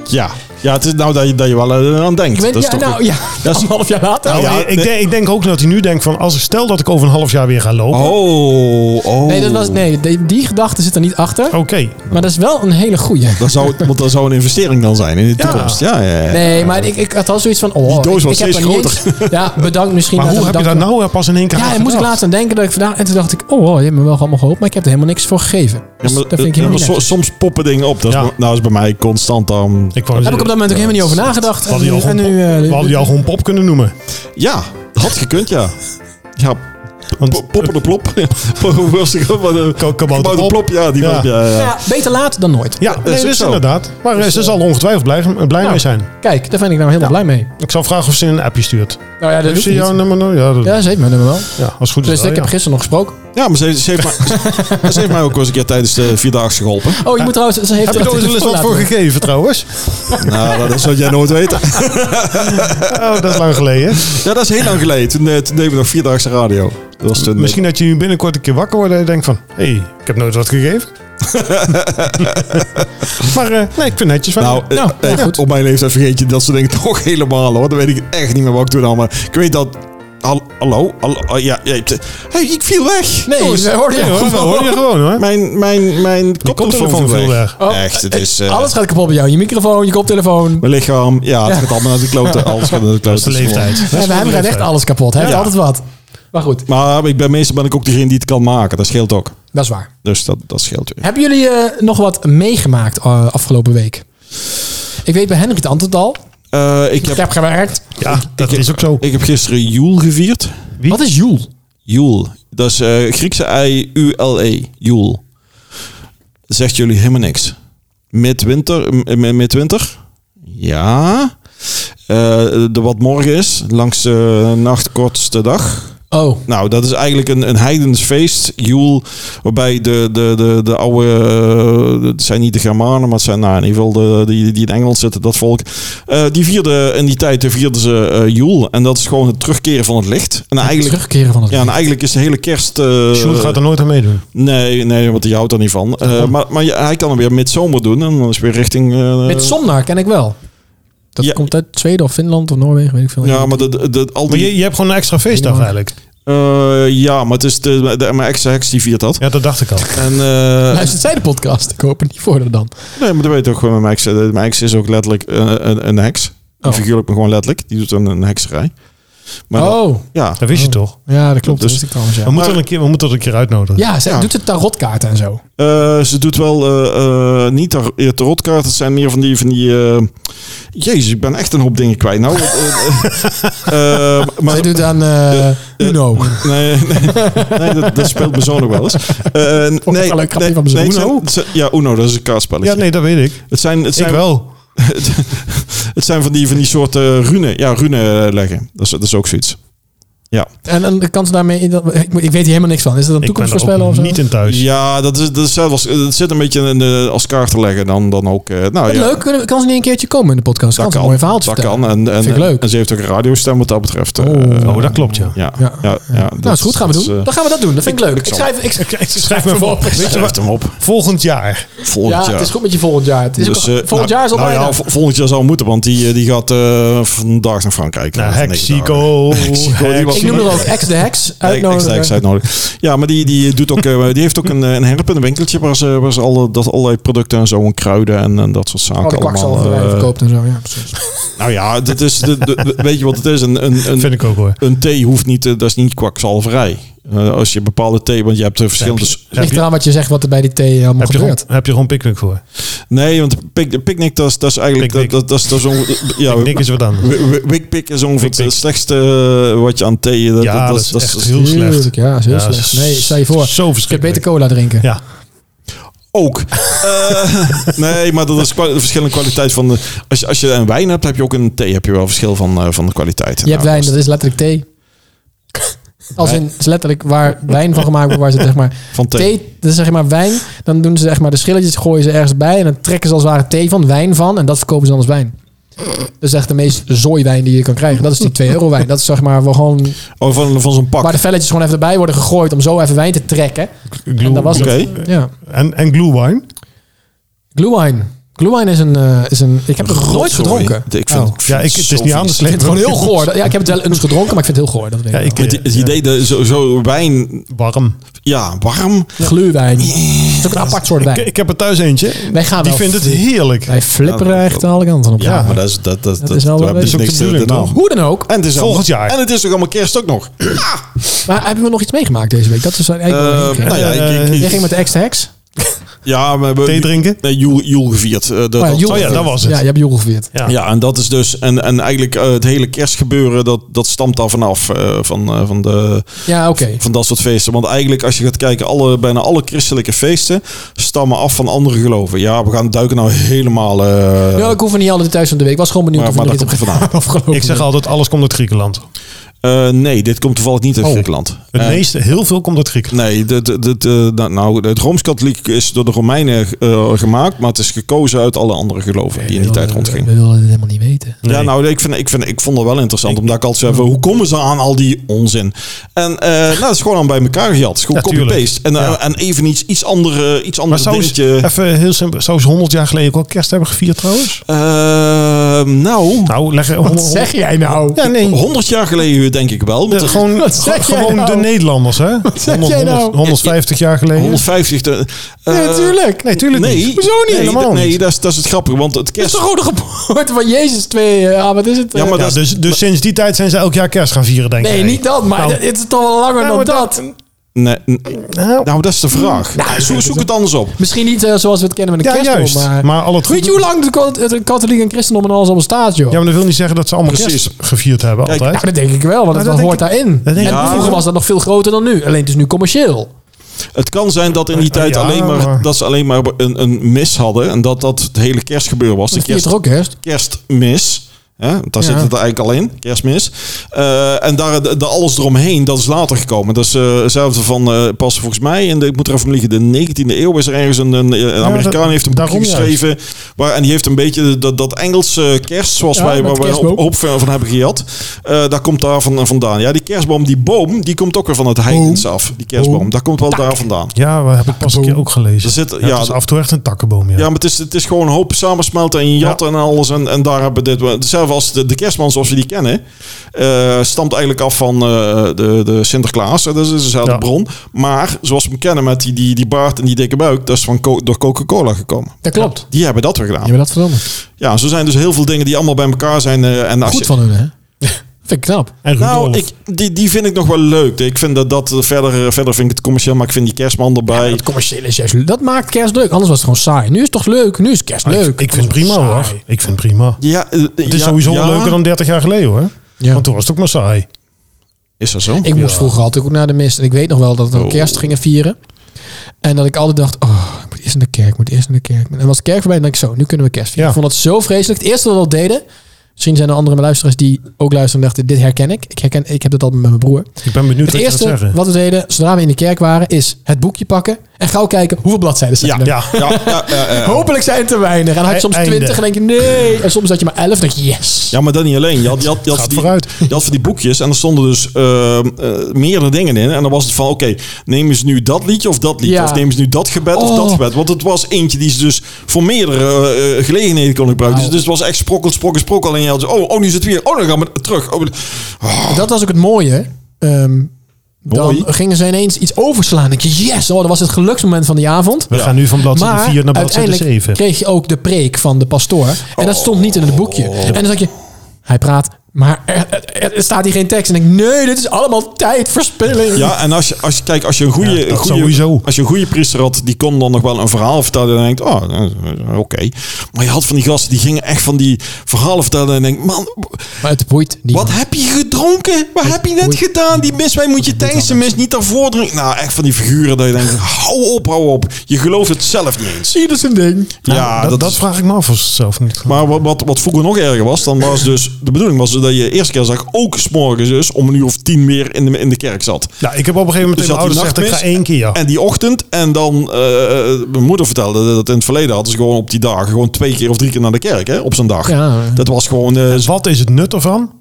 S1: Oh,
S3: Ja. ja, het is nou dat je, dat je wel eh, aan denkt.
S2: Ik weet,
S3: dat is
S2: ja,
S3: toch
S2: nou
S3: een-
S2: ja,
S3: dat is-
S2: anderhalf jaar later.
S3: Nou,
S1: Ja,
S3: ja,
S1: ik,
S3: nee.
S1: denk, ik denk ook dat hij nu denkt van... Als ik stel dat ik over een half jaar weer ga lopen...
S3: Oh, oh.
S2: nou, Nee, dat was, nee die, die gedachte zit er niet achter.
S1: Oké.
S2: Maar dat is wel een hele goeie.
S3: Dan zou, het- want dat zou een investering dan zijn in de toekomst. Ja, ja, ja.
S2: Nee, maar ik, ik had wel zoiets van... Oh,
S3: Die doos
S2: ik-
S3: wordt
S2: ik heb
S3: steeds
S2: er niet eens- ja, bedankt misschien.
S1: Maar
S2: dat
S1: hoe
S2: het
S1: heb je
S2: bedankt-
S1: dat nou eh, pas in één keer
S2: Ja,
S1: aan
S2: daar moest ik
S1: gedacht?
S2: laatst aan denken dat ik vandaag... En toen dacht ik, oh, wow, je hebt me wel allemaal geholpen, maar ik heb er helemaal niks voor gegeven. Dus
S3: Ja, maar,
S2: dat vind ik helemaal
S3: eh,
S2: niet
S3: so-
S2: netjes.
S3: soms poppen dingen op. Dat is,
S1: Ja.
S3: bij- nou, is bij mij constant dan.
S1: Ik wou
S2: Daar heb ik op
S1: zeggen,
S2: dat moment ook helemaal niet over nagedacht.
S1: we hadden jou
S2: En
S1: gewoon
S2: nu... eh,
S1: pop- we hadden jou gewoon pop kunnen noemen.
S3: Ja, had gekund, ja. Ja,
S1: Want
S3: po- poppen de plop. Hoe was ik ook?
S1: Kabouter
S3: de
S1: Plop.
S3: plop, ja. Die
S1: Ja.
S3: was- ja, ja.
S2: ja, beter laat dan nooit.
S1: Ja,
S3: is
S1: nee,
S3: ook
S1: dat is
S3: zo.
S1: inderdaad. Maar eh, ze zal er ongetwijfeld blij, eh, blij
S2: Nou.
S1: mee zijn.
S2: Kijk, daar ben ik nou helemaal blij mee.
S1: Ik zal vragen of ze een appje stuurt.
S2: Nou ja, dat
S1: Heeft
S2: doet
S1: ze jouw
S2: niet.
S1: nummer nou? Ja, dat,
S2: Ja, ze heeft mijn nummer wel.
S1: ja, als het goed is
S2: Dus
S1: wel,
S2: ik
S1: ja.
S2: heb gisteren nog gesproken.
S3: Ja, maar ze, ze heeft mij, ze heeft mij ook wel eens een keer tijdens de Vierdaagse geholpen.
S2: Oh, je moet trouwens... Ze heeft
S1: Heb je
S2: er
S1: er ooit wel eens wat voor gegeven trouwens?
S3: Nou, dat zou jij nooit weten.
S1: Oh, dat is lang geleden.
S3: Ja, dat is heel lang geleden. Toen, eh, toen deden we nog Vierdaagse radio. Dat was toen, eh,
S1: Misschien dat je nu binnenkort een keer wakker wordt en je denkt van... Hé, hey, ik heb nooit wat gegeven. maar eh, nee, ik vind het netjes van
S3: Nou,
S1: je.
S3: eh,
S2: Nou,
S3: eh,
S2: ja, goed.
S3: op mijn leeftijd vergeet je dat soort dingen toch helemaal hoor. Dan weet ik echt niet meer wat ik toen allemaal... Ik weet dat... Hal- Hallo? Hallo? Oh, ja, ja, het- hey, ik viel weg.
S2: Nee,
S3: Jongens,
S2: ze hoorde je
S1: Oh, Ja, hoor, dat hoor je gewoon hoor.
S3: Mijn, mijn, mijn koptelefoon
S1: koptelefoon
S3: viel
S1: viel
S3: weg.
S2: weg. Oh,
S3: Echt, het is... eh,
S2: Alles gaat kapot bij jou. Je microfoon, je koptelefoon.
S3: Mijn lichaam, ja, het gaat allemaal naar de kloten. Alles gaat naar de kloten.
S1: Dat is de leeftijd.
S2: Ja,
S1: Dat is
S2: we hebben
S1: de
S2: gewoon echt
S1: leeftijd.
S2: alles kapot. Hij heeft
S3: Ja.
S2: altijd wat. Maar goed,
S3: Maar ik ben, meestal ben ik ook degene die het kan maken. Dat scheelt ook.
S2: dat is waar.
S3: Dus dat, dat scheelt weer.
S2: Hebben jullie eh, nog wat meegemaakt eh, afgelopen week? Ik weet bij Henry het antwoord al.
S3: Eh, ik,
S2: Ik
S3: heb,
S2: heb gewerkt.
S1: Ja, dat
S3: ik-
S1: is ook zo.
S3: ik heb gisteren Joel gevierd.
S1: Wie?
S2: Wat is Joel?
S3: Joel. Dat is eh, Griekse I-U-L-E. E, Joel. Zegt jullie helemaal niks. Midwinter. m- m- Midwinter? Ja. Eh, de wat morgen is. Langs de nachtkortste dag.
S2: Oh,
S3: Nou, dat is eigenlijk een, een heidens feest, Joel, waarbij de, de, de, de oude, eh, het zijn niet de Germanen, maar het zijn nou, in ieder geval de, die, die in Engeland zitten, dat volk. eh, die vierden in die tijd eh, vierden ze eh Joel. En dat is gewoon het terugkeren van het licht. En eigenlijk,
S2: terugkeren van het
S3: ja, en eigenlijk is de hele kerst... eh,
S1: Sjoerd gaat er nooit aan meedoen.
S3: Nee, nee, want die houdt er niet van. Eh, maar maar ja, hij kan er weer midzomer doen en dan is weer richting... eh,
S2: Met Somnar ken ik wel. Dat
S3: Ja.
S2: komt uit Zweden of Finland of Noorwegen, weet ik veel.
S3: Ja, maar de, de, de- al
S1: Maar
S3: die...
S1: je, je hebt gewoon een extra feestdag eigenlijk.
S3: eh, ja, maar het is de, de, mijn ex-heks die viert dat.
S1: Ja, dat dacht ik al.
S3: En, eh,
S2: Luistert zij de podcast? Ik hoop het niet voor haar dan.
S3: Nee, maar dat weet ik ook gewoon met mijn ex. Eh, Mijn ex is ook letterlijk eh, een, een heks. Een
S2: Oh.
S3: figuurlijk, maar gewoon letterlijk. Die doet een, een hekserij. Maar dat-
S2: oh,
S3: ja.
S1: Dat wist je toch?
S2: ja, dat klopt.
S3: Dus-
S2: dat wist ik trouwens, ja.
S1: We moeten, er een keer, we moeten er een keer uitnodigen.
S2: Ja, ze
S3: Ja.
S2: doet het tarotkaarten en zo.
S3: Eh, ze doet wel eh, eh, niet tar- eh, tarotkaarten. Het zijn meer van die... Van die eh, Jezus, ik ben echt een hoop dingen kwijt. Nou, eh, eh, eh, maar
S2: Ze doet aan eh Uno.
S3: Nee, nee, nee dat, dat speelt mijn zoon nog wel eens. Eh,
S2: wel Oh, een leuk grapje van mijn zoon.
S3: het zijn-
S2: Uno?
S3: het zijn- ja, Uno, dat is een kaartspelletje.
S1: Ja, nee, dat weet ik.
S3: Het zijn, het
S1: Ik
S3: zijn,
S1: wel.
S3: het zijn van, die, van die soorten runen. Ja, runen eh, leggen. Dat is, dat is ook zoiets.
S2: En, en de kans daarmee... in dat- Ik, ik weet hier helemaal niks van. Is dat een
S1: Ik ben
S2: toekomst
S1: er
S2: voorspellen of
S1: ook
S2: zo?
S1: niet in thuis.
S3: Ja, dat, is, dat, is zelfs, dat zit een beetje in de, als kaarten leggen dan, dan ook. eh, nou, ja,
S2: Leuk, kunnen we- kan ze niet een keertje komen in de podcast? Kan
S3: Dat
S2: ze een
S3: kan.
S2: mooi verhaal
S3: dat
S2: vertellen?
S3: kan. En, en,
S2: Vind ik leuk.
S3: en ze heeft ook een radiostem wat dat betreft. eh,
S2: Oh.
S1: Oh, dat klopt, ja.
S3: ja,
S2: Ja.
S3: ja, ja, eh,
S2: Nou, is goed, gaan we doen. Dan gaan we dat doen. Dat vind ik leuk. Ik,
S3: zal-
S2: schrijf, ik, ik,
S1: Schrijf me voor. Weet je
S3: Schrijf
S1: wat?
S3: hem op.
S1: Volgend jaar.
S3: Volgend
S2: Ja,
S3: jaar.
S2: het is goed met je volgend jaar. Het is ook-
S3: Dus, eh,
S2: volgend
S3: nou,
S2: jaar is al
S3: nou
S2: bijna.
S3: ja, vol- volgend jaar zal moeten, want die, eh, die gaat eh, vandaag naar Frankrijk.
S1: Naar
S3: Eh, negen dagen.
S1: Hexico.
S3: die
S1: Hex-
S3: was-
S2: ik noem er ook ex de Hex.
S3: Nee, ik- ik zei- ik
S2: Uitnodigen.
S3: zei het nodig. Ja, maar die, die, doet ook, eh, die heeft ook een, eh, een herp en een winkeltje waar ze, waar ze alle, dat allerlei producten en zo en kruiden en, en dat soort zaken
S2: Oh, de
S3: allemaal.
S2: kwakzalverij
S3: eh,
S2: verkoopt en zo. Ja, precies.
S3: nou ja, dat is, de, de- weet je wat het is? Een, een, een,
S1: Vind ik ook hoor.
S3: een thee hoeft niet, eh, dat is niet kwakzalverij. Eh, als je bepaalde thee, want je hebt eh, verschillende... s-
S1: Heb
S2: Ligt
S1: je,
S2: eraan wat je zegt wat er bij die thee eh, allemaal
S1: heb je, gewoon,
S2: gebeurt.
S1: heb je gewoon Pickwick voor?
S3: Nee, want pic- de picknick, dat is, dat is eigenlijk...
S1: Picknick.
S3: Dat, dat, dat is, dat is onge- ja,
S1: Ik denk eens wat aan.
S3: wi- wi- Wikpick is ongeveer
S1: Wikpick.
S3: het slechtste eh, wat je aan thee... Dat,
S1: Ja,
S3: dat, dus
S1: dat is echt heel slecht.
S2: Tuurlijk, Ja, is heel
S1: Ja,
S2: slecht. Nee,
S1: s-
S2: stel je voor.
S1: Zo
S2: Je kunt
S1: verschrikkelijk.
S2: beter cola drinken.
S1: Ja,
S3: Ook. Eh, nee, maar dat is kwa- verschillende kwaliteit van de. Als je, als je een wijn hebt, heb je ook een thee. Heb je wel verschil van, eh, van de kwaliteit.
S2: Je hebt
S3: Nou,
S2: wijn,
S3: dus
S2: dat is letterlijk thee. Als in, het is letterlijk waar wijn van gemaakt wordt, waar ze zeg maar...
S3: Van thee.
S2: Thee, dat is zeg maar wijn. Dan doen ze zeg maar de schilletjes, gooien ze ergens bij. En dan trekken ze als het ware thee van, wijn van. En dat verkopen ze dan als wijn. Dat is echt de meest zooiwijn die je kan krijgen. Dat is die 2 euro wijn. Dat is zeg maar wel gewoon...
S3: Oh, van, van zo'n pak.
S2: Waar de velletjes gewoon even erbij worden gegooid om zo even wijn te trekken.
S1: glue,
S2: En dat was
S3: Oké.
S2: het. Ja.
S1: En, en glue wine.
S2: Glühwein. Glühwein is een, eh, is een... Ik heb het nog nooit
S3: Rotzooi.
S2: gedronken.
S3: Ik vind,
S2: Oh.
S3: ik vind
S1: Ja, ik, het
S3: zo
S1: is niet
S3: vies.
S1: aan te
S2: Ik vind
S1: slecht.
S2: het gewoon heel goor. Ja, ik heb het wel eens gedronken, maar ik vind het heel goor. Dat weet
S1: Ja,
S2: ik
S1: ik,
S2: wel.
S3: Het, het idee dat zo, zo wijn,
S1: warm.
S3: ja, warm.
S2: Glühwein. Het is ook een apart soort
S1: Ik,
S2: wijn.
S1: ik heb er thuis eentje.
S2: Wij gaan
S1: Die
S2: wel
S1: vindt het
S2: fli-
S1: heerlijk.
S2: Wij flipperen echt alle kanten op.
S3: Ja, maar dat is dat dat,
S2: Dat is wel
S3: daar
S2: wel
S3: heb
S2: een
S1: beetje-
S3: je niks
S1: Dat is ook de
S3: te-
S1: bedoeling,
S3: te-
S2: Hoe dan ook.
S3: En het is
S1: Volgend
S3: allemaal-
S1: jaar.
S3: En het is ook allemaal kerst ook nog.
S2: Maar hebben we nog iets meegemaakt deze week? Dat is eigenlijk wel
S3: Eh,
S2: een keer.
S3: nou ja,
S1: Eh,
S3: ik, ik-
S2: Jij ging met de ex heks?
S3: ja, we hebben
S1: Thee drinken.
S3: Nee, Joel, Joel gevierd. Eh, dat-
S2: Oh ja,
S3: dat-
S2: Joel.
S1: Oh ja, dat was het.
S2: Ja, je hebt Joel gevierd.
S1: Ja.
S3: Ja, en dat is dus. En, en eigenlijk eh, het hele kerstgebeuren, dat, dat stamt daar vanaf. eh, van, eh, van, de,
S2: Ja, oké.
S3: van dat soort feesten. Want eigenlijk, als je gaat kijken, alle, bijna alle christelijke feesten stammen af van andere geloven. Ja, we gaan duiken nou helemaal. eh,
S2: Nou, ik hoef er niet alle details van de week. Ik was gewoon benieuwd
S3: Maar-
S2: of je
S3: maar
S2: er iets
S3: dat
S2: hebt
S3: komt
S2: gedaan afgelopen
S1: Ik zeg
S2: week.
S1: altijd, alles komt uit Griekenland.
S3: eh, nee, dit komt toevallig niet uit
S1: Oh.
S3: Griekenland.
S1: Het
S3: Eh,
S1: meeste, heel veel komt uit
S2: nou,
S1: Griekenland.
S3: Nee, de, de, de, de- nou, nou, het Rooms-Katholiek is door de Romeinen eh, gemaakt, maar het is gekozen uit alle andere geloven die in die tijd rondgingen.
S2: We willen het helemaal niet weten.
S1: eh, Nee.
S3: Ja, nou, ik, vind, ik, vind, ik vond het wel interessant. omdat ik altijd zei, van, hoe komen ze aan al die onzin? En eh nou, dat is gewoon aan bij elkaar gejat. Het is Gewoon
S1: Ja,
S3: copy-paste. En, eh,
S1: Ja.
S3: en even iets, iets andere, iets
S1: Maar
S3: anders
S1: zou ze,
S3: dingetje.
S1: even heel simpel, zou ze 100 jaar geleden ook al kerst hebben gevierd trouwens?
S3: Eh, nou,
S1: Nou, leg er 100
S2: Oh. Wat zeg jij nou?
S1: Ja, nee.
S3: 100 jaar geleden denk ik wel.
S1: De-
S3: Want
S1: gewoon
S2: Wat zeg jij
S1: gewoon
S2: nou?
S1: de Nederlanders, hè?
S2: zeg
S1: 100,
S2: jij nou?
S1: 100, 150 jaar geleden.
S3: 150... De, eh,
S2: Nee, natuurlijk.
S1: Nee, tuurlijk
S3: Nee,
S1: niet.
S2: Hoezo niet?
S3: Nee,
S1: Helemaal
S3: nee,
S1: niet.
S3: dat, is, dat is het grappige. Want het
S2: Het is
S3: kerst...
S2: toch gewoon de geboorte van Jezus twee... eh, ah, wat is het?
S3: Ja, maar
S2: Eh,
S1: Ja,
S3: dat is-
S1: dus dus sinds die tijd zijn ze elk jaar kerst gaan vieren, denk ik.
S2: Nee, niet dat. Maar
S1: Nou.
S2: het is toch wel langer
S1: Nou,
S2: dan
S1: maar
S2: dat.
S3: Nee, n- nou, dat is de vraag. Zo- zoek het anders op.
S2: Misschien niet eh, zoals we het kennen met de
S1: Ja,
S2: kerstboom,
S1: juist.
S2: maar...
S1: Maar al het
S2: Weet je hoe lang de, kat- het katholiek en christendom en alles al bestaat, joh?
S1: Ja, maar dat wil niet zeggen dat ze allemaal
S3: Precies.
S1: kerst gevierd hebben
S3: Kijk,
S1: altijd.
S2: Nou, dat denk ik wel, want
S1: Nou,
S2: dat,
S1: dat
S2: hoort
S1: denk
S2: daarin.
S1: dat denk
S2: en
S1: ik
S3: ook.
S2: vroeger was dat nog veel groter dan nu. Alleen het is nu commercieel.
S3: Het kan zijn dat in die tijd
S1: Ja,
S3: alleen maar,
S1: maar-
S3: dat ze alleen maar een, een mis hadden. En dat dat het hele kerstgebeuren was. De
S2: Dat is
S3: kerst,
S2: toch ook kerst?
S3: kerstmis. Hè? want Daar
S2: Ja.
S3: zit het eigenlijk al in, kerstmis. Eh, en daar, de, de alles eromheen, dat is later gekomen. Dat is eh, hetzelfde van, eh, pas volgens mij, in de, ik moet er even om liegen, de 19e eeuw is er ergens een, een, een Amerikaan
S1: dat-
S3: heeft een boekje
S1: daarom juist.
S3: geschreven. Waar, en die heeft een beetje dat, dat Engelse kerst, zoals
S2: Ja,
S3: wij
S2: met
S3: waar wij
S2: kerstboom.
S3: een hoop van van hebben gejat. Eh daar komt daar van, vandaan. Ja, die kerstboom, die boom, die komt ook weer van het heidens af. Die kerstboom,
S2: Boom.
S3: daar komt wel daar vandaan.
S1: Ja, we hebben het pas een keer ook gelezen.
S3: Er zit-
S1: ja,
S3: ja,
S1: het is af en toe echt een takkenboom, ja.
S3: Ja, maar het is, het is gewoon een hoop samensmelten en jatten en alles. En, en daar hebben we dit. Hetzelfde als de, de kerstman zoals we die kennen. eh, stamt eigenlijk af van eh, de, de Sinterklaas. Dat is dezelfde
S1: Ja.
S3: bron. Maar zoals we hem kennen met die, die, die baard en die dikke buik. Dat is van co- door Coca-Cola gekomen.
S2: Dat klopt.
S3: Die hebben dat weer
S2: Je
S3: gedaan.
S2: hebt dat veranderd.
S3: Ja, zo zijn dus heel veel dingen die allemaal bij elkaar zijn. eh, en als
S2: Goed
S3: je-
S2: van hun, hè? Vind ik knap.
S1: En Rudolf.
S3: Nou, ik, die, die vind ik nog wel leuk. Ik vind dat, dat verder, eh, verder vind ik het commercieel, maar ik vind die kerstman erbij.
S2: Het commerciële is juist leuk. Dat maakt kerst leuk. Anders was het gewoon saai. Nu is het toch leuk? Nu is kerst
S1: Maar Ah, ik-
S2: leuk.
S1: Ik, vind het prima
S2: Saai.
S1: hoor. Ik vind het prima.
S3: Ja, eh,
S1: Het is
S3: ja,
S1: sowieso
S3: ja.
S1: leuker dan 30 jaar geleden hoor.
S2: Ja.
S1: Want toen was het ook maar saai.
S3: Is dat zo?
S2: Ik moest vroeger altijd ook naar de mis. En ik weet nog wel dat we
S3: Oh.
S2: kerst gingen vieren. En dat ik altijd dacht, oh, ik moet eerst naar de kerk, ik moet eerst naar de kerk. En was de kerk voorbij, dan denk ik zo, nu kunnen we kerst vieren.
S1: Ja.
S2: Ik vond dat zo vreselijk. Het eerste dat we dat deden, misschien zijn er andere luisteraars die ook luisteren en dachten, dit herken ik. Ik, herken, ik heb dat altijd met mijn broer.
S1: Ik ben benieuwd wat
S2: Het
S1: je gaat
S2: eerste
S1: zeggen.
S2: wat we deden, zodra we in de kerk waren, is het boekje pakken en gauw kijken hoeveel bladzijden zijn er.
S1: Ja, E-
S3: Ja, ja, eh, ja, ja.
S2: Hopelijk zijn het er weinig. En dan had je soms
S1: Einde.
S2: 20 en denk je, nee. En soms had je maar 11 en denk je, yes.
S3: Ja, maar dat niet alleen. Je had, je had, je had
S1: Gaat
S3: die,
S1: vooruit.
S3: je had van die boekjes en er stonden dus eh, eh, meerdere dingen in. En dan was het van, oké, neem eens nu dat liedje of dat liedje.
S2: Ja.
S3: Of neem eens nu dat gebed of
S2: Oh.
S3: dat gebed. Want het was eentje die ze dus voor meerdere eh, gelegenheden kon gebruiken.
S2: Wauw.
S3: Dus, dus het was echt sprokkel, sprokkel, sprokkel. En je had zo, oh, oh, nu is het weer. Oh, dan gaan we terug. Oh,
S2: En dat was ook het mooie. Ehm, dan
S3: Mooi.
S2: gingen ze ineens iets overslaan. Ik je, yes, oh, dat was het geluksmoment van de avond.
S1: we gaan nu van bladzijde
S2: Maar
S1: 4 naar bladzijde
S2: uiteindelijk
S1: 7.
S2: kreeg je ook de preek van de pastoor. En dat stond niet in het boekje. En dan dacht je, hij praat, maar er, er- er staat hier geen tekst. En ik, nee, dit is allemaal tijdverspilling.
S3: Ja, en als je, als je, kijk, als je een goede,
S1: Ja, dat
S3: een goede-
S1: sowieso.
S3: als je een goede priester had, die kon dan nog wel een verhaal vertellen. En dan denkt, oh, eh, oké. Maar je had van die gasten, die gingen echt van die verhalen vertellen. En denkt, man,
S2: Maar het boeit niet.
S3: wat heb je gedronken? Wat heb je net
S2: oei.
S3: gedaan? Die mis, wij moet je tijdens de mis niet daarvoor drinken. Nou, echt van die figuren dat je denkt, hou op, hou op. Je gelooft het zelf niet eens.
S2: Zie je, dat is een ding.
S3: ja,
S1: dat,
S3: dat,
S1: dat
S3: is...
S1: vraag ik me af als het zelf niet
S3: Maar wat, wat, wat vroeger nog erger was, dan was dus... De bedoeling was dat je eerste keer zag ook s'morgens dus... om een uur of tien meer in de, in de kerk zat.
S1: Ja, ik heb op een gegeven moment
S3: Dus
S1: tegen mijn
S3: had
S1: ouders
S3: die
S1: gezegd, ik ga
S3: nachtmis
S1: één keer. Ja.
S3: En die ochtend, en dan, eh, eh, mijn moeder vertelde dat in het verleden hadden ze gewoon op die dagen gewoon twee keer of drie keer naar de kerk, hè, op zo'n dag.
S2: Ja.
S3: Dat was gewoon, eh,
S1: Dus
S3: z-
S1: wat is het nut ervan?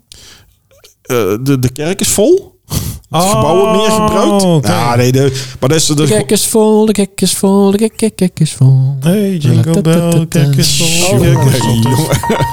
S3: eh, de, de kerk is vol. Het gebouw
S2: Oh,
S3: wordt meer gebruikt.
S1: oké.
S3: Ja, nee, de, maar dat is
S2: De
S3: dus...
S2: kek is vol, de kek is vol, de kek, kek, kek is vol.
S1: Hey, Jingle Bell, kerk is vol.
S3: Jongen,
S1: kerk is vol.
S3: Oh, jongen.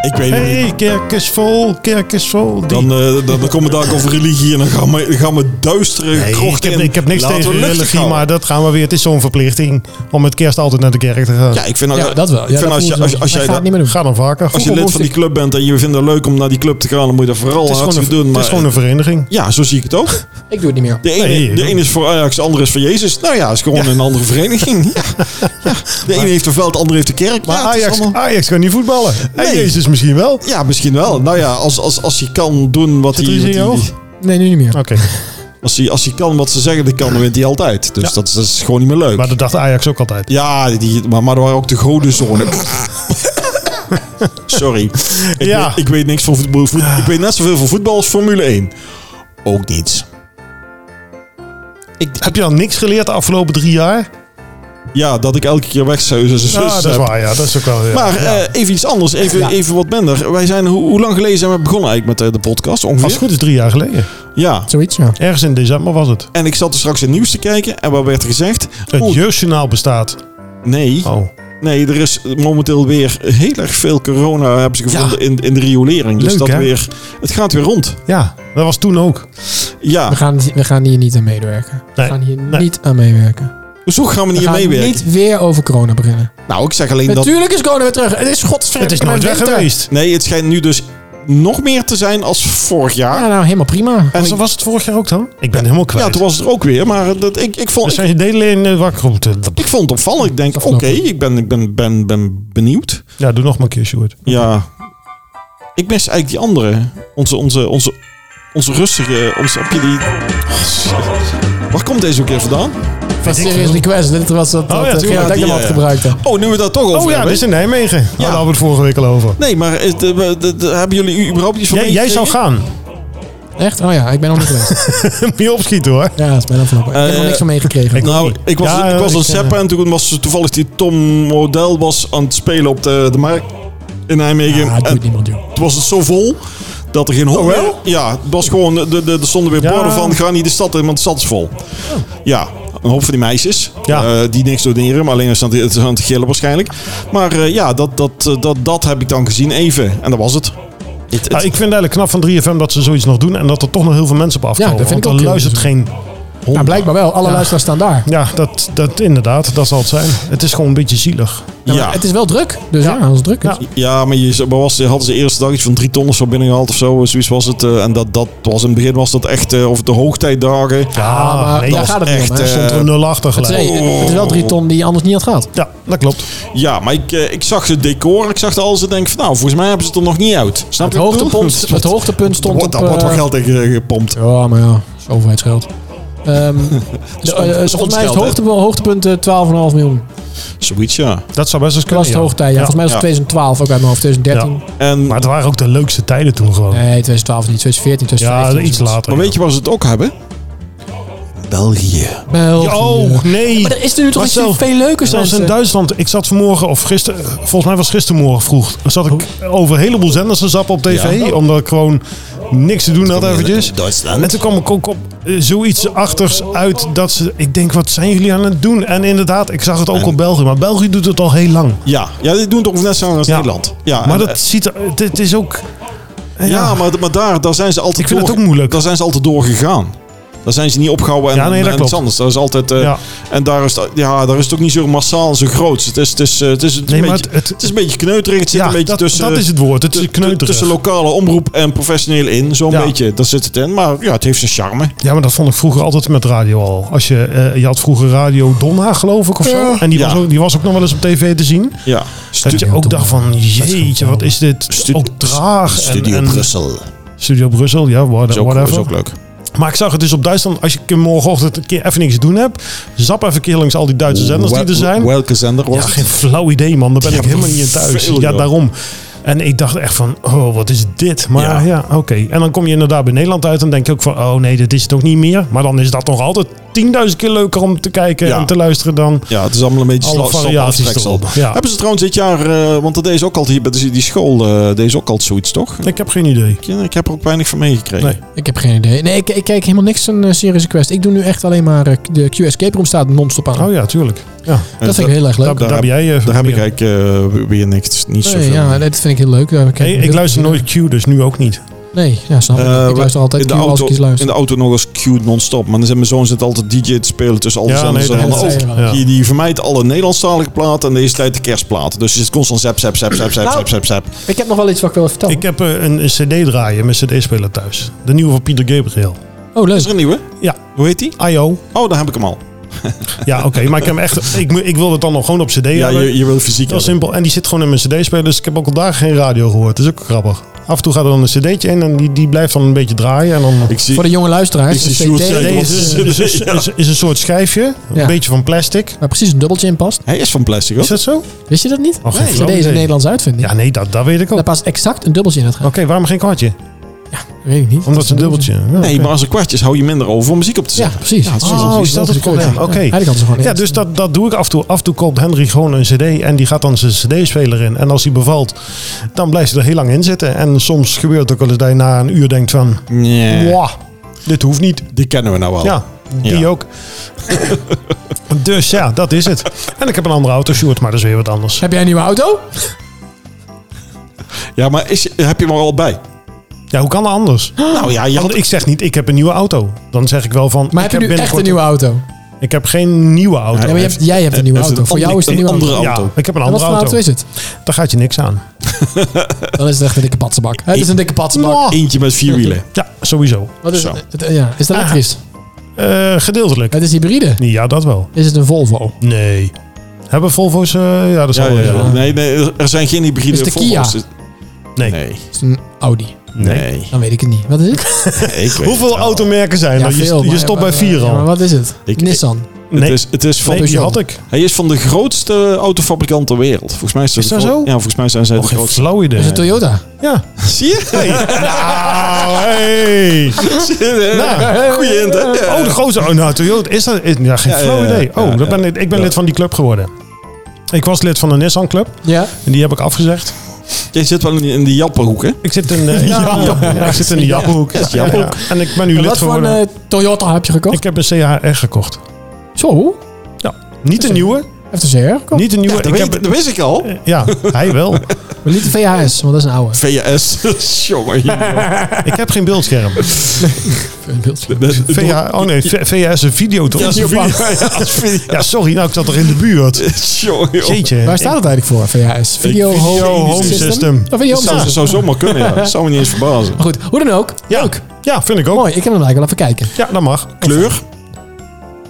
S3: Ik weet het niet.
S1: Hey, kerk is vol, kerk is vol. Die-
S3: Dan, eh dan, dan komen we daar over religie en dan gaan we, gaan we duistere
S1: Nee, ik,
S3: krochten
S1: heb,
S3: in.
S1: ik heb niks
S3: Laten we
S1: tegen
S3: luchtig
S1: religie,
S3: houden.
S1: maar dat gaan we weer. Het is zo'n verplichting om met kerst altijd naar de kerk te gaan.
S3: Ja, ik vind,
S2: Ja, dat wel.
S3: Ik
S2: Ja,
S3: vind
S2: dat
S3: als,
S2: voel
S3: je,
S2: ik
S3: als,
S2: zo.
S3: je- als
S2: Maar
S3: jij
S2: ik ga
S3: dat-
S2: het niet meer doen.
S1: Ga dan vaker.
S3: Als je lid van die club bent en je vindt het leuk om naar die club te gaan, dan moet je dat vooral
S1: het, is gewoon
S3: hartstikke
S1: een,
S3: doen.
S1: het
S3: Maar
S1: is gewoon een vereniging.
S3: ja, zo zie ik het ook.
S2: Ik doe het niet meer.
S3: De ene,
S1: Nee,
S3: de ene is voor Ajax, de andere is voor Jezus. Nou ja, het is gewoon een andere vereniging. Ja. Ja. De ene heeft een veld, de andere heeft de kerk.
S1: Maar
S3: ja, het is
S1: Ajax,
S3: allemaal-
S1: Ajax gaat niet voetballen. En
S3: Nee.
S1: Jezus misschien wel. Oké.
S3: ja, misschien wel. Nou ja, als, als, als hij kan doen wat
S1: Zit er
S3: hij...
S1: iets in je
S3: wat hij-
S1: hoofd?
S2: Nee, nu niet meer.
S3: Als hij, als hij kan wat ze zeggen, dan kan, dan wint hij altijd. Dus
S1: Ja.
S3: dat, is- dat is gewoon niet meer leuk.
S1: Maar dat dacht Ajax ook altijd.
S3: ja, die, maar, maar er waren ook de godenzonen. Sorry. Ik,
S1: Ja. Ah.
S3: weet, ik weet niks van voetbal. voet- Ik weet net zoveel van voetbal als Formule 1. Ook niets.
S1: Heb je dan niks geleerd de afgelopen drie jaar?
S3: Ja, dat ik elke keer weg zou. zou- zou-
S1: Ja, dat is
S3: zou-
S1: waar. Ja, dat is ook wel. ja.
S3: Maar eh, even iets anders, even, even wat minder. Wij zijn, hoe, hoe lang geleden zijn we begonnen eigenlijk met eh, de podcast?
S1: Als het
S3: Ongeveer?
S1: goed is drie jaar geleden.
S3: Ja.
S2: Zoiets, ja.
S1: Ergens in december was het.
S3: En ik zat er straks in het nieuws te kijken en waar werd er gezegd?
S1: Het
S3: Oeh,
S1: jeugdjournaal bestaat.
S3: nee,
S1: Oh.
S3: nee, er is momenteel weer heel erg veel corona hebben ze gevonden in, in de riolering. Dus
S1: Leuk,
S3: dat
S1: hè?
S3: weer, het gaat weer rond.
S1: Ja, dat was toen ook.
S2: We
S3: Ja,
S2: gaan, we gaan hier niet aan meewerken. We
S1: Nee,
S2: gaan hier
S1: nee.
S2: niet aan meewerken.
S3: hoezo dus gaan we
S2: We
S3: niet
S2: gaan
S3: meewerken?
S2: niet weer over corona beginnen.
S3: Nou, ik zeg alleen dat...
S2: Natuurlijk is corona weer terug. Het is
S1: Het
S2: godsverdomme
S1: is nooit weg
S2: winter.
S1: geweest.
S3: Nee, het schijnt nu dus nog meer te zijn als vorig jaar.
S2: Ja, nou, helemaal prima.
S3: En
S1: Was, was het vorig jaar ook dan? Ik ben helemaal kwijt.
S3: ja, toen was het er ook weer, maar dat, ik, ik vond...
S1: Dus zijn je delen in de wakkerroute.
S3: Ik vond het opvallend. Ik denk, oké,
S2: Afknappen.
S3: ik ben, ik ben, ben, ben benieuwd.
S1: Ja, doe nog maar een keer, Sjoerd.
S3: Ja. Ik mis eigenlijk die andere. Onze, onze, onze, onze rustige... Onze, heb je die...
S2: Oh,
S3: Waar komt deze ook weer vandaan?
S2: Van Serious Request. Dit was dat, dat
S1: ja,
S2: eh,
S1: tuurlijk.
S2: Gerard Ekdom
S3: Ja,
S2: had
S3: ja.
S2: gebruikt. hè.
S3: Oh, nu we dat toch over
S1: Oh ja, dit
S3: hebben.
S1: is in Nijmegen. Ja. Daar hadden we het vorige week al over.
S3: Nee, maar is de- we- de- de- hebben jullie überhaupt iets van
S1: Jij, jij zou
S3: meegekregen?
S1: gaan.
S2: Echt? Oh ja, ik ben nog niet geweest.
S1: Moet je opschieten hoor.
S2: Ja, dat is bijna afgelopen. Ik heb er nog
S3: Eh,
S2: niks van meegekregen.
S1: ik-
S3: Nou, ik was,
S1: Ja,
S3: ik was
S1: ik,
S3: aan
S1: eh,
S3: Seppen en toen was toevallig die Tom Model was aan het spelen op de, de markt in Nijmegen.
S2: Ah, het
S3: en
S2: doet niemand, joh.
S3: toen was het zo vol dat er geen hond meer... Ja, het was gewoon... de- de- Er stonden weer
S1: Oh, Ja.
S3: borden van, ga niet de stad in, want de stad is vol. Ja, een hoop van die meisjes.
S1: Ja.
S3: eh, die niks doneren, maar alleen als ze aan het- het is aan het gillen waarschijnlijk. Maar eh, ja, dat, dat, eh, dat, dat heb ik dan gezien even. En dat was het. Het-
S1: Ah,
S3: het-
S1: Ja, ik vind het eigenlijk knap van 3FM dat ze zoiets nog doen en dat er toch nog heel veel mensen op afkomen.
S2: Ja, dat vind ik
S1: want er
S2: ook heel
S1: luistert geen
S2: Nou, blijkbaar wel. Alle luisteraars staan daar.
S1: Ja, dat, dat inderdaad, dat zal het zijn. Het is gewoon een beetje zielig.
S2: Ja, maar
S3: Ja.
S2: Het is wel druk. Dus ja,
S1: Ja.
S2: dat is druk.
S1: Ja.
S3: Ja, maar je, maar was, hadden ze de eerste dag iets van drie ton of zo binnengehaald of zo. Zoiets was het. eh, en dat, dat was in het begin was dat echt eh, over de hoogtijdagen.
S1: Ja,
S2: ah, maar
S1: Ah, nee,
S2: daar
S1: dat
S2: gaat het
S3: was
S2: niet om.
S3: echt,
S2: hè.
S3: eh,
S1: Stond er 0 achter
S2: Het is,
S1: gelijk.
S2: het is wel drie ton die je anders niet had gehad.
S1: Ja, dat klopt.
S3: Ja, maar ik, eh, ik zag het decor. Ik zag het alles en denk van nou, volgens mij hebben ze het er nog niet uit. Snap
S2: Het
S3: je wat ik bedoel?
S2: hoogtepunt, het hoogtepunt stond
S3: Wordt-
S2: op...
S3: Daar wordt wel
S2: eh,
S3: geld tegen gepompt.
S2: Ja, maar ja, is overheidsgeld. Ehm de, eh,
S3: ons- dat is ons
S2: volgens mij is
S3: geld,
S2: het
S3: hè?
S2: hoogtepunt, hoogtepunt eh, 12,5 miljoen.
S3: Zoiets, ja.
S1: Dat zou best eens
S2: Dat
S1: kunnen.
S2: was het hoogtij. Ja. Volgens mij was het
S3: Ja.
S2: 2012 ook uit mijn hoofd. 2013.
S3: En,
S1: Maar
S3: maar
S1: het waren ook de leukste tijden toen gewoon.
S2: Nee, 2012 niet. 2014, 2015.
S1: ja, iets later.
S3: weet je waar ze het ook hebben? België.
S2: België.
S1: Oh, nee.
S2: eh, Maar er is er nu toch iets
S1: Marcel,
S2: veel leukers eh, dan
S1: Zelfs in Duitsland. Ik zat vanmorgen, of gisteren, volgens mij was gistermorgen vroeg, zat ik over een heleboel zenders te zappen op tv.
S3: Ja.
S1: Omdat ik gewoon niks te doen had
S3: kom je
S1: eventjes.
S3: in Duitsland.
S1: En toen kwam ik ook op eh, zoiets achters uit dat ze... Ik denk, wat zijn jullie aan het doen? En inderdaad, ik zag het ook op België. Maar België doet het al heel lang.
S3: Ja, ja die doen het ongeveer net zo als
S1: Ja.
S3: Nederland. Ja,
S1: Maar
S3: Ah, en- eh,
S1: dat ziet er... Dit is ook... eh,
S3: ja, maar, maar daar, daar zijn ze altijd
S1: Ik vind
S3: door,
S1: het ook moeilijk.
S3: Daar zijn ze altijd door gegaan. Daar zijn ze niet opgehouden en,
S1: Ja, nee, dat
S3: en iets
S1: klopt.
S3: anders. Daar is altijd, eh,
S1: Ja.
S3: En daar is, dat- ja, daar is het ook niet zo massaal en zo groot. Het is, het is, eh, het is, het is
S1: Nee,
S3: een,
S1: maar
S3: beetje,
S1: het-
S3: het, is een beetje kneuterig. Het zit
S1: Ja,
S3: een beetje
S1: dat,
S3: tussen,
S1: dat is het woord. Het
S3: tu-
S1: is
S3: tu- tussen
S1: kneuterig.
S3: lokale omroep en professioneel in. Zo'n
S1: Ja.
S3: beetje, daar zit het in. Maar ja, het heeft zijn charme.
S1: Ja, maar dat vond ik vroeger altijd met radio al. Als je, eh, je had vroeger Radio Donna, geloof ik, of zo. En die,
S3: Ja.
S1: was ook, die was ook nog wel eens op tv te zien.
S3: Ja.
S1: Dat je ook dacht van, jeetje, wat is dit?
S3: Stu-
S1: ook traag. en-
S3: Studio
S1: en,
S3: Brussel.
S1: Studio Brussel, ja, what-
S3: Is ook, is
S1: whatever.
S3: ook leuk.
S1: Maar ik zag het dus op Duitsland. Als je morgenochtend een keer even niks te doen hebt, zap even een keer langs al die Duitse zenders die er zijn.
S3: Welke zender was
S1: Ja,
S3: het?
S1: geen flauw idee, man. Daar ben
S3: Ja,
S1: ik helemaal niet in thuis.
S3: veel,
S1: Ja,
S3: joh.
S1: daarom. En ik dacht echt van, oh, wat is dit? Maar ja,
S3: Ja.
S1: oké. En dan kom je inderdaad bij Nederland uit en denk je ook van, oh nee, dit is het ook niet meer. Maar dan is dat nog altijd 10.000 keer leuker om te kijken
S3: Ja.
S1: en te luisteren dan...
S3: Ja, het is allemaal een beetje
S1: Alle
S3: sla- slap
S1: variaties
S3: aftreksel.
S1: erop, ja.
S3: Hebben ze trouwens dit jaar, eh, want dat is ook altijd hier bij die- die school, eh deze ook altijd zoiets, toch?
S1: Ik heb geen idee.
S3: Ik, eh, ik heb er ook weinig van meegekregen.
S1: Nee.
S2: Ik heb geen idee. Nee, ik, ik kijk helemaal niks aan eh, Serious Quest. Ik doe nu echt alleen maar... eh, de QS Escape Room staat non-stop aan.
S1: Oh ja, tuurlijk. Ja,
S2: dat vind ik heel erg leuk.
S1: daar, daar
S3: heb-
S1: ben jij... eh,
S3: Daar heb ik
S1: meer.
S3: eigenlijk eh, weer niks, niet
S2: Nee,
S3: zoveel.
S2: ja, dat vind ik heel leuk. Daar kijk
S1: Hey, ik
S2: heel
S1: luister
S2: veel-
S1: nooit Q, dus nu ook niet.
S2: Nee, ja, snap ik.
S3: Eh,
S2: ik luister altijd
S3: in
S2: Q
S3: de,
S2: als
S3: auto,
S2: ik iets luister.
S3: in de auto nog eens Q non-stop. Maar dan zit mijn zoon zit altijd DJ te spelen tussen al die
S1: Ja,
S3: zenders.
S1: nee,
S3: en
S1: dat
S3: dan
S2: is-
S3: ook.
S1: ja.
S3: Die, die vermijdt alle Nederlandstalige platen en deze tijd de kerstplaten. Dus je zit constant zap, zap, zap, zap, zap,
S2: Nou.
S3: zap, zap, zap.
S2: Ik heb nog wel iets wat ik wil vertellen.
S1: Ik heb eh, een, een cd draaien met cd-speler thuis. De nieuwe van Pieter Gabriel.
S2: oh, leuk.
S3: Is er een nieuwe?
S1: Ja,
S3: Hoe heet die?
S1: I.O.
S3: Oh, daar heb ik hem al.
S1: Ja, oké. maar ik, heb hem echt, ik, mo- ik wil het dan nog gewoon op cd
S3: Ja,
S1: hebben.
S3: je, je wil fysiek
S1: Heel
S3: hebben.
S1: simpel. En die zit gewoon in mijn cd-speler. Dus ik heb ook al dagen geen radio gehoord. Dat is ook grappig. Af en toe gaat er dan een cd'tje in en die, die blijft dan een beetje draaien. En dan...
S3: Ik zie,
S2: Voor de jonge
S3: Ik
S2: luisteraars.
S3: zie
S2: een
S3: Sjoerd
S2: CD,
S3: zeggen,
S1: Nee, is, is,
S2: is, eh,
S1: is, is, is- is een soort schijfje.
S2: Ja.
S1: Een beetje van plastic.
S2: waar precies een dubbeltje in past.
S3: Hij is van plastic, hoor.
S1: Is dat zo?
S2: Wist je dat niet?
S1: Oh, geen
S2: nee, CD
S1: flauw
S2: is een
S1: idee.
S2: Nederlands uitvinding.
S1: Ja, nee, dat, dat weet ik ook.
S2: Daar
S1: Oké,
S2: past exact een dubbeltje in het gaat.
S1: waarom geen kwartje?
S2: Weet ik niet.
S1: Omdat het een dubbeltje. Ja,
S3: Nee,
S1: oké.
S3: maar als er kwartjes hou je minder over om muziek op te
S2: Ja,
S3: zetten.
S2: precies. Ja,
S1: is- oh, is dat het probleem? Oké.
S2: Eigenlijk hadden ze gewoon
S1: Ja,
S2: eerst.
S1: dus dat, dat doe ik af en toe. Af en toe koopt Henry gewoon een cd en die gaat dan zijn cd-speler in. En als die bevalt, dan blijft ze er heel lang in zitten. En soms gebeurt het ook wel eens dat je na een uur denkt van...
S3: Nee.
S1: Wah, dit hoeft niet.
S3: Die kennen we nou wel.
S1: Ja, die
S3: Ja.
S1: ook. dus ja, dat is het. En ik heb een andere auto, Sjoerd, maar dat is weer wat anders.
S2: Heb jij een nieuwe auto?
S3: Ja, maar is, heb je hem er al bij?
S1: Ja, hoe kan dat anders?
S3: Nou ja, je had,
S1: Want ik zeg niet, ik heb een nieuwe auto. Dan zeg ik wel van...
S2: Maar
S1: ik
S2: heb je nu echt
S1: binnenkort-
S2: een nieuwe auto?
S1: Ik heb geen nieuwe auto.
S2: Ja, maar je hebt- jij hebt een nieuwe
S3: Hij heeft
S2: auto. Voor jou is het een nieuwe
S3: andere
S2: auto.
S1: Ja,
S3: auto.
S1: ik heb een
S2: En Wat
S1: andere
S2: voor auto
S1: auto.
S2: is het?
S1: Daar gaat je niks aan.
S2: Dan is het echt een dikke patsenbak. Het is een dikke patsenbak.
S1: Oh.
S3: Eentje met vier wielen.
S1: Ja, sowieso.
S2: Wat is
S3: Zo.
S2: het? Ja,
S1: Ah.
S2: is het elektrisch?
S1: Eh, gedeeltelijk.
S2: Het is hybride.
S1: Ja, dat wel.
S2: Is het een Volvo?
S1: Nee. Hebben Volvo's... eh, ja, dat zal
S3: Ja,
S1: wel.
S3: ja,
S1: ja.
S3: ja. Nee, nee, er- er zijn geen hybride
S2: Is de Kia?
S3: Volvo's.
S1: Nee.
S3: Nee.
S2: Is het een Audi?
S1: Nee.
S3: Nee.
S2: Dan weet ik het niet. Wat is het?
S3: Ik weet
S1: Hoeveel
S3: het wel.
S1: automerken zijn er? Je-
S2: veel,
S1: je,
S2: maar-
S1: stopt bij
S2: maar-
S1: vier
S2: ja, maar
S1: al.
S2: wat is het?
S3: Ik-
S2: Nissan.
S3: Het
S1: Nee,
S3: is, het is van,
S1: nee, die
S2: Peugeot.
S1: had ik.
S3: Hij is van de grootste autofabrikant ter wereld. Volgens mij is,
S1: Is
S3: de
S1: dat
S3: gro-
S1: zo?
S3: Ja, volgens mij zijn zij
S1: Oh,
S3: de
S1: geen
S3: grootste.
S1: flauw idee.
S2: Is het Toyota?
S1: Ja.
S3: Zie je?
S1: Nou, hey.
S3: Nou, Goeie hint, hè? Ja.
S1: Oh, de grote. Oh, nou, Toyota is dat. is- Ja, geen
S3: Ja, ja,
S1: flauw
S3: ja.
S1: idee. Oh,
S3: Ja,
S1: dat
S3: ja.
S1: ben ik, ik ben
S3: Ja.
S1: lid van die club geworden. Ik was lid van de Nissan Club.
S2: Ja.
S1: En die heb ik afgezegd.
S3: Jij zit wel in die, in die jappenhoek, hè?
S1: Ik zit in de, ja, ja, ik zit in de Jappenhoek.
S3: is Jappenhoek.
S1: Ja, ja. En ik ben nu
S2: En
S1: lid
S2: wat voor een
S1: geworden.
S2: eh, Toyota heb je gekocht?
S1: ik heb een CHR gekocht.
S2: Zo,
S1: Ja. Niet een nieuwe.
S2: heeft een CR gekocht.
S1: Niet een nieuwe.
S3: Dat,
S1: ik
S3: weet,
S1: heb,
S3: dat wist ik al.
S1: ja, Eh, hij wel.
S2: Maar niet de VHS, want dat is een oude.
S3: VHS. Jongen, jongen.
S1: Ik heb geen beeldscherm.
S3: VHS.
S1: VH, oh nee, V- VHS is een video toch?
S3: Ja,
S1: Ja,
S3: zo'n video.
S1: sorry, nou ik zat er in de buurt.
S3: Jongen, jongen.
S1: Jeetje.
S2: Waar staat het eigenlijk voor, VHS? Video,
S3: Video
S2: home,
S1: home
S2: system.
S1: system.
S2: Of video
S3: Dat
S2: home
S3: zou,
S2: system.
S3: zou zomaar kunnen, ja. Dat zou me niet eens
S1: Oh,
S3: verbazen.
S2: Maar goed, hoe dan ook.
S1: Ja,
S2: Leuk.
S1: ja, vind ik ook.
S2: Mooi, ik heb hem eigenlijk wel even kijken.
S1: Ja, dat mag.
S3: Kleur?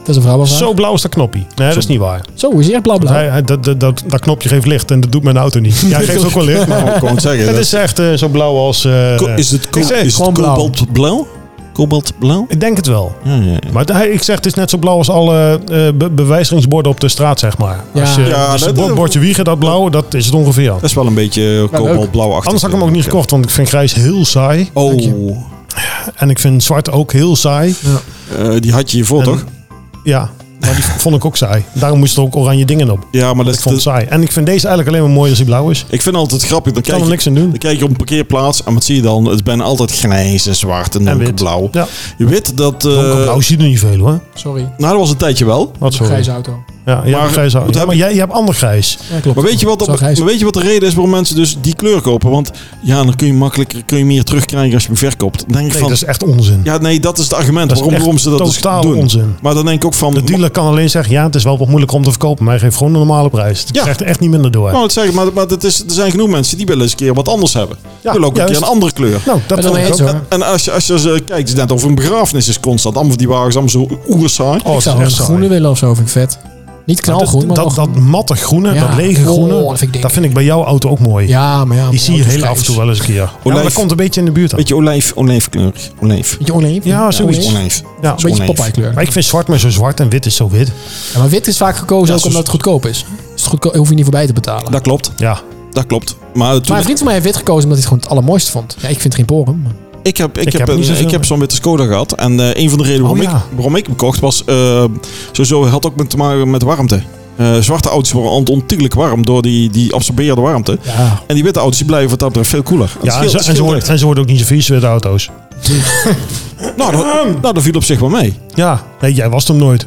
S2: Dat is een vrouwenvraag. Zo,
S1: Zo blauw is dat knoppie. Nee, dat is niet waar.
S2: Zo is hij echt blauw blauw.
S1: Hij, hij- dat, dat, dat, dat knopje geeft licht en dat doet mijn auto niet. Ja, hij geeft ook wel licht, maar...
S3: Nou, ik wou het zeggen.
S1: Het
S3: dat-
S1: is echt eh, zo blauw als... eh,
S3: Ko- Is het, ko-
S1: Ik zeg,
S3: is het
S2: gewoon blauw.
S3: kobaltblauw? Kobaltblauw?
S1: Ik denk het wel.
S3: Ja, ja, ja.
S1: Maar hij, ik zeg, het is net zo blauw als alle eh, be- bewijzigingsborden op de straat, zeg maar.
S2: Ja.
S1: Als je,
S3: Ja,
S1: dus
S3: dat-
S1: het bord- bordje wiegen, dat blauw, dat is het ongeveer.
S3: Dat is wel een beetje eh,
S2: leuk.
S3: kobaltblauw achter.
S1: Anders had ik hem ook niet gekocht, want ik vind grijs heel saai.
S3: Oh,
S1: En ik vind zwart ook heel saai.
S3: eh, die had je hiervoor
S1: En-
S3: toch?
S1: Ja, maar die vond ik ook saai. Daarom moesten er ook oranje dingen op.
S3: Ja, maar dat,
S1: Ik vond het
S3: dat-
S1: saai. En ik vind deze eigenlijk alleen maar mooi als hij blauw is.
S3: ik vind altijd grappig. Dan
S1: Ik kan
S3: kijk,
S1: er
S3: je,
S1: niks aan doen.
S3: dan kijk je op een parkeerplaats en wat zie je dan? Het ben altijd grijs en zwart en
S1: En wit.
S3: donkerblauw.
S1: Ja,
S3: Je weet dat... eh,
S1: donkerblauw zie je er niet veel hoor.
S2: Sorry,
S3: nou, dat was een tijdje wel.
S1: Wat
S2: een
S1: zo.
S2: grijze auto.
S1: Ja, jij
S3: Maar-
S1: hebt grijs.
S3: moet
S1: Ja, maar
S3: hebben-
S1: jij, jij hebt ander grijs.
S2: Ja, klopt.
S3: Maar weet, je wat
S2: Zo
S3: dat-
S2: grijs.
S3: maar weet je wat de reden is waarom mensen dus die kleur kopen? Want ja, dan kun je makkelijker kun je meer terugkrijgen als je hem verkoopt. Dan denk ik
S1: Nee,
S3: van,
S1: dat is echt onzin.
S3: ja, nee, dat is het argument
S1: Dat is
S3: waarom,
S1: echt
S3: waarom ze dat dus
S1: totaal
S3: doen.
S1: onzin.
S3: Maar dan denk ik ook van,
S1: De dealer kan alleen zeggen, ja, het is wel wat moeilijk om te verkopen, maar hij geeft gewoon een normale prijs. Je
S3: Ja.
S1: krijgt er echt niet minder door.
S3: Ik wou het zeggen, maar, maar het is, er zijn genoeg mensen die willen eens een keer wat anders hebben. Die willen ook een
S1: juist.
S3: keer een andere kleur.
S1: Nou, dat vond
S2: ben het
S1: ik
S2: mee
S1: ook.
S2: eens, hoor.
S1: Ja.
S3: En als je, als je ze kijkt, het is net over een begrafenis is constant. Allemaal van die wagens, allemaal zo oerzaai.
S1: Oh,
S2: ik
S1: het is
S2: zou een
S1: echt saai.
S2: groene willen of zo, vind ik vet. Niet knalgroen, maar
S1: dat, dat,
S2: wel
S1: dat matte groene,
S2: Ja.
S1: dat lege
S2: Oh,
S1: groene,
S2: dat vind ik dik.
S1: dat vind ik bij jouw auto ook mooi.
S2: Ja, maar ja.
S1: Die
S2: mijn
S1: zie je
S2: auto is
S1: heel
S2: grijs.
S1: af en toe wel eens een keer. Ja, maar dat
S3: Olijf.
S1: komt een beetje in de buurt aan.
S3: Beetje olijf, olijfkleur. Olijf.
S2: Beetje oneven.
S1: Ja, zoiets.
S2: oneven.
S3: Olijf.
S1: Ja,
S2: Een beetje
S3: Oneven.
S2: Popeye kleur.
S1: maar ik vind zwart maar zo zwart en wit is zo wit.
S2: Ja, maar wit is vaak gekozen
S3: Ja,
S2: ook
S3: zo-
S2: omdat het goedkoop is. Dus het goedkoop, hoef je niet voorbij te
S1: Nou,
S2: betalen.
S3: Dat klopt,
S1: Ja,
S3: dat klopt. Maar, toen,
S2: maar een vriend van mij heeft wit gekozen omdat hij het gewoon het allermooiste vond. Ja, ik vind het geen poren. maar-
S3: ik heb, ik
S1: Ik
S3: heb,
S1: heb niet
S3: een-
S1: zoveel.
S3: ik heb zo'n witte Skoda gehad. En eh, een van de redenen
S1: Oh,
S3: waarom,
S1: ja.
S3: ik, waarom ik hem kocht was... eh, sowieso had ook met te maken met warmte. Eh, zwarte auto's worden ont- ontiegelijk warm door die, die absorbeerde warmte.
S2: Ja.
S3: En die witte auto's die blijven wat dat betreft veel koeler. Het
S1: ja en,
S3: scheelt-
S1: ze,
S3: het
S1: en, ze
S3: scheelt
S1: worden, en ze worden ook niet zo vies met de auto's.
S3: echt. nou, dat, nou, dat viel op zich wel mee.
S1: Ja, nee, jij was hem nooit.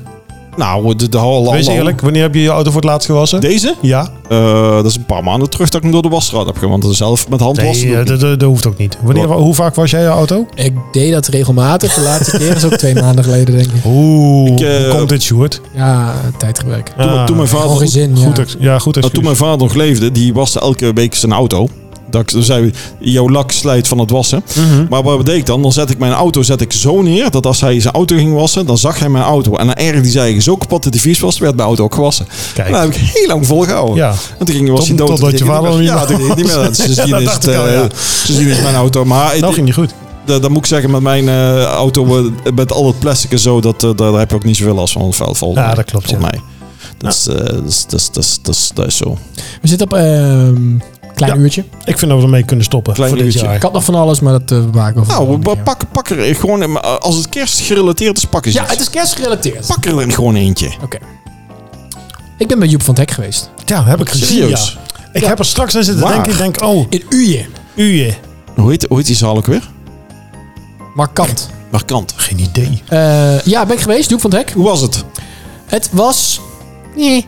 S3: Nou, de, de hal.
S1: Wees eerlijk, wanneer heb je je auto voor het laatst gewassen?
S3: Deze?
S1: Ja,
S3: Eh, dat is een paar maanden terug dat ik hem door de wasstraat heb gemaakt. Want zelf met hand wassen.
S1: nee, eh, dat, dat, dat hoeft ook niet. Wanneer, hoe vaak was jij je auto?
S2: Ik deed dat regelmatig. De laatste keer is ook twee maanden geleden, denk ik.
S1: Oeh,
S3: Ik, eh,
S1: hoe komt dit, Sjoerd?
S2: Ja, tijdgebrek.
S3: Toen,
S1: Ah,
S3: toen mijn
S2: Gewoon
S3: vader,
S2: geen zin, ja.
S1: goed, ex- ja, goed
S3: nou, toen
S1: excuus.
S3: mijn vader nog leefde, die waste elke week zijn auto. Dat ik- dan zei, jouw lak slijt van het wassen.
S1: Mhm.
S3: Maar wat deed ik dan? Dan zet ik mijn auto zet ik zo neer dat als hij zijn auto ging wassen, dan zag hij mijn auto. En dan erg die zei zo kapot dat die vies was, werd mijn auto ook gewassen.
S1: Kijk.
S3: En dat heb ik heel lang volgehouden.
S1: Ja.
S3: En toen ging was
S1: Tot-
S3: hij dood.
S1: totdat je
S3: Toen ging
S1: vader
S3: hij
S1: niet
S3: weg.
S1: meer
S3: Ja, toen ging hij niet meer. Sindsdien
S1: Ja, dat
S3: is
S1: dacht
S3: het,
S1: ik al,
S3: eh,
S1: ja.
S3: sindsdien is mijn auto. Maar eh,
S1: Nou
S3: ik- Oh,
S1: ging die goed.
S3: Dat, dat moet ik zeggen, met mijn eh, auto, eh, met al het plastic en zo, dat, eh, daar heb je ook niet zoveel last van. Vuil, vol,
S1: Ja, dat klopt,
S3: Voor
S1: ja.
S3: mij. Dat is, eh, dat is- dat is- dat is- dat is- dat is zo.
S2: We zitten op een klein
S1: Ja.
S2: uurtje.
S1: Ik vind dat we ermee kunnen stoppen
S3: Klein
S1: voor dit
S3: uurtje.
S1: jaar.
S2: Ik had nog van alles, maar dat eh maken we
S3: Nou,
S2: volgende
S3: we-
S2: keer.
S3: pak, pak er eh, gewoon, eh, als het kerst gerelateerd is, pak eens
S2: Ja,
S3: iets.
S2: het is kerstgerelateerd.
S3: Pak er dan gewoon eentje.
S2: Oké. Ik ben bij Joep van het Hek geweest.
S1: Ja, heb ik gezien. Ja.
S3: Serieus?
S1: Ik
S2: Ja.
S1: heb er straks aan zitten
S3: Waar?
S1: denken. Ik denk, oh,
S2: In Uje.
S1: uje.
S3: Hoe heet, hoe heet die zaal ook weer?
S2: Markant.
S3: Markant.
S1: Geen idee.
S2: Eh, ja, ben ik geweest, Joep van het Hek.
S3: Hoe was het?
S2: Het was... Nee.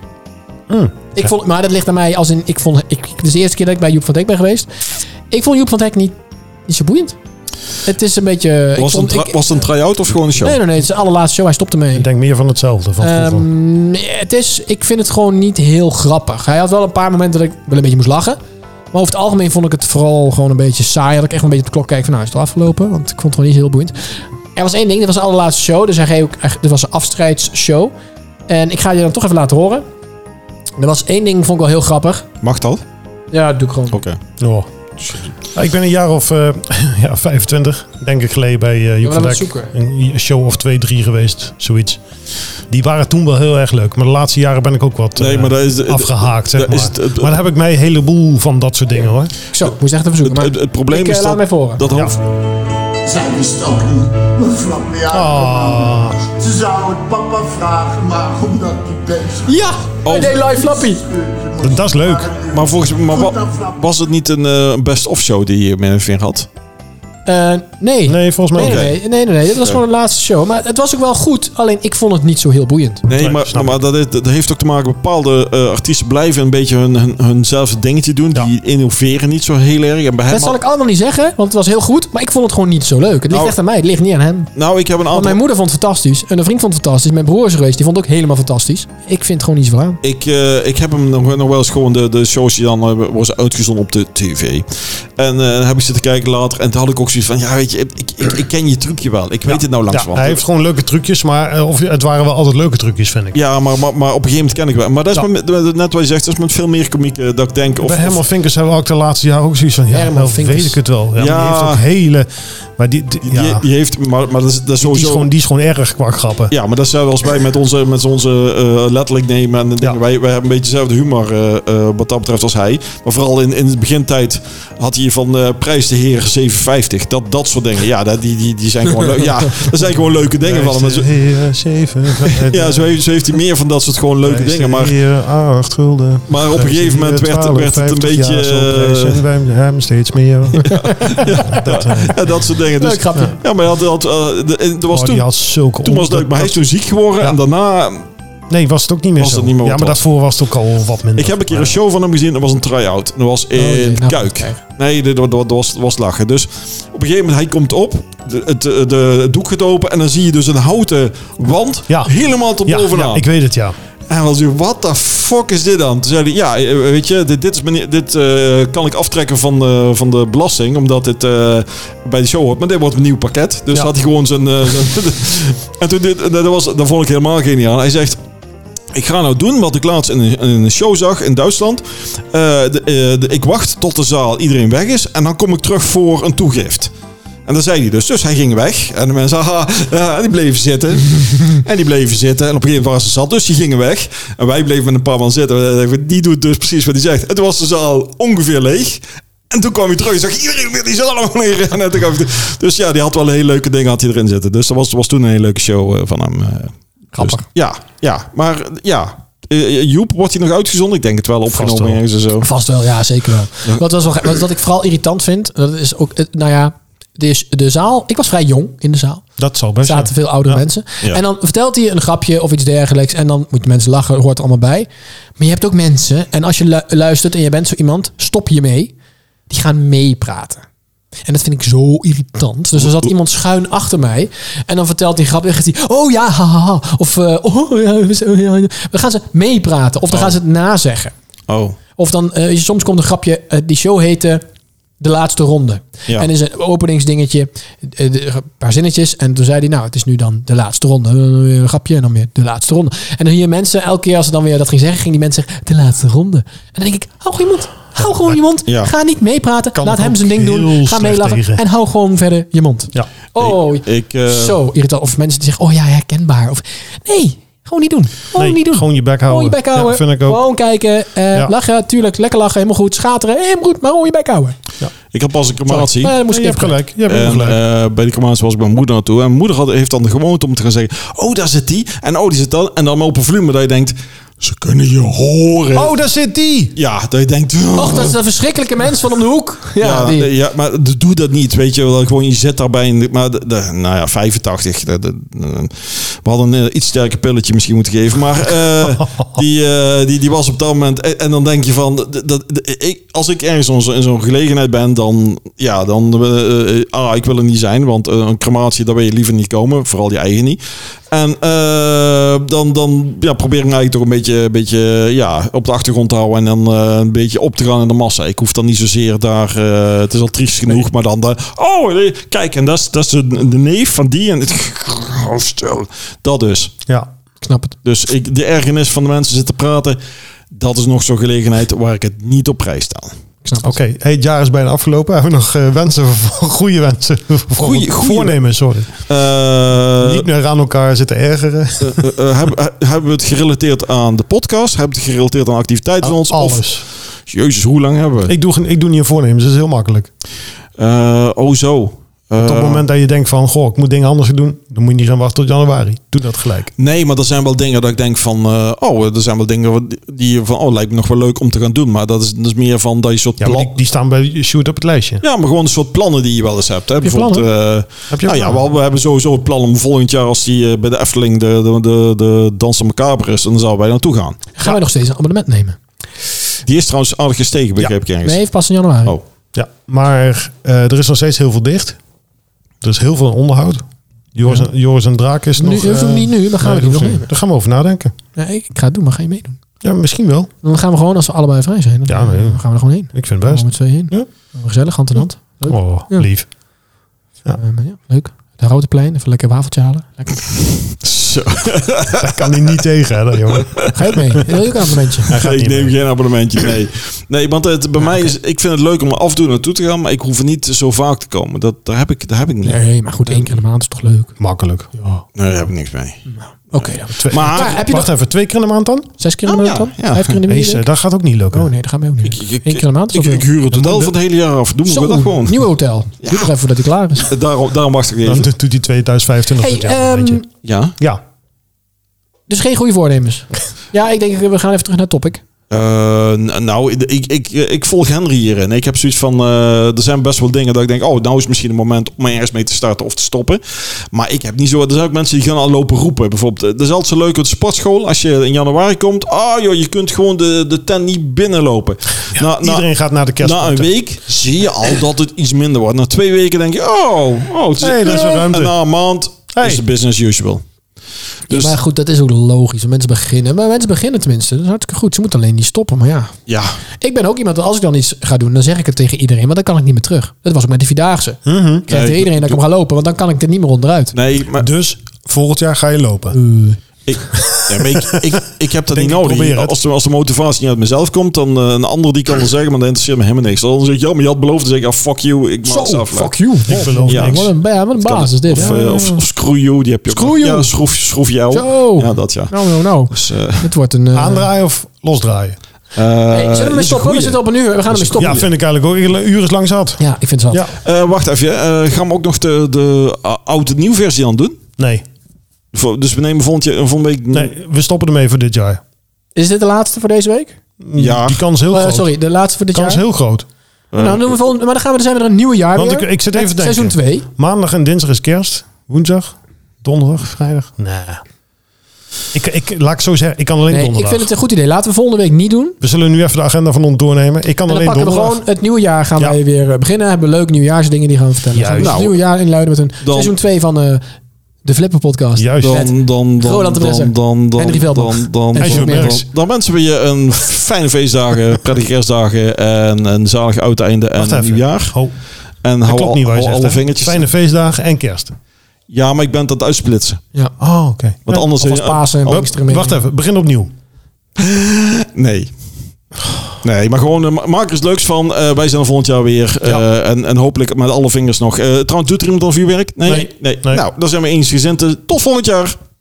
S1: Mm.
S3: Hmm.
S2: Ik vond, maar dat ligt aan mij als in... Ik vond, ik, het is de eerste keer dat ik bij Joep van het Hek ben geweest. Ik vond Joep van het Hek niet, niet zo boeiend. Het is een beetje... ik
S3: Was het,
S2: vond-
S3: een tra-
S2: ik-
S3: was het een try-out of gewoon een show?
S2: nee, nee, nee. Het is de allerlaatste show. Hij stopte mee.
S1: Ik denk meer van hetzelfde. Van vroeger.
S2: Ehm, het is, ik vind het gewoon niet heel grappig. Hij had wel een paar momenten dat ik wel een beetje moest lachen. Maar over het algemeen vond ik het vooral gewoon een beetje saai. Dat ik echt een beetje op de klok kijk van nou is het al afgelopen. Want ik vond het gewoon niet heel boeiend. Er was één ding, dit was de allerlaatste show. Dus hij ging ook, echt- dit was een afstrijdsshow. En ik ga je dan toch even laten horen. Er was één ding, vond ik wel heel grappig.
S3: Mag dat?
S2: Ja, dat doe ik gewoon.
S3: Oké.
S1: Oh. Ik ben een jaar of eh, ja, 25, denk ik, geleden bij eh Joep
S2: maar
S1: van
S2: dat
S1: Dijk.
S2: moet zoeken.
S1: Een show of twee, drie geweest, zoiets. Die waren toen wel heel erg leuk. Maar de laatste jaren ben ik ook wat
S3: Nee,
S1: eh,
S3: maar dat is... het-
S1: afgehaakt, zeg
S3: dat
S1: maar.
S3: is het- het-
S1: maar daar heb ik mij een heleboel van dat soort dingen, hoor.
S2: Zo, ik moest echt even zoeken.
S3: Het,
S2: Maar
S3: het, het probleem
S2: ik, eh,
S3: is
S2: laat
S3: dat...
S2: hem even horen.
S3: dat
S1: Ja.
S3: hoofd-
S5: Zij wist ook niet, mevrouw
S1: Ah.
S5: Piano. Ze zou het papa vragen, maar omdat die bezig
S2: Ja, hij
S3: Oh.
S2: deed live flappy.
S1: Dat- dat is leuk.
S3: Maar volgens mij maar wa- was het niet een eh, best-of show die je met een vinger had?
S2: Eh, nee.
S1: Nee, volgens mij
S2: Nee,
S1: ook.
S2: nee, nee, nee, nee, nee. Dit was gewoon de laatste show. Maar het was ook wel goed. Alleen ik vond het niet zo heel boeiend.
S3: Nee,
S1: Nee,
S3: maar,
S1: snap
S3: maar dat, heeft- dat heeft ook te maken... Bepaalde eh, artiesten blijven een beetje hun, hun, hunzelfde dingetje doen. Die innoveren niet zo heel erg. En bij hem
S2: Dat zal
S3: had-
S2: ik allemaal niet zeggen, want het was heel goed. Maar ik vond het gewoon niet zo leuk. Het ligt
S3: Nou,
S2: echt aan mij, het ligt niet aan hem.
S3: Nou, ik heb een
S2: Want
S3: aantal...
S2: mijn moeder vond het fantastisch. En een vriend vond het fantastisch. Mijn broer is er geweest, die vond het ook helemaal fantastisch. Ik vind het gewoon niet zo aan.
S3: Ik, eh, ik heb hem nog, nog wel eens gewoon de, de shows die dan eh, was uitgezonden op de tv. En eh, dan heb ik zitten kijken later. En toen had ik ook zoiets van, ja weet je, ik, ik, ik ken je trucje wel. Ik weet het nou
S1: Ja,
S3: langzamerhand.
S1: hij heeft gewoon leuke trucjes, maar eh, of, het waren wel altijd leuke trucjes, vind ik.
S3: Ja, maar, maar, maar op een gegeven moment ken ik wel. Maar dat is
S1: Ja.
S3: met, met- net wat je zegt, dat is met veel meer komiek eh, dat ik denk. Of,
S1: Bij Herman
S3: of-
S1: Vinkers hebben we ook de laatste jaren ook zoiets van... Ja,
S2: Herman
S1: wel
S2: Vinkers.
S1: weet ik het wel. Ja, maar
S3: Ja.
S1: Die heeft ook hele... Maar die, die-
S3: die,
S1: ja, die,
S3: die heeft, maar, maar dat is, dat is
S1: is
S3: sowieso...
S1: gewoon, die is gewoon erg qua grappen.
S3: ja, maar dat zijn wel eens bij met onze, met onze eh, letterlijk nemen en de dingen.
S1: Ja.
S3: Wij, wij hebben een beetje dezelfde humor eh, eh, wat dat betreft als hij. Maar vooral in, in de begintijd had hij van eh, prijs de heer 750. Dat, dat soort dingen. Ja, dat, die, die, die zijn gewoon leuk. Ja, dat zijn gewoon leuke dingen van hem. Maar zo-
S1: Hier, zeven, vijf,
S3: Ja, zo heeft, zo heeft hij meer van dat soort gewoon leuke
S1: vijf,
S3: dingen. Maar
S1: hier, acht gulden.
S3: Maar op een gegeven moment werd- werd het een beetje, eh,
S1: wij hem steeds meer.
S3: ja, dat soort dingen. Dus,
S2: Leuk grapje.
S3: ja, maar hij had, had, eh, de- en er was
S1: Oh, die
S3: toen...
S1: had zulke
S3: Toen was het
S1: onder-
S3: leuk, maar hij is toen ziek geworden en daarna...
S1: Nee, was het ook niet meer
S3: Was
S1: zo.
S3: het niet meer
S1: ja,
S3: wat
S1: maar
S3: was.
S1: daarvoor was het ook al wat minder. Oh,
S3: Ik heb een keer een show van hem gezien, dat was een try-out. Dat was in
S2: jee, nou,
S3: Kuik.
S2: kijk.
S3: Nee, dat, dat- dat was, dat was lachen. Dus op een gegeven moment, hij komt op, de, het, de, het doek gaat open... en dan zie je dus een houten wand
S1: Ja.
S3: helemaal tot
S1: ja,
S3: bovenaan.
S1: ja, ik weet het, ja.
S3: En was u, what the fuck is dit dan? Toen zei hij, ja, eh, weet je, dit, dit, is meneer, dit eh, kan ik aftrekken van de, van de belasting, omdat dit eh, bij de show hoort. Maar dit wordt een nieuw pakket. Dus
S1: Ja.
S3: had hij gewoon zijn... eh, zijn- en toen dit, dat, was, dat vond ik helemaal geniaal. Hij zegt... Ik ga nou doen wat ik laatst in een, in een show zag in Duitsland. Eh, de, eh, de- ik wacht tot de zaal iedereen weg is. En dan kom ik terug voor een toegift. En dat zei hij dus. Dus hij ging weg. En de mensen, haha, ja, en die bleven zitten. en die bleven zitten. En op een gegeven moment waren ze zat, dus die gingen weg. En wij bleven met een paar man zitten. En we dachten, Die doet dus precies wat hij zegt. En toen was de zaal ongeveer leeg. En toen kwam hij terug en zag iedereen weer die zaal allemaal neer. En toen kwam hij terug. Dus ja, die had wel hele leuke dingen had hij erin zitten. Dus dat was, was toen een hele leuke show eh, van hem. eh.
S2: Grappig.
S3: Dus, ja, ja. Maar eh, ja. Eh, Joep, wordt hij nog uitgezonden? Ik denk het wel, opgenomen
S1: wel.
S3: ergens en zo.
S2: Vast wel, ja, zeker wel. Wat, was wel wat, wat ik vooral irritant vind, dat is ook, eh, nou ja, de, de zaal. Ik was vrij jong in de zaal.
S1: Dat zal best
S2: Er zaten veel oudere
S1: Ja.
S2: mensen.
S3: Ja.
S2: En dan vertelt hij een grapje of iets dergelijks. En dan moeten mensen lachen, hoort er allemaal bij. Maar je hebt ook mensen. En als je lu- luistert en je bent zo iemand, stop je mee. Die gaan meepraten. En dat vind ik zo irritant. Dus er zat iemand schuin achter mij. En dan vertelt hij een grap. En dan zegt hij, oh ja, haha. Of, eh, oh ja, zo, ja, ja. Dan gaan ze meepraten. Of dan gaan ze het nazeggen.
S3: Oh.
S2: Of dan, eh, soms komt een grapje, eh, die show heette De Laatste Ronde.
S3: Ja.
S2: En is een openingsdingetje, eh, de- een paar zinnetjes. En toen zei hij, nou, het is nu dan De Laatste Ronde. En dan weer Een grapje en dan weer De Laatste Ronde. En dan hier mensen, elke keer als ze dan weer dat ging zeggen, gingen die mensen zeggen, De Laatste Ronde. En dan denk ik, hou gewoon je mond. Hou gewoon je mond.
S3: Ja.
S2: Ga niet meepraten.
S1: Kan
S2: Laat
S1: ik
S2: hem
S1: ook
S2: zijn ding
S1: heel
S2: doen. Ga
S1: slecht
S2: meelachen.
S1: tegen.
S2: En hou gewoon verder je mond.
S1: Ja.
S2: Oh,
S3: Ik, eh,
S2: zo irritant. Of mensen die zeggen, oh ja, herkenbaar. Of, nee, gewoon niet doen. Gewoon
S1: Nee,
S2: niet doen.
S1: Gewoon je bek houden.
S2: Gewoon je bek houden.
S1: Ja, vind ik ook.
S2: Gewoon kijken. eh,
S1: Ja.
S2: Lachen, tuurlijk. Lekker lachen. Helemaal goed. Schateren. Helemaal goed. Maar gewoon je bek houden.
S3: Ik had pas een crematie.
S2: Maar dan moest
S1: Nee, je
S2: ik
S1: hebt
S2: even
S1: gelijk. Je hebt
S3: En,
S1: helemaal gelijk.
S3: eh, bij de crematie was ik bij mijn moeder naartoe. En mijn moeder had, heeft dan de gewoonte om te gaan zeggen... Oh, daar zit die. En oh, die zit dan. En dan op een volume dat je denkt... Ze kunnen je horen.
S1: Oh, daar zit die!
S3: Ja, dat je denkt... "Oh."
S2: Och, dat is een verschrikkelijke mens van om de hoek. Ja,
S3: ja,
S2: die.
S3: nee, ja, maar d- doe dat niet, weet je wel. Gewoon, je zit daarbij in... de- Maar de, de- nou ja, 85. de- de- de- we hadden een eh, iets sterker pilletje misschien moeten geven. Maar eh, die, eh, die, die was op dat moment... En, en dan denk je van... d- Dat, d- ik, als ik ergens in zo- in zo'n gelegenheid ben, dan... Ja, dan... eh, eh, ah, ik wil er niet zijn. Want eh, een crematie, daar wil je liever niet komen. Vooral je eigen niet. En eh, dan, dan ja, probeer ik me eigenlijk toch een beetje, een beetje ja, op de achtergrond te houden. En dan eh, een beetje op te gaan in de massa. Ik hoef dan niet zozeer daar... eh, het is al triest genoeg, maar dan... De, oh, nee, kijk, en dat is, dat is de, de neef van die. En het, oh, stel. Dat dus.
S1: Ja.
S2: Ik snap het.
S3: Dus ik, de ergernis van de mensen zitten praten... Dat is nog zo'n gelegenheid waar ik het niet op prijs stel.
S2: Ik snap
S1: Oké, hey, het jaar is bijna afgelopen. Hebben we nog eh, wensen, voor, goede wensen? voor-
S3: Goeie- goeie-
S1: voornemen, sorry.
S3: Eh,
S1: Niet meer aan elkaar zitten ergeren.
S3: eh, eh, hebben, eh, hebben we het gerelateerd aan de podcast? Hebben we het gerelateerd aan activiteiten van ons? Of,
S1: Alles.
S3: jezus, hoe lang hebben we?
S1: Ik doe, geen- ik doe niet een voornemen, dus dat is heel makkelijk.
S3: Eh, oh zo. Eh,
S1: Tot
S3: Eh,
S1: het moment dat je denkt van, goh, ik moet dingen anders gaan doen. Dan moet je niet gaan wachten tot januari. Doe dat gelijk.
S3: Nee, maar er zijn wel dingen dat ik denk van... eh, oh, er zijn wel dingen wat- die je van... Oh, lijkt me nog wel leuk om te gaan doen. Maar dat is, dat is meer van dat je soort
S1: Ja, maar
S3: plan...
S1: die, die staan bij Shoot op het lijstje.
S3: Ja, maar gewoon een soort plannen die je wel eens hebt. Hè?
S2: je
S3: Bijvoorbeeld, eh,
S1: Heb je
S3: nou ja,
S1: plannen?
S3: we, we hebben sowieso het plan om volgend jaar... als die eh, bij de Efteling de, de, de, de Dansen Macabre is... dan zouden wij naartoe gaan.
S2: Gaan wij nog steeds een abonnement nemen?
S3: Die is trouwens aardig gestegen, begreep ik ergens.
S2: Nee, pas in januari.
S3: Oh.
S1: Ja, maar eh, er is nog steeds heel veel dicht. Er is heel veel onderhoud. Joris, en, Joris en Draak is
S2: Nu-
S1: nog...
S2: dat hoeft
S1: eh,
S2: niet nu, dan gaan
S1: nee, dat
S2: we die nog
S1: hoeft niet.
S2: nemen.
S1: Daar gaan we over nadenken.
S2: Ja, ik, ik ga het doen, maar ga je meedoen?
S1: Ja, misschien wel.
S2: Dan gaan we gewoon, als we allebei vrij zijn, dan,
S1: Ja, nee.
S2: dan gaan we er gewoon heen.
S1: Ik vind
S2: Dan
S1: het
S2: gaan we
S1: best.
S2: met z'n heen.
S1: Ja.
S2: Gezellig, hand in hand. Leuk.
S1: Oh,
S2: Ja.
S1: lief.
S2: Eh, ja, leuk. De Rode Plein, even lekker wafeltje halen. Lekker.
S3: Zo,
S1: Daar kan hij niet tegen, hè, dat jongen.
S2: Ga je ook mee? Wil je ook een abonnementje?
S1: Hij gaat
S3: ik
S1: niet
S3: neem
S1: mee.
S3: geen abonnementje, nee. Nee, want het, bij mij is... Ik vind het leuk om er af en toe naartoe te gaan... maar ik hoef er niet zo vaak te komen. Dat, daar, heb ik, daar heb ik niet. Nee,
S2: Nee, maar goed, één keer in de maand is toch leuk?
S1: Makkelijk.
S3: daar heb ik niks mee.
S2: Oké, dan.
S1: Twee,
S3: Maar-
S1: maar
S2: heb je
S1: wacht
S2: nog-
S1: even, twee keer in de maand dan?
S2: Zes keer in de
S3: Oh,
S2: maand
S3: ja,
S2: dan?
S3: ja.
S2: Vijf keer in de
S1: Nee,
S2: week?
S1: dat gaat ook niet lukken.
S2: Oh nee, dat gaan we ook niet. doen.
S3: Ik- ik-
S2: Eén keer in de maand? is
S3: Ik,
S2: wel
S3: ik
S2: veel.
S3: huur het hotel van het hele jaar af. Doe
S2: Zo,
S3: maar dat gewoon.
S2: nieuw hotel. Doe nog even voordat hij klaar is.
S3: Daarom, daarom wacht ik
S1: Dan
S3: even.
S1: doet hij 2025
S2: Hey,
S1: dit jaar, weet
S2: ehm,
S1: je.
S3: Ja.
S1: Ja,
S2: dus geen goede voornemens. ja, ik denk, we gaan even terug naar topic.
S3: Eh, n- nou, ik, ik, ik, ik volg Henry hierin. Ik heb zoiets van, eh, er zijn best wel dingen dat ik denk, oh, nou is het misschien een moment om ergens mee te starten of te stoppen. Maar ik heb niet zo, er zijn ook mensen die gaan al lopen roepen. Bijvoorbeeld, eh, dat is altijd zo leuk op de sportschool. Als je in januari komt, ah joh, je kunt gewoon de, de tent niet binnenlopen. na, na-
S1: iedereen gaat naar de kerst.
S3: na Nou, een week zie je al dat het iets minder wordt. Na twee weken denk je, oh, oh het
S1: Hey, daar is wel ruimte.
S3: En na een maand
S1: Hey.
S3: is het business as usual. Dus
S2: maar
S3: ja,
S2: goed, dat is ook logisch. Mensen beginnen. Maar mensen beginnen tenminste. Dat is hartstikke goed. Ze moeten alleen niet stoppen. Maar ja, ik ben ook iemand dat als ik dan iets ga doen, dan zeg ik het tegen iedereen. Want dan kan ik niet meer terug. Dat was ook met die Vierdaagse.
S3: Mhm.
S2: Ik zei
S3: Nee,
S2: tegen iedereen dat ik hem ga lopen, want dan kan ik er niet meer onderuit.
S3: nee, maar
S1: Dus volgend jaar ga je lopen.
S3: Ik, ja, maar ik, ik, ik heb dat
S1: Denk,
S3: niet
S2: nou,
S1: ik
S3: nodig.
S1: probeer het.
S3: als, de, als de motivatie niet uit mezelf komt, dan eh, een ander die kan er zeggen, maar dat interesseert me helemaal niks. Dan zeg je, ja, maar je had beloofd, dan zeg ik, ah, fuck you, ik maak het
S2: Zo,
S3: af.
S2: fuck you.
S1: Ik beloof
S3: Ja.
S1: niks.
S2: Wat een, ja, wat een basis dit.
S3: Of,
S2: Ja, ja,
S3: eh,
S2: ja.
S3: of, of screw you, die heb je ook
S2: Screw
S3: nog.
S2: you.
S3: Ja, schroef, schroef jou.
S2: Zo.
S3: Ja, dat ja.
S2: Nou, nou, nou.
S3: Dus, eh,
S2: Het wordt een... eh,
S1: Aandraaien of losdraaien?
S2: hey, zullen
S3: eh,
S2: we
S3: is een
S2: mee stoppen? We
S3: goeie.
S2: zitten op een uur. We gaan ermee stoppen.
S1: Ja, vind ik eigenlijk ook. Een uur is lang zat.
S2: Ja, ik vind het wel.
S1: Ja.
S3: Eh, wacht even, eh, gaan we ook nog de, de eh, oude nieuw versie dan doen?
S1: Nee,
S3: Voor- Dus we nemen volgend jaar, volgende week...
S1: nee, we stoppen ermee voor dit jaar.
S2: Is dit de laatste voor deze week?
S3: Ja.
S1: Die kans is heel
S2: Eh,
S1: groot.
S2: sorry, de laatste voor dit
S1: kans
S2: jaar.
S1: is heel groot.
S2: Nou, dan doen we volgende, maar dan, gaan we, dan zijn we er een nieuwe jaar
S1: Want
S2: weer.
S1: ik- ik zit
S2: Met
S1: even te denken.
S2: Seizoen 2.
S1: Maandag en dinsdag is kerst. Woensdag, donderdag, vrijdag. Nee. Ik, ik, laat ik zo zeggen, ik kan alleen
S2: Nee, ik
S1: donderdag.
S2: vind het een goed idee. Laten we volgende week niet doen.
S1: We zullen nu even de agenda van ons doornemen. Ik kan
S2: En dan
S1: alleen
S2: pakken we
S1: donderdag.
S2: gewoon het nieuwe jaar. Gaan
S1: Ja.
S2: wij weer eh, beginnen. Hebben we leuke nieuwjaarsdingen die gaan we vertellen. Gaan we
S1: Juist.
S2: het nieuwe jaar inluiden met een
S3: Dan-
S2: seizoen 2 van eh, de Flipper Podcast.
S1: Juist.
S3: Dan, dan, dan,
S2: Roland de
S3: dan,
S2: Bresser.
S3: dan, dan, dan,
S2: Henry Veldman.
S3: dan, dan,
S1: En Jules Merks.
S3: dan- dan wensen we je een fijne feestdagen, prettige kerstdagen en een zalig oud einde en
S1: Wacht
S3: een
S1: even.
S3: nieuw jaar.
S1: Oh,
S3: En
S1: dat
S3: hou,
S1: klopt niet waar je
S3: hou
S1: zegt.
S3: alle
S1: hè?
S3: vingertjes.
S1: Fijne feestdagen en kerst.
S3: Ja, maar ik ben dat uitsplitsen.
S2: Ja.
S1: Oh, oké.
S3: Want anders
S2: Of als Pasen en
S3: Oh,
S2: Pinksteren mee.
S1: Wacht even, begin opnieuw.
S3: nee. Nee, maar gewoon eh, maak er eens leuks van. Eh, wij zijn er volgend jaar weer. Eh, en, en hopelijk met alle vingers nog. Eh, trouwens, doet er iemand al vuurwerk? Nee?
S1: Nee. Nee.
S3: Nou, dan zijn we eens gezind. Tot volgend jaar.